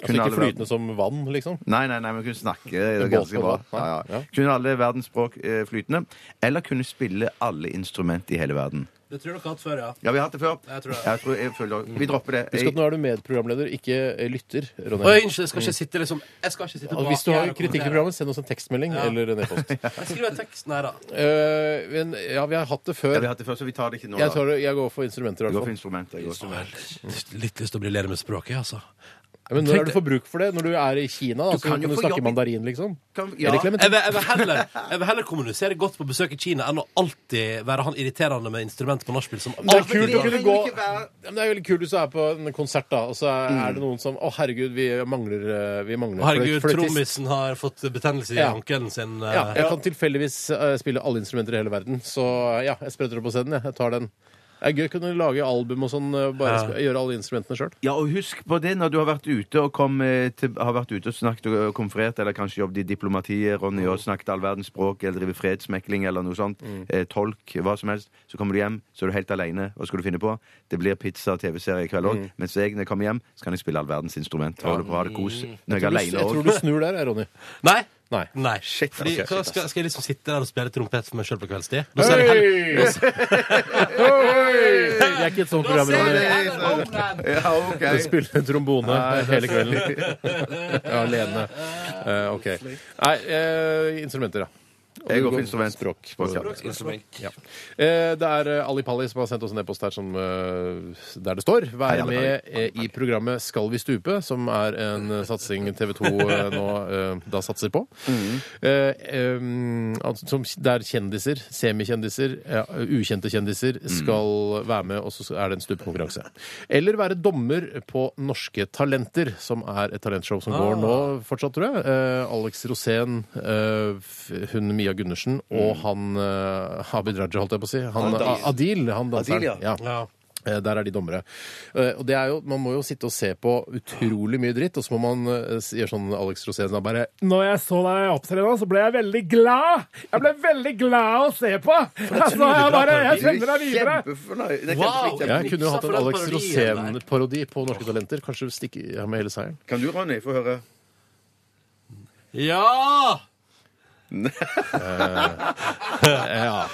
[SPEAKER 1] Altså
[SPEAKER 2] alle
[SPEAKER 1] ikke
[SPEAKER 2] verden-
[SPEAKER 1] flytende som vann, liksom.
[SPEAKER 2] Nei, nei, nei, men kunne snakke det er
[SPEAKER 1] Båt,
[SPEAKER 2] ganske bra.
[SPEAKER 1] båt,
[SPEAKER 2] Ja,
[SPEAKER 1] ja.
[SPEAKER 2] ja.
[SPEAKER 1] Ja.
[SPEAKER 2] Kunne alle verdens språk eh, flytende? Eller kunne spille alle instrument i hele verden?
[SPEAKER 3] Det tror jeg dere har hatt før, ja.
[SPEAKER 2] Ja, vi har hatt det før.
[SPEAKER 3] Jeg tror det.
[SPEAKER 2] jeg tror jeg føler, vi dropper det.
[SPEAKER 1] Husk at nå er du medprogramleder, ikke eh, lytter. Ronny.
[SPEAKER 3] Oi, unnskyld, jeg skal ikke sitte liksom Jeg skal ikke sitte
[SPEAKER 1] Altså,
[SPEAKER 3] bak
[SPEAKER 1] Mm. hvis du har
[SPEAKER 3] her og
[SPEAKER 1] kritikk i
[SPEAKER 3] kommentere.
[SPEAKER 1] programmet, send oss en tekstmelding
[SPEAKER 3] Ja.
[SPEAKER 1] eller en e-post.
[SPEAKER 3] Jeg skriver tekst. Nei da.
[SPEAKER 1] Eh, men ja, vi har hatt det
[SPEAKER 2] Ja,
[SPEAKER 1] før.
[SPEAKER 2] vi har hatt det før, så vi tar det ikke nå.
[SPEAKER 1] Jeg,
[SPEAKER 2] da.
[SPEAKER 1] tar, det- jeg går for instrumenter. i
[SPEAKER 2] Vi
[SPEAKER 1] hvert
[SPEAKER 2] går for
[SPEAKER 1] fall.
[SPEAKER 2] instrumenter. Jeg går for
[SPEAKER 3] Litt lyst til å briljere med språket, altså.
[SPEAKER 1] Men når er du får bruk for det? Når du er i Kina? Da,
[SPEAKER 2] Du
[SPEAKER 1] så
[SPEAKER 2] kan
[SPEAKER 1] kan
[SPEAKER 2] jo
[SPEAKER 1] du
[SPEAKER 2] få
[SPEAKER 1] snakke
[SPEAKER 2] jobb i-
[SPEAKER 1] mandarin, liksom?
[SPEAKER 2] Kan- ja.
[SPEAKER 1] Jeg reklamerer.
[SPEAKER 3] Jeg vil, jeg, vil heller, jeg vil heller kommunisere godt på besøk i Kina enn å alltid være han irriterende med instrument på nachspiel som
[SPEAKER 1] Det er
[SPEAKER 3] alltid
[SPEAKER 1] kult å kunne
[SPEAKER 2] trenger
[SPEAKER 1] gå
[SPEAKER 2] ikke være-
[SPEAKER 1] ja, men Det er veldig kult hvis du er på en konsert, da, og så er,
[SPEAKER 2] Mm.
[SPEAKER 1] er det noen som Å, herregud, vi mangler, eh, vi mangler
[SPEAKER 3] Herregud,
[SPEAKER 1] fløyt- fløytist.»
[SPEAKER 3] trommisen har fått betennelse i
[SPEAKER 1] Ja.
[SPEAKER 3] ankelen sin. eh.
[SPEAKER 1] Ja, jeg kan tilfeldigvis eh, spille alle instrumenter i hele verden, så eh, ja, jeg spretter det på scenen, jeg. Jeg tar den. Det er gøy å kunne lage album og sånn, eh, bare sp- gjøre alle instrumentene sjøl.
[SPEAKER 2] Ja, og husk på det når du har vært ute og, kom, eh, til, har vært ute og snakket og konferert, eller kanskje jobbet i diplomatiet, Ronny,
[SPEAKER 1] Mm.
[SPEAKER 2] og snakket all verdens språk, eller driver fredsmekling, eller noe sånt, eh, tolk, hva som helst, så kommer du hjem, så er du helt alene, hva skal du finne på? Det blir pizza og tv-serie i kveld
[SPEAKER 1] Mm.
[SPEAKER 2] også, mens jeg, når jeg kommer hjem, så kan jeg spille all verdens instrument, holde på å ha det kos, når jeg er
[SPEAKER 1] Jeg
[SPEAKER 2] alene
[SPEAKER 1] tror
[SPEAKER 2] også.
[SPEAKER 1] du snur der, jeg, Ronny.
[SPEAKER 3] Nei.
[SPEAKER 1] Nei.
[SPEAKER 3] Nei.
[SPEAKER 2] Shit,
[SPEAKER 3] Fordi,
[SPEAKER 2] ok,
[SPEAKER 3] hva,
[SPEAKER 2] shit,
[SPEAKER 3] skal, skal jeg liksom sitte der og spille trompet for meg sjøl på kveldstid? Da ser jeg heller-
[SPEAKER 1] Det er ikke et sånt program, Ronny.
[SPEAKER 2] Ja, ok.
[SPEAKER 1] Du spiller trombone hele kvelden. ja, alene. Eh, OK. Nei, eh, instrumenter, ja. Og
[SPEAKER 2] Jeg
[SPEAKER 1] du
[SPEAKER 2] går for
[SPEAKER 1] går
[SPEAKER 2] instrument.
[SPEAKER 1] Språk.
[SPEAKER 2] Språk, ja.
[SPEAKER 1] Ja. Eh, Det er eh, Ali Palli som har sendt oss en e-post her som, eh, der det står 'Vær
[SPEAKER 2] Hei, Ali
[SPEAKER 1] med eh, i programmet Skal vi stupe?', som er en eh, satsing TV 2 nå eh, da satser på. Eh, eh, altså, som- Der kjendiser, semikjendiser, eh, ukjente kjendiser skal være med, og så er det en stupekonkurranse. Eller være dommer på Norske Talenter, som er et talentshow som går nå fortsatt, tror jeg. Eh, Alex Rosén, eh, f- hun Mia Gundersen og han eh, Abid Raja, holdt jeg på å si. Han, Mm. Ah, Adil, han danseren.
[SPEAKER 2] Adil,
[SPEAKER 1] ja. Eh, Der er de dommere. Eh, Og det er jo, Man må jo sitte og se på utrolig mye dritt, og så må man eh, s- gjøre sånn Alex Rosén da bare Når jeg så deg opptre nå, så ble jeg veldig glad! Jeg ble veldig glad å se på! Altså, jeg bare, jeg sender deg videre!
[SPEAKER 2] Kjempefornøyd. Det er
[SPEAKER 3] Wow.
[SPEAKER 2] kjempefint.
[SPEAKER 1] Jeg kunne jo hatt
[SPEAKER 3] for
[SPEAKER 1] en
[SPEAKER 3] den
[SPEAKER 1] Alex
[SPEAKER 3] parodien der.
[SPEAKER 1] Rosén-parodi på Norske Talenter. Kanskje stikke ja, med hele seieren.
[SPEAKER 2] Kan du, Ronny, få høre?
[SPEAKER 3] Ja!
[SPEAKER 1] Ja.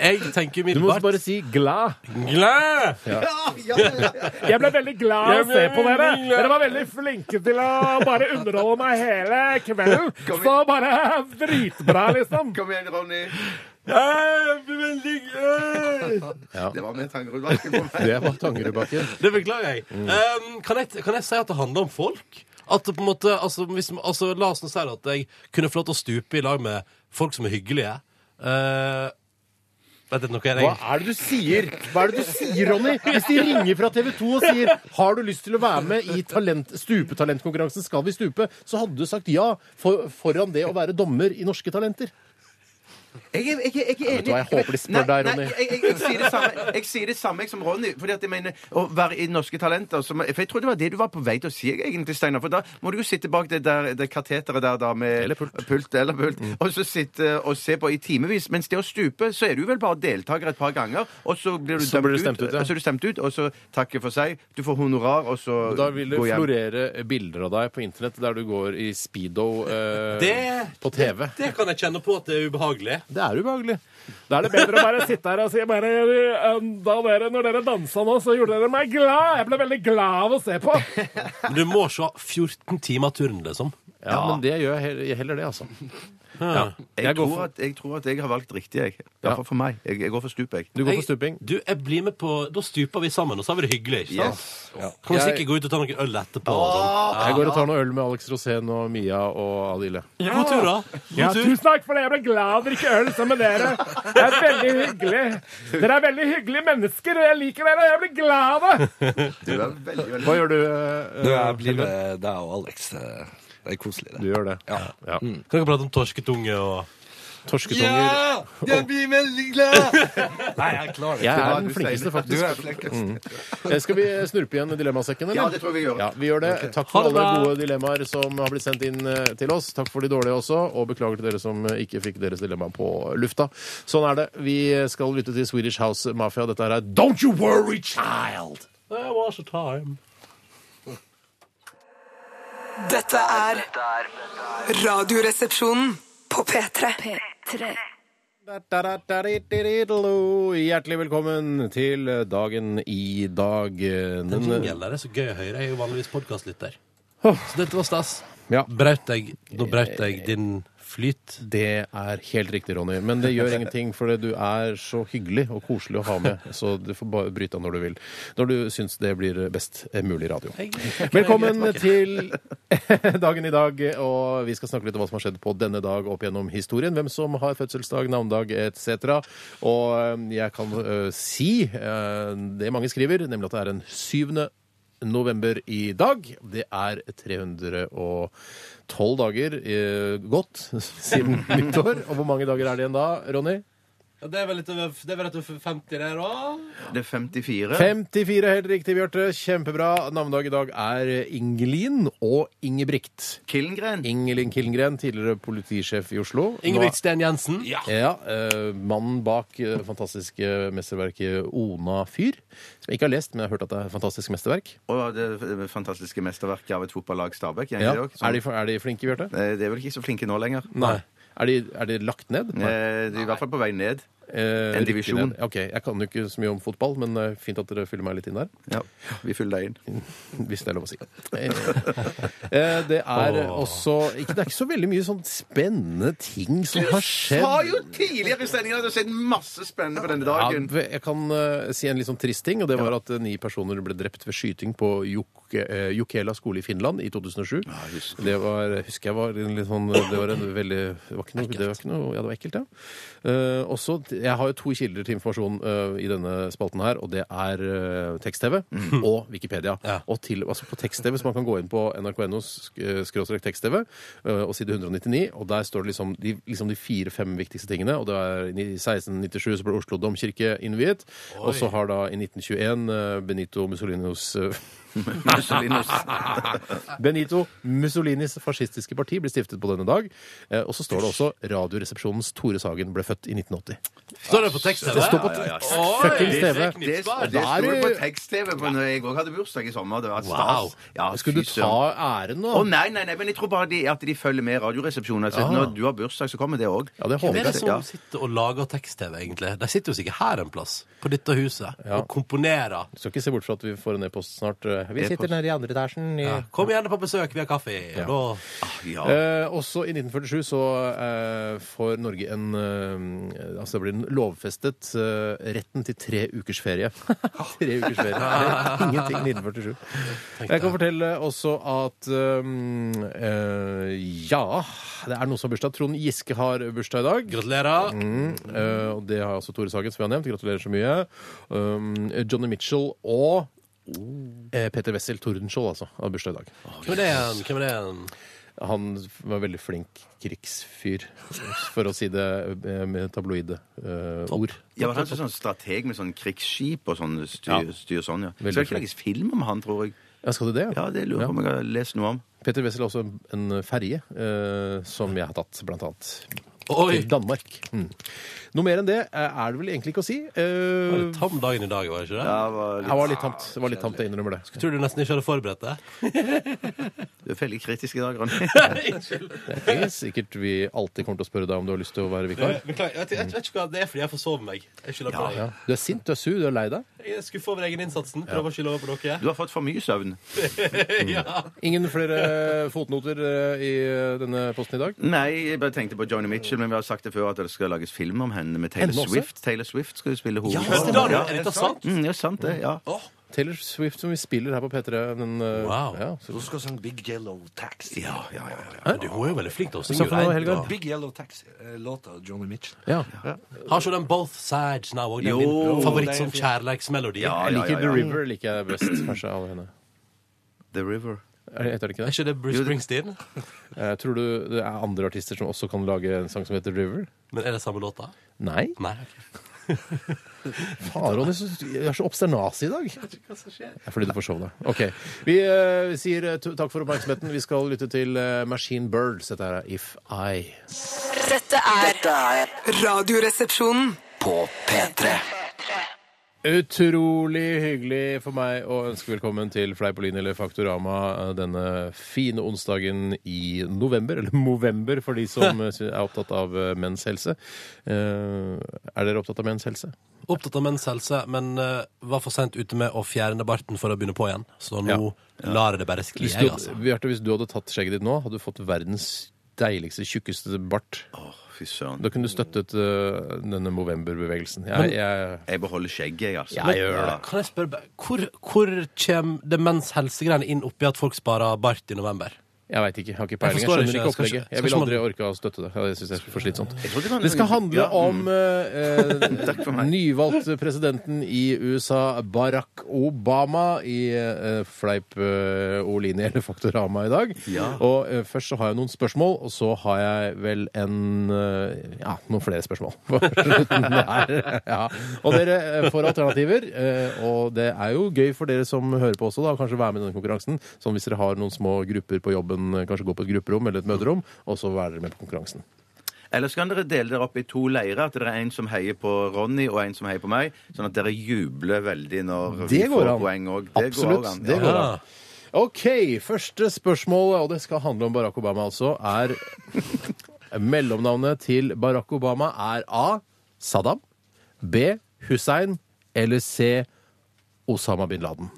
[SPEAKER 3] Jeg
[SPEAKER 1] Du
[SPEAKER 3] tenker
[SPEAKER 1] må
[SPEAKER 3] umiddelbart
[SPEAKER 1] bare si 'glad'.
[SPEAKER 3] Glad!
[SPEAKER 1] Jeg ble veldig glad av å
[SPEAKER 3] Jeg ble
[SPEAKER 1] se på dere.
[SPEAKER 3] veldig glad.
[SPEAKER 1] Dere var veldig flinke til å bare underholde meg hele kvelden.
[SPEAKER 2] Kom
[SPEAKER 1] Så bare dritbra, liksom.
[SPEAKER 2] Kom igjen, Ronny.
[SPEAKER 3] Jeg blir veldig glad!
[SPEAKER 2] Det var med tangerudvasken på meg.
[SPEAKER 1] Det var Tangerudbakken.
[SPEAKER 3] Det beklager jeg.
[SPEAKER 1] Mm.
[SPEAKER 3] Um, kan jeg. Kan jeg si at det handler om folk? At det på en måte, altså, hvis, altså La oss nå si at jeg kunne få lov til å stupe i lag med folk som er hyggelige. Uh, vet du noe jeg
[SPEAKER 1] Hva er det du sier? Hva er det du sier, Ronny? Hvis de ringer fra TV 2 og sier 'Har du lyst til å være med i talent, stupetalentkonkurransen Skal vi stupe?', så hadde du sagt ja for, foran det å være dommer i Norske Talenter.
[SPEAKER 2] Jeg, er- jeg, er- jeg, er
[SPEAKER 1] vet du hva, jeg
[SPEAKER 2] enig.
[SPEAKER 1] håper de spør deg, Ronny.
[SPEAKER 2] Nei, jeg, jeg, jeg, sier det samme, jeg sier det samme som Ronny. Fordi at jeg mener Å være i Norske Talenter som, For jeg tror det var det du var på vei til å si, egentlig, Steinar. For da må du jo sitte bak det, der, det kateteret der, da, med
[SPEAKER 1] Eller pult. Mm.
[SPEAKER 2] eller pult og så sitte og se på i timevis. Mens det å stupe, så er du vel bare deltaker et par ganger, og så blir du,
[SPEAKER 1] Så
[SPEAKER 2] dømt
[SPEAKER 1] blir du stemt ut, ja.
[SPEAKER 2] og så er du stemt ut, og så takker for seg. Du får honorar, og så
[SPEAKER 1] Da vil det
[SPEAKER 2] gå hjem.
[SPEAKER 1] florere bilder av deg på internett der du går i speedo eh,
[SPEAKER 3] Det-
[SPEAKER 1] på TV.
[SPEAKER 3] Det kan jeg kjenne på at det er ubehagelig.
[SPEAKER 1] Det er ubehagelig. Da er det bedre å bare sitte her og si bare, «Øhm, da dere, Når dere dansa nå, så gjorde dere meg glad. Jeg ble veldig glad av å se på.
[SPEAKER 3] Men du må se 14 timer turen, liksom.
[SPEAKER 1] Ja, men det gjør jeg heller det, altså.
[SPEAKER 2] Jeg,
[SPEAKER 1] Jeg går
[SPEAKER 2] tror
[SPEAKER 1] for-
[SPEAKER 2] at, jeg tror at jeg har valgt riktig, jeg. Iallfall for meg. Jeg, jeg går for stupet, jeg.
[SPEAKER 1] Du går for stuping.
[SPEAKER 3] Jeg, du, jeg blir med på, Da stuper vi sammen, og så har vi det hyggelig. ikke sant?
[SPEAKER 2] Yes.
[SPEAKER 3] Kan vi sikkert gå ut og ta noen øl etterpå. og sånn.
[SPEAKER 1] Jeg går og tar noe øl med Alex Rosén og Mia og Adile.
[SPEAKER 3] God tur, da. God tur.
[SPEAKER 8] Tusen takk for det. Jeg ble glad av å drikke øl sammen med dere. Det er veldig hyggelig. Dere er veldig hyggelige mennesker, og jeg liker dere. og Jeg blir glad av det.
[SPEAKER 2] Du er veldig, veldig
[SPEAKER 1] Hva gjør du?
[SPEAKER 4] Nå
[SPEAKER 1] eh,
[SPEAKER 4] jeg blir med deg og Alex. eh, Det er koselig,
[SPEAKER 1] Du
[SPEAKER 4] det.
[SPEAKER 1] gjør det. Ja.
[SPEAKER 3] Kan dere prate om torsketunge og
[SPEAKER 1] Torsketunger.
[SPEAKER 4] jeg blir veldig glad! Nei, jeg klarer
[SPEAKER 1] Jeg
[SPEAKER 4] det.
[SPEAKER 1] er den flinkeste,
[SPEAKER 4] Du
[SPEAKER 1] faktisk.
[SPEAKER 4] er flinkest.
[SPEAKER 1] Eh, Skal vi snurpe igjen dilemmasekken, eller?
[SPEAKER 2] Ja, det tror jeg vi gjør.
[SPEAKER 1] Ja, vi gjør det. Takk for alle gode dilemmaer som har blitt sendt inn eh, til oss. Takk for de dårlige også, og beklager til dere som eh, ikke fikk deres dilemma på lufta. Sånn er det. Vi skal lytte til Swedish House Mafia. Dette her er Don't You Worry Child!
[SPEAKER 3] There was a time.
[SPEAKER 7] Dette er Radioresepsjonen på P3.
[SPEAKER 1] Hjertelig velkommen til dagen i dag. eh,
[SPEAKER 3] Den
[SPEAKER 1] Den,
[SPEAKER 3] jingelen der er så gøy å høre. Jeg er jo vanligvis podkastlytter.
[SPEAKER 1] Åh.
[SPEAKER 3] Så dette var stas.
[SPEAKER 1] Ja.
[SPEAKER 3] Braut jeg, nå braut jeg din flyt.
[SPEAKER 1] det er helt riktig, Ronny. Men det gjør ingenting, for du er så hyggelig og koselig å ha med. Så du får bare bryte av når du vil. Når du syns det blir best eh, mulig radio. Velkommen til dagen i dag, og vi skal snakke litt om hva som har skjedd på denne dag opp gjennom historien. Hvem som har fødselsdag, navnedag etc. Og eh, jeg kan eh, si eh, det mange skriver, nemlig at det er den 7. november i dag. Det er uh, 312 dager eh, godt siden nyttår. Og hvor mange dager er det igjen da, Ronny?
[SPEAKER 3] Ja, det er vel litt over, det er vel rett over 50 der òg?
[SPEAKER 2] Det er 54.
[SPEAKER 1] 54 helt riktig, Bjarte. Kjempebra. Navnedag i dag er Ingelin og Ingebrigt.
[SPEAKER 2] Killengren.
[SPEAKER 1] Ingelin Killengren, tidligere politisjef i Oslo.
[SPEAKER 3] Ingebrigt Sten Jensen.
[SPEAKER 1] Nå- Ja, eh, Mannen bak eh, det fantastiske mesterverket Ona fyr. Som jeg ikke har lest, men jeg har hørt at det er et fantastisk mesterverk.
[SPEAKER 2] Og det fantastiske mesterverket av et fotballag, Stabæk.
[SPEAKER 1] Ja.
[SPEAKER 2] gjennom det også.
[SPEAKER 1] Er, de, er de flinke, Bjarte?
[SPEAKER 2] Eh, Det er vel ikke så flinke nå lenger.
[SPEAKER 1] Nei. Er de, er de lagt ned?
[SPEAKER 2] Eh, De er i hvert fall på vei ned.
[SPEAKER 1] Eh,
[SPEAKER 2] en
[SPEAKER 1] rykker
[SPEAKER 2] divisjon.
[SPEAKER 1] ned. Ok, Jeg kan jo ikke så mye om fotball, men eh, fint at dere fyller meg litt inn der.
[SPEAKER 2] Ja, Vi fyller deg inn.
[SPEAKER 1] Hvis det er lov å si. Eh, Det er også ikke, Det er ikke så veldig mye sånn spennende ting som har skjedd.
[SPEAKER 2] Har jo tidligere i sendingen at det har skjedd masse spennende på denne
[SPEAKER 1] Ja,
[SPEAKER 2] dagen.
[SPEAKER 1] ve- jeg kan eh, si en litt sånn trist ting, og det var at eh, ni personer ble drept ved skyting på Jok eh, Jokela skole i Finland i 2007. det var, husker jeg var en litt sånn Det var en veldig Det var ikke noe, det var ikke noe Ja, det var ekkelt, ja. Eh, også, jeg har jo to kilder til informasjon eh, i denne spalten her, og det er eh, tekst-TV og Wikipedia.
[SPEAKER 3] Ja.
[SPEAKER 1] Og til, altså på tekst-TV, så man kan gå inn på nrk.no skråstrek tekst-TV eh, og side 199, og der står det liksom de, liksom de fire-fem viktigste tingene. Og det er i 1697 så ble Oslo domkirke innviet, og så har da i 1921 eh, Benito Mussolinos eh,
[SPEAKER 2] Mussolinos.
[SPEAKER 1] Benito Mussolinis fascistiske parti ble stiftet på denne dag. Eh, Og så står det også Radioresepsjonens Tore Sagen ble født i 1980.
[SPEAKER 3] Står det på tekst? Det
[SPEAKER 1] står på tekst. Fuckings TV.
[SPEAKER 2] Det, det sto
[SPEAKER 1] Da er
[SPEAKER 2] det
[SPEAKER 1] du-
[SPEAKER 2] på tekst-TV på når jeg òg hadde bursdag i sommer. Det var
[SPEAKER 3] Wow.
[SPEAKER 2] stas. Ja,
[SPEAKER 1] Skulle
[SPEAKER 2] Ah, fy
[SPEAKER 1] du
[SPEAKER 2] søren.
[SPEAKER 1] ta æren nå?
[SPEAKER 2] Å nei, nei, nei, men jeg tror bare de, at de følger med Radioresepsjonen. Altså, Når du har bursdag, så kommer det òg.
[SPEAKER 1] Ah. Ja, det
[SPEAKER 3] Hvem
[SPEAKER 1] håper
[SPEAKER 3] er
[SPEAKER 1] jeg.
[SPEAKER 3] det som sitter og lager tekst-TV, egentlig? De sitter jo sikkert her en plass, på dette huset, og komponerer.
[SPEAKER 1] Du skal ikke se bort fra at vi får en e-post snart. eh, Vi
[SPEAKER 2] E-post.
[SPEAKER 1] sitter nede i andre etasjen. i-
[SPEAKER 3] Ja. Kom gjerne på besøk, vi har kaffe. Ja. Da,
[SPEAKER 2] Ja.
[SPEAKER 1] Eh, også i 1947 så eh, får Norge en eh, Altså det blir en lovfestet eh, retten til tre ukers ferie. tre ukers ferie. Det er ingenting i 1947. Jeg kan fortelle også at eh, eh, Ja, det er noen som har bursdag. Trond Giske har bursdag i dag.
[SPEAKER 3] gratulerer.
[SPEAKER 1] Eh, og det har også Tore Sagen, som vi har nevnt. Gratulerer så mye. Um, Johnny Mitchell og eh, Peter Wessel Tordenskjold, altså, har bursdag i dag.
[SPEAKER 3] Hvem er det igjen? Hvem er det igjen?
[SPEAKER 1] Han var veldig flink krigsfyr, for å si det eh, med tabloide eh, ord.
[SPEAKER 2] Ja, men han er sånn strateg med sånn krigsskip og sånn styr,
[SPEAKER 1] Ja.
[SPEAKER 2] styr sånn, ja.
[SPEAKER 1] Veldig
[SPEAKER 2] Skal det ikke
[SPEAKER 1] flink.
[SPEAKER 2] lages film om han, tror jeg?
[SPEAKER 1] Ja, skal du det?
[SPEAKER 2] Ja, det lurer jeg på om jeg har lest noe om.
[SPEAKER 1] Peter Wessel har også en- en ferje eh, som jeg har tatt, blant annet.
[SPEAKER 3] Oi!
[SPEAKER 1] Til Danmark. Mm. Noe mer enn det eh, er det vel egentlig ikke å si.
[SPEAKER 3] Det var
[SPEAKER 1] Eh,
[SPEAKER 3] litt tam dagen i dag, var det ikke det?
[SPEAKER 2] Ja, det var
[SPEAKER 1] det var litt tamt. Det var litt tamt, jeg innrømmer det.
[SPEAKER 3] Tror du nesten ikke hadde forberedt det?
[SPEAKER 2] litt- Du er veldig kritisk i dag, Ronny.
[SPEAKER 1] Det er sikkert vi alltid kommer til å spørre deg om du har lyst til å være vikar.
[SPEAKER 3] Beklager. Jeg, jeg vet ikke hva det er fordi jeg forsover meg. Jeg skylder på
[SPEAKER 1] Ja. Du er sint, du er sur, du er lei deg.
[SPEAKER 3] deg. Jeg er skuffa over egen innsatsen. Prøver å skylde over på dere.
[SPEAKER 2] Du har fått for mye søvn.
[SPEAKER 1] Ingen flere fotnoter eh, i denne posten i dag?
[SPEAKER 2] Nei, jeg bare tenkte på Johnny Mitchell, men vi har sagt det før at det skal lages film om henne med Taylor
[SPEAKER 1] Henne også?
[SPEAKER 2] Swift. Taylor Swift skal jo spille
[SPEAKER 3] Ja,
[SPEAKER 2] hovedrollen.
[SPEAKER 3] men da, er dette sant?
[SPEAKER 2] Mm, det er sant, det. ja.
[SPEAKER 1] Taylor Swift som vi spiller her på P3. Den, eh,
[SPEAKER 3] Wow.
[SPEAKER 1] ja, så
[SPEAKER 4] Hun skal synge Big Yellow Taxi.
[SPEAKER 2] Ja, ja, ja, ja.
[SPEAKER 3] Men du er jo veldig flink til å
[SPEAKER 1] Hva sa
[SPEAKER 3] synge.
[SPEAKER 1] for noe,
[SPEAKER 3] reint,
[SPEAKER 1] Helga?
[SPEAKER 3] da.
[SPEAKER 4] Big Yellow Taxi-låta av Johnny Mitchell.
[SPEAKER 1] Ja.
[SPEAKER 3] Har ikke den Both Sides Now òg? Det
[SPEAKER 2] Jo.
[SPEAKER 3] er min favoritt
[SPEAKER 4] Den er
[SPEAKER 3] som
[SPEAKER 4] fin.
[SPEAKER 3] kjærleiksmelodi.
[SPEAKER 2] Ja,
[SPEAKER 1] Jeg
[SPEAKER 2] ja,
[SPEAKER 1] liker
[SPEAKER 2] ja,
[SPEAKER 1] Ah, The
[SPEAKER 2] ja.
[SPEAKER 1] River liker jeg best, kanskje, av henne.
[SPEAKER 2] The River.
[SPEAKER 1] Er det, heter det ikke
[SPEAKER 3] Er
[SPEAKER 1] det?
[SPEAKER 3] ikke det Bruce Springsteen?
[SPEAKER 1] Eh, tror du det er andre artister som også kan lage en sang som heter River?
[SPEAKER 3] Men er det samme låta?
[SPEAKER 1] Nei.
[SPEAKER 3] Nei. ok.
[SPEAKER 1] Faron, jeg er så- jeg er så obsternasig i dag.
[SPEAKER 3] Jeg vet ikke hva som skjer.
[SPEAKER 1] Det er fordi du forsov deg. OK. Vi eh, sier eh, t- takk for oppmerksomheten. Vi skal lytte til eh, Machine Birds. Dette her er If I.
[SPEAKER 7] Dette er
[SPEAKER 6] Dette er
[SPEAKER 7] Radioresepsjonen.
[SPEAKER 6] på P3.
[SPEAKER 1] Utrolig hyggelig for meg å ønske velkommen til Fleipolini eller Faktorama eh, denne fine onsdagen i november, eller Movember for de som er opptatt av eh, menns helse. Eh, Er dere opptatt av menns helse?
[SPEAKER 3] Opptatt av menns helse, men eh, var for sent ute med å fjerne barten for å begynne på igjen. Så nå lar jeg det bare skli.
[SPEAKER 1] Hvis du,
[SPEAKER 3] Jeg, altså.
[SPEAKER 1] Bjarte, hvis du hadde tatt skjegget ditt nå, hadde du fått verdens deiligste, tjukkeste bart.
[SPEAKER 2] Å, fy søren.
[SPEAKER 1] Da kunne du støttet eh, denne Movember-bevegelsen. Jeg, jeg,
[SPEAKER 2] Jeg beholder skjegget, jeg, altså.
[SPEAKER 1] Jeg gjør det.
[SPEAKER 3] Kan jeg spørre, hvor, hvor kommer demens helsegreiene inn oppi at folk sparer bart i november?
[SPEAKER 1] Jeg veit ikke. Jeg har ikke peiling. Jeg,
[SPEAKER 3] forstår
[SPEAKER 1] skjønner
[SPEAKER 3] ikke,
[SPEAKER 1] ikke
[SPEAKER 3] jeg skal
[SPEAKER 1] opplegget.
[SPEAKER 3] ikke-
[SPEAKER 1] Jeg vil
[SPEAKER 3] skal
[SPEAKER 1] aldri
[SPEAKER 3] ikke-
[SPEAKER 1] orke å støtte det. Ja, Det syns jeg er for slitsomt.
[SPEAKER 2] tror det var-
[SPEAKER 1] Det skal handle
[SPEAKER 2] Ja, mm.
[SPEAKER 1] om
[SPEAKER 2] Takk for
[SPEAKER 1] eh, eh,
[SPEAKER 2] meg.
[SPEAKER 1] nyvalgt presidenten i USA, Barack Obama, i eh, fleip eh, Olini eller Faktorama i dag. Og eh, først så har jeg noen spørsmål, og så har jeg vel en eh, Ja, noen flere spørsmål. på slutten der. ja. Og dere eh, får alternativer, eh, og det er jo gøy for dere som hører på også, da, å kanskje være med i denne konkurransen. Sånn hvis dere har noen små grupper på jobben, eh, kanskje gå på et grupperom eller et møterom, og så være dere med på konkurransen.
[SPEAKER 2] Ellers kan dere dele dere opp i to leirer. At det er en som heier på Ronny, og en som heier på meg. Sånn at dere jubler veldig når vi
[SPEAKER 1] Det går
[SPEAKER 2] får
[SPEAKER 1] an.
[SPEAKER 2] poeng òg.
[SPEAKER 1] Absolutt, det går
[SPEAKER 3] Ja.
[SPEAKER 1] an. OK, første spørsmål, og det skal handle om Barack Obama altså, er Mellomnavnet til Barack Obama er A. Saddam. B. Hussein. Eller C. Osama bin Laden.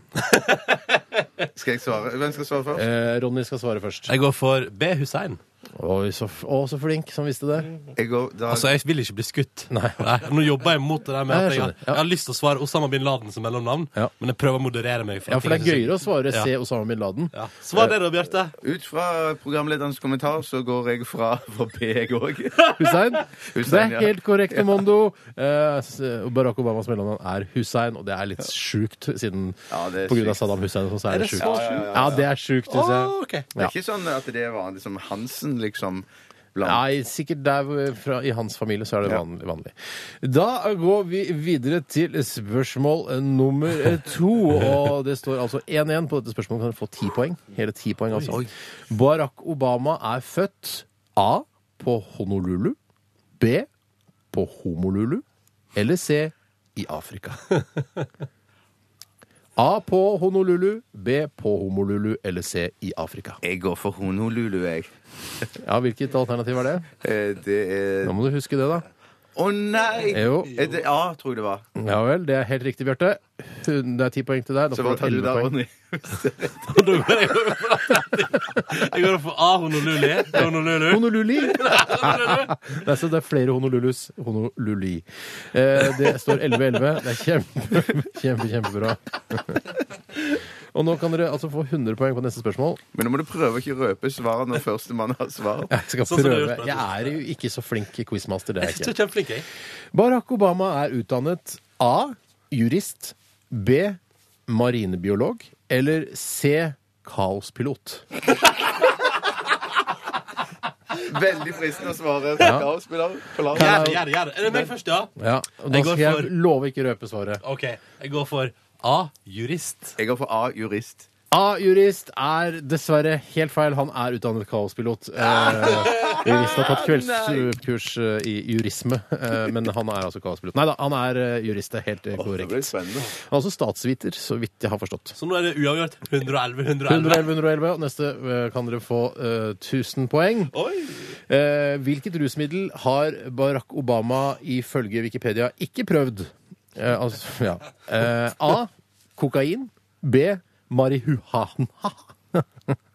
[SPEAKER 2] Skal jeg svare? Hvem skal svare først?
[SPEAKER 1] Eh, Ronny skal svare først.
[SPEAKER 3] Jeg går for B. Hussein.
[SPEAKER 1] Oi, så, f- å, så flink som visste det.
[SPEAKER 2] Jeg går, da,
[SPEAKER 3] Altså, jeg vil ikke bli skutt.
[SPEAKER 1] Nei.
[SPEAKER 3] Nå jobber jeg mot det der med
[SPEAKER 1] Nei,
[SPEAKER 3] at
[SPEAKER 1] jeg
[SPEAKER 3] jeg, har-
[SPEAKER 1] skjønner, ja.
[SPEAKER 3] jeg har lyst til å svare Osama bin Laden som mellomnavn,
[SPEAKER 1] Ja.
[SPEAKER 3] men jeg prøver å moderere meg.
[SPEAKER 1] Ja, for det er gøyere å svare
[SPEAKER 3] Ja.
[SPEAKER 1] C. Osama bin Laden.
[SPEAKER 3] Ja. Svar det, da, Bjarte.
[SPEAKER 2] ut fra programlederens kommentar så går jeg fra for B, jeg òg.
[SPEAKER 1] Hussein. Det
[SPEAKER 2] Hussein,
[SPEAKER 1] er
[SPEAKER 2] ja.
[SPEAKER 1] helt korrekt, Mondo. Eh, s- Barack Obamas mellomnavn er Hussein, og det er litt sjukt, siden
[SPEAKER 2] Ja, det er
[SPEAKER 1] på grunn av
[SPEAKER 2] sykt.
[SPEAKER 1] Saddam Hussein og sånn, så er det
[SPEAKER 3] det
[SPEAKER 1] sjukt.
[SPEAKER 3] så
[SPEAKER 1] Ja, det er sjukt, syns jeg.
[SPEAKER 3] ok.
[SPEAKER 2] Det er ikke sånn at det er vanlig som Hansen, liksom. Blant.
[SPEAKER 1] Nei, sikkert der hvor- fra, i hans familie så er det vanlig, vanlig. Da går vi videre til spørsmål eh, nummer to. Og det står altså 1-1 på dette spørsmålet. Kan dere få ti poeng? Hele ti poeng, altså. Barack Obama er født A. På Honolulu. B. På Homolulu. Eller C. I Afrika. A på Honolulu, B på Homolulu eller C i Afrika.
[SPEAKER 2] Jeg går for Honolulu, jeg.
[SPEAKER 1] Ja, Hvilket alternativ er det?
[SPEAKER 2] Eh, Det er
[SPEAKER 1] Nå
[SPEAKER 2] Å
[SPEAKER 1] må du huske det, da.
[SPEAKER 2] nei!
[SPEAKER 1] Jo.
[SPEAKER 2] Er det- Ja, tror jeg det var.
[SPEAKER 1] Ja vel, det er helt riktig, Bjarte. Hun- Det er ti poeng til deg. Da
[SPEAKER 2] Så
[SPEAKER 1] får du
[SPEAKER 2] hva tar du da,
[SPEAKER 1] elleve poeng.
[SPEAKER 2] Ronny?
[SPEAKER 3] Da går jeg over for alternativ. Jeg går for A. Honolulu. Honolulu.
[SPEAKER 1] Honoluli! Nei, så det er flere Honolulus. Honoluli. Eh, Det står 11-11. Det er kjempe, kjempe, kjempebra. Og nå kan dere altså få 100 poeng på neste spørsmål.
[SPEAKER 2] Men nå må du prøve å ikke røpe svaret når førstemann har svar.
[SPEAKER 1] Jeg skal
[SPEAKER 3] Sånn som du har
[SPEAKER 1] prøve.
[SPEAKER 3] gjort,
[SPEAKER 1] Jeg er jo ikke så flink quizmaster, det er
[SPEAKER 3] Jeg
[SPEAKER 1] jeg
[SPEAKER 3] synes du
[SPEAKER 1] ikke.
[SPEAKER 3] er kjempeflink, jeg.
[SPEAKER 1] Barack Obama er utdannet A. Jurist. B. Marinebiolog. Eller C. Kaospilot.
[SPEAKER 2] Veldig fristende å svare. Kaospiller på lag.
[SPEAKER 3] Gjør det, gjør det, gjør det. Er det meg først, ja?
[SPEAKER 1] Ja, og Da
[SPEAKER 3] Jeg
[SPEAKER 1] skal
[SPEAKER 3] går
[SPEAKER 1] Altså, jeg
[SPEAKER 3] for-
[SPEAKER 1] love ikke røpe svaret.
[SPEAKER 3] OK. Jeg går for A. Jurist.
[SPEAKER 2] Jeg går for A, jurist.
[SPEAKER 1] A-jurist er dessverre helt feil. Han er utdannet kaospilot. Eh, jurist har tatt kveldskurs eh, i jurisme, eh, men han er altså kaospilot. Nei da, han er eh, jurist. Det er helt eh, korrekt. Han
[SPEAKER 2] spennende.
[SPEAKER 1] er også statsviter, så vidt jeg har forstått.
[SPEAKER 3] Så nå er det uavgjort. 111, 111.
[SPEAKER 1] 111, 111. og Neste eh, kan dere få eh, 1000 poeng.
[SPEAKER 3] Oi.
[SPEAKER 1] Eh, hvilket rusmiddel har Barack Obama ifølge Wikipedia ikke prøvd? Eh, altså, ja. eh, A. Kokain. B. Marihuana.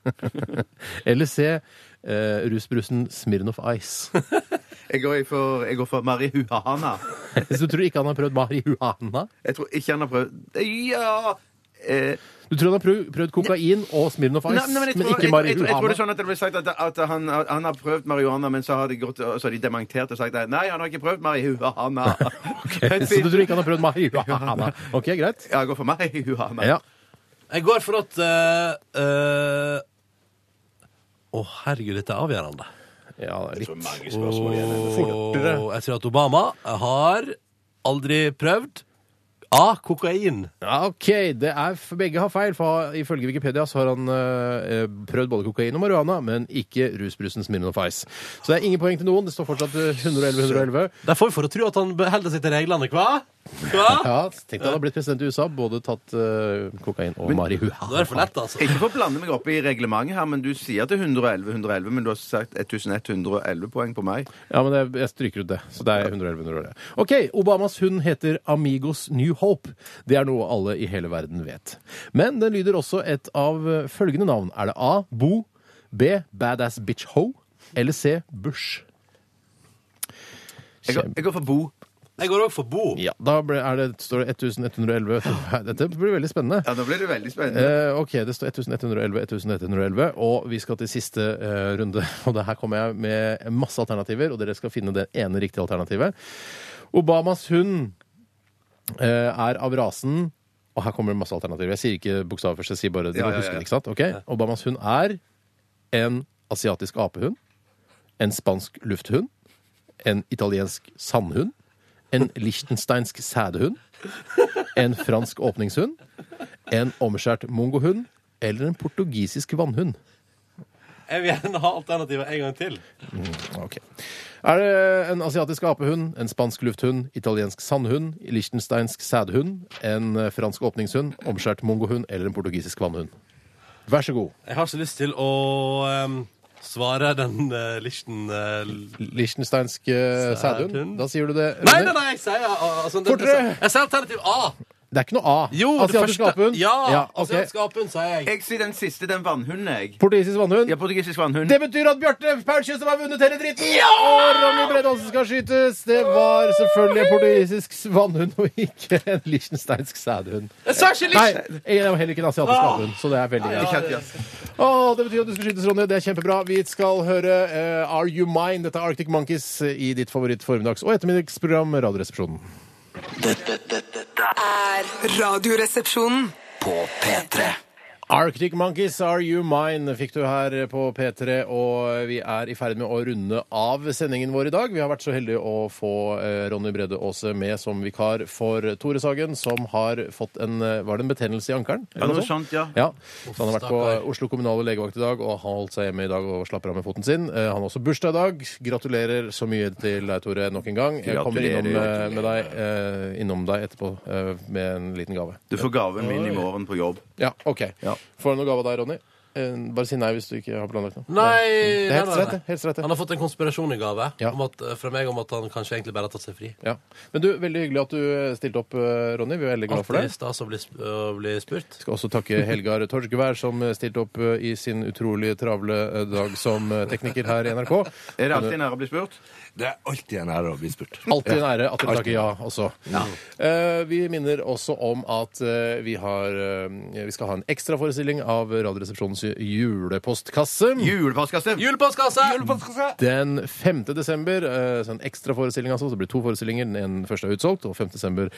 [SPEAKER 1] Eller C. Eh, rusbrusen Smirnoff Ice.
[SPEAKER 2] Jeg går for, jeg går for marihuana.
[SPEAKER 1] Så du tror ikke han har prøvd marihuana?
[SPEAKER 2] Jeg tror ikke han har prøvd Ja! Eh,
[SPEAKER 1] Du tror han har prøvd, prøvd kokain og Smirnoff Ice,
[SPEAKER 2] nei, nei, men jeg
[SPEAKER 1] men,
[SPEAKER 2] tror,
[SPEAKER 1] ikke
[SPEAKER 2] jeg, jeg, tror- jeg tror
[SPEAKER 1] marihuana?
[SPEAKER 2] det er sånn at det ble sagt at, at han, han har prøvd marihuana, men så har de, gått, og så har de dementert og sagt at nei, han har ikke prøvd marihuana.
[SPEAKER 1] Så du tror ikke han har prøvd marihuana? OK, greit.
[SPEAKER 2] Ja, jeg går for marihuana.
[SPEAKER 1] Ja.
[SPEAKER 3] Jeg går for at eh, eh, Å, herregud, dette er avgjørende.
[SPEAKER 1] ja litt.
[SPEAKER 3] Fortere. Jeg tror at Obama har aldri prøvd A. Kokain.
[SPEAKER 1] Ja, OK. Det er, for begge har feil, for ifølge Wikipedia så har han eh, eh, prøvd både kokain og marihuana, men ikke rusbrusen Smirnoff Ice. Så det er ingen poeng til noen. Det står fortsatt eh, 111-111.
[SPEAKER 3] Der får vi for å tro at han beholder seg til reglene, hva? hva?
[SPEAKER 1] Ja, Tenk deg han har blitt president i USA, både tatt eh, kokain og
[SPEAKER 3] Nå er
[SPEAKER 1] marihuana.
[SPEAKER 3] det for lett, altså.
[SPEAKER 2] Ikke for å blande meg opp i reglementet her, men du sier at det er 111, 111, men du har sagt 1111 poeng på meg.
[SPEAKER 1] Ja, men det, jeg stryker ut det. Så det er 111-111. OK. Obamas hund heter Amigos New Hope. Det er noe alle i hele verden vet. Men den lyder også et av eh, følgende navn. Er det A. Bo? B. Badass Bitch Ho? Eller C. Bush?
[SPEAKER 2] Jeg går, jeg går for Bo.
[SPEAKER 3] Jeg går òg for Bo.
[SPEAKER 1] Ja, da ble, er det, står det 1111. Dette blir veldig spennende.
[SPEAKER 2] Ja, nå blir det veldig spennende.
[SPEAKER 1] Eh, ok, det står 1111, 1111, og vi skal til siste eh, runde. Og det her kommer jeg med masse alternativer, og dere skal finne det ene riktige alternativet. Obamas hund eh, er av rasen Og her kommer det masse alternativer. Jeg sier ikke bokstaver først, jeg sier bare det.
[SPEAKER 2] Ja, ja, ja.
[SPEAKER 1] Husker det, ikke sant? Ok, Obamas hund er en asiatisk apehund, en spansk lufthund, en italiensk sandhund, en lichtensteinsk sædehund, en fransk åpningshund, en omskjært mongohund eller en portugisisk vannhund.
[SPEAKER 3] Jeg vil gjerne ha alternativet en gang til.
[SPEAKER 1] Ok. Er det en asiatisk apehund, en spansk lufthund, italiensk sandhund, lichtensteinsk sædhund, en eh, fransk åpningshund, omskjært mongohund eller en portugisisk vannhund? Vær så god.
[SPEAKER 3] Jeg har så lyst til å ehm, svare den uh, lichten eh, l-
[SPEAKER 1] Lichtensteinsk eh,
[SPEAKER 3] Sædhund.
[SPEAKER 1] sædhund. Da sier du det.
[SPEAKER 3] Nei,
[SPEAKER 1] Rune.
[SPEAKER 3] nei, nei, jeg sier ah, altså, den-
[SPEAKER 1] Fortere!
[SPEAKER 3] Jeg, sier alternativ A.
[SPEAKER 1] Det er ikke noe A.
[SPEAKER 3] Jo, det
[SPEAKER 1] asiatisk
[SPEAKER 3] første-
[SPEAKER 1] apehund.
[SPEAKER 3] Ja,
[SPEAKER 1] ok.
[SPEAKER 3] asiatisk apehund, sier jeg.
[SPEAKER 2] Jeg sier den siste, den vannhunden, jeg.
[SPEAKER 1] Portugisisk vannhund.
[SPEAKER 2] Ja, portugisisk vannhund.
[SPEAKER 1] Det betyr at Bjarte Paulsen som har vunnet hele dritten, og Ronny Bredåsen skal skytes. Det var selvfølgelig en portugisisk vannhund og ikke en lichtensteinsk sædhund.
[SPEAKER 3] Jeg sa ikke
[SPEAKER 1] Nei,
[SPEAKER 3] lichen!
[SPEAKER 1] jeg er jo heller ikke en asiatisk vannhund, så det er veldig greit.
[SPEAKER 2] Ikke at- Ah. ja.
[SPEAKER 1] Åh, det betyr at du skal skytes, Ronny. Det er kjempebra. Vi skal høre eh, Are You Mine? Dette er Arctic Monkeys i ditt favoritt formiddags- og ettermiddagsprogram Radioresepsjonen.
[SPEAKER 6] Dette, dette, dette
[SPEAKER 7] er Radioresepsjonen.
[SPEAKER 6] på P3.
[SPEAKER 1] Arctic Monkeys, Are You Mine? fikk du her på P3, og vi er i ferd med å runde av sendingen vår i dag. Vi har vært så heldige å få eh, Ronny Brede Aase med som vikar for Tore Sagen, som har fått en eh, Var det en betennelse i ankelen? eller
[SPEAKER 2] Ja, noe
[SPEAKER 1] sånt?
[SPEAKER 2] sånt, ja.
[SPEAKER 1] Ja, så Han har vært på Oslo kommunale legevakt i dag og har holdt seg hjemme i dag og slapper av med foten sin. Eh, Han har også bursdag i dag. Gratulerer så mye til deg, Tore, nok en gang. Jeg kommer innom, eh, med deg, eh, innom deg etterpå eh, med en liten gave.
[SPEAKER 2] Du får gaven min i morgen på jobb.
[SPEAKER 1] Ja, OK.
[SPEAKER 2] Ja.
[SPEAKER 1] Får du noe gave av deg, Ronny? Eh, Bare si nei hvis du ikke har planlagt noe.
[SPEAKER 3] Nei,
[SPEAKER 1] Det er
[SPEAKER 3] nei,
[SPEAKER 1] helt
[SPEAKER 3] nei,
[SPEAKER 1] rett,
[SPEAKER 3] nei.
[SPEAKER 1] det. Helt rett,
[SPEAKER 3] Han
[SPEAKER 1] det.
[SPEAKER 3] har fått en konspirasjon i gave
[SPEAKER 1] Ja.
[SPEAKER 3] om at, eh, fra meg om at han kanskje egentlig bare har tatt seg fri.
[SPEAKER 1] Ja. Men du, veldig hyggelig at du stilte opp, eh, Ronny. Vi er veldig glad for
[SPEAKER 3] Alltid
[SPEAKER 1] det.
[SPEAKER 3] stas å bli, sp- å bli spurt.
[SPEAKER 1] Skal også takke Helgar Torskevær, som eh, stilte opp eh, i sin utrolig travle eh, dag som eh, tekniker her i NRK.
[SPEAKER 2] Er det alltid en ære å bli spurt?
[SPEAKER 4] Det er alltid en ære å bli spurt.
[SPEAKER 1] Alltid en ære at dere takker ja også. Eh, vi minner også om at eh, vi, har, eh, vi skal ha en ekstraforestilling av Radioresepsjonens julepostkasse.
[SPEAKER 2] Julepostkasse!
[SPEAKER 3] Julepostkasse!
[SPEAKER 1] Den 5. desember, eh, så en ekstra forestilling altså, så det blir to forestillinger, den ene første er utsolgt, og 5. desember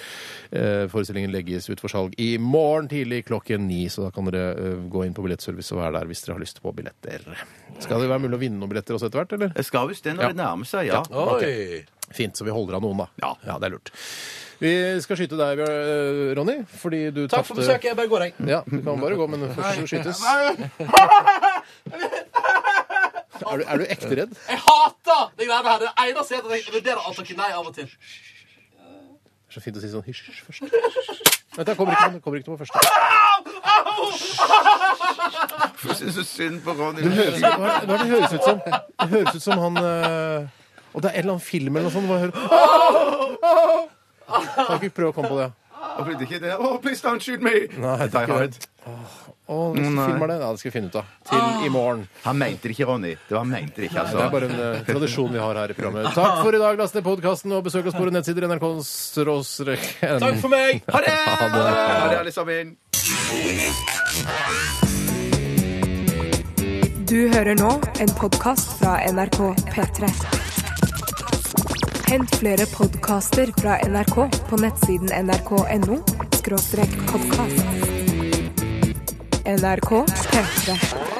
[SPEAKER 1] eh, forestillingen legges ut for salg i morgen tidlig klokken ni, så da kan dere eh, gå inn på billettservice og være der hvis dere har lyst på billetter. Skal det være mulig å vinne noen billetter også etter hvert, eller?
[SPEAKER 2] Jeg skal visst det når det nærmer seg, ja.
[SPEAKER 3] Oi!
[SPEAKER 1] Fint, så vi holder av noen da.
[SPEAKER 2] Ja.
[SPEAKER 1] det er lurt. Vi skal skyte deg, Bjør- eh, Ronny, fordi du
[SPEAKER 3] Takk for
[SPEAKER 1] tapte-
[SPEAKER 3] besøket. Jeg bare går, jeg.
[SPEAKER 1] Ja, du kan bare gå, men først så skytes. Er du, er du ekte redd?
[SPEAKER 3] Jeg hater det greiene her. Det eneste er at jeg vurderer å takke nei av og til.
[SPEAKER 1] Det er så fint å si sånn hysj hysj, først. Vent, da kommer ikke, på- kommer ikke på første.
[SPEAKER 2] Jeg synes så synd på Ronny.
[SPEAKER 1] Det høres, hva, er det- hva er det høres ut som? Det høres ut som han eh, Og det er en eller annen film eller noe sånt. hvor jeg hører- Kan ikke prøve å komme på det.
[SPEAKER 2] Jeg blir ikke det. Oh, please don't shoot me!
[SPEAKER 1] Nei, det er ikke det. Å, hvis du filmer det, ja, det skal vi finne ut av. Til i morgen.
[SPEAKER 2] Han mente det ikke, Ronny. Det var han mente det ikke,
[SPEAKER 1] Det er
[SPEAKER 2] altså.
[SPEAKER 1] bare en eh, tradisjon vi har her i programmet. Takk for i dag. Last ned podkasten og besøk oss på våre nettsider nrk.no.
[SPEAKER 3] Takk for meg.
[SPEAKER 2] Ha det! Ha det, alle sammen.
[SPEAKER 5] Du hører nå en podkast fra NRK P3. Hent flere podkaster fra NRK på nettsiden nrk.no podkast. NRK P3.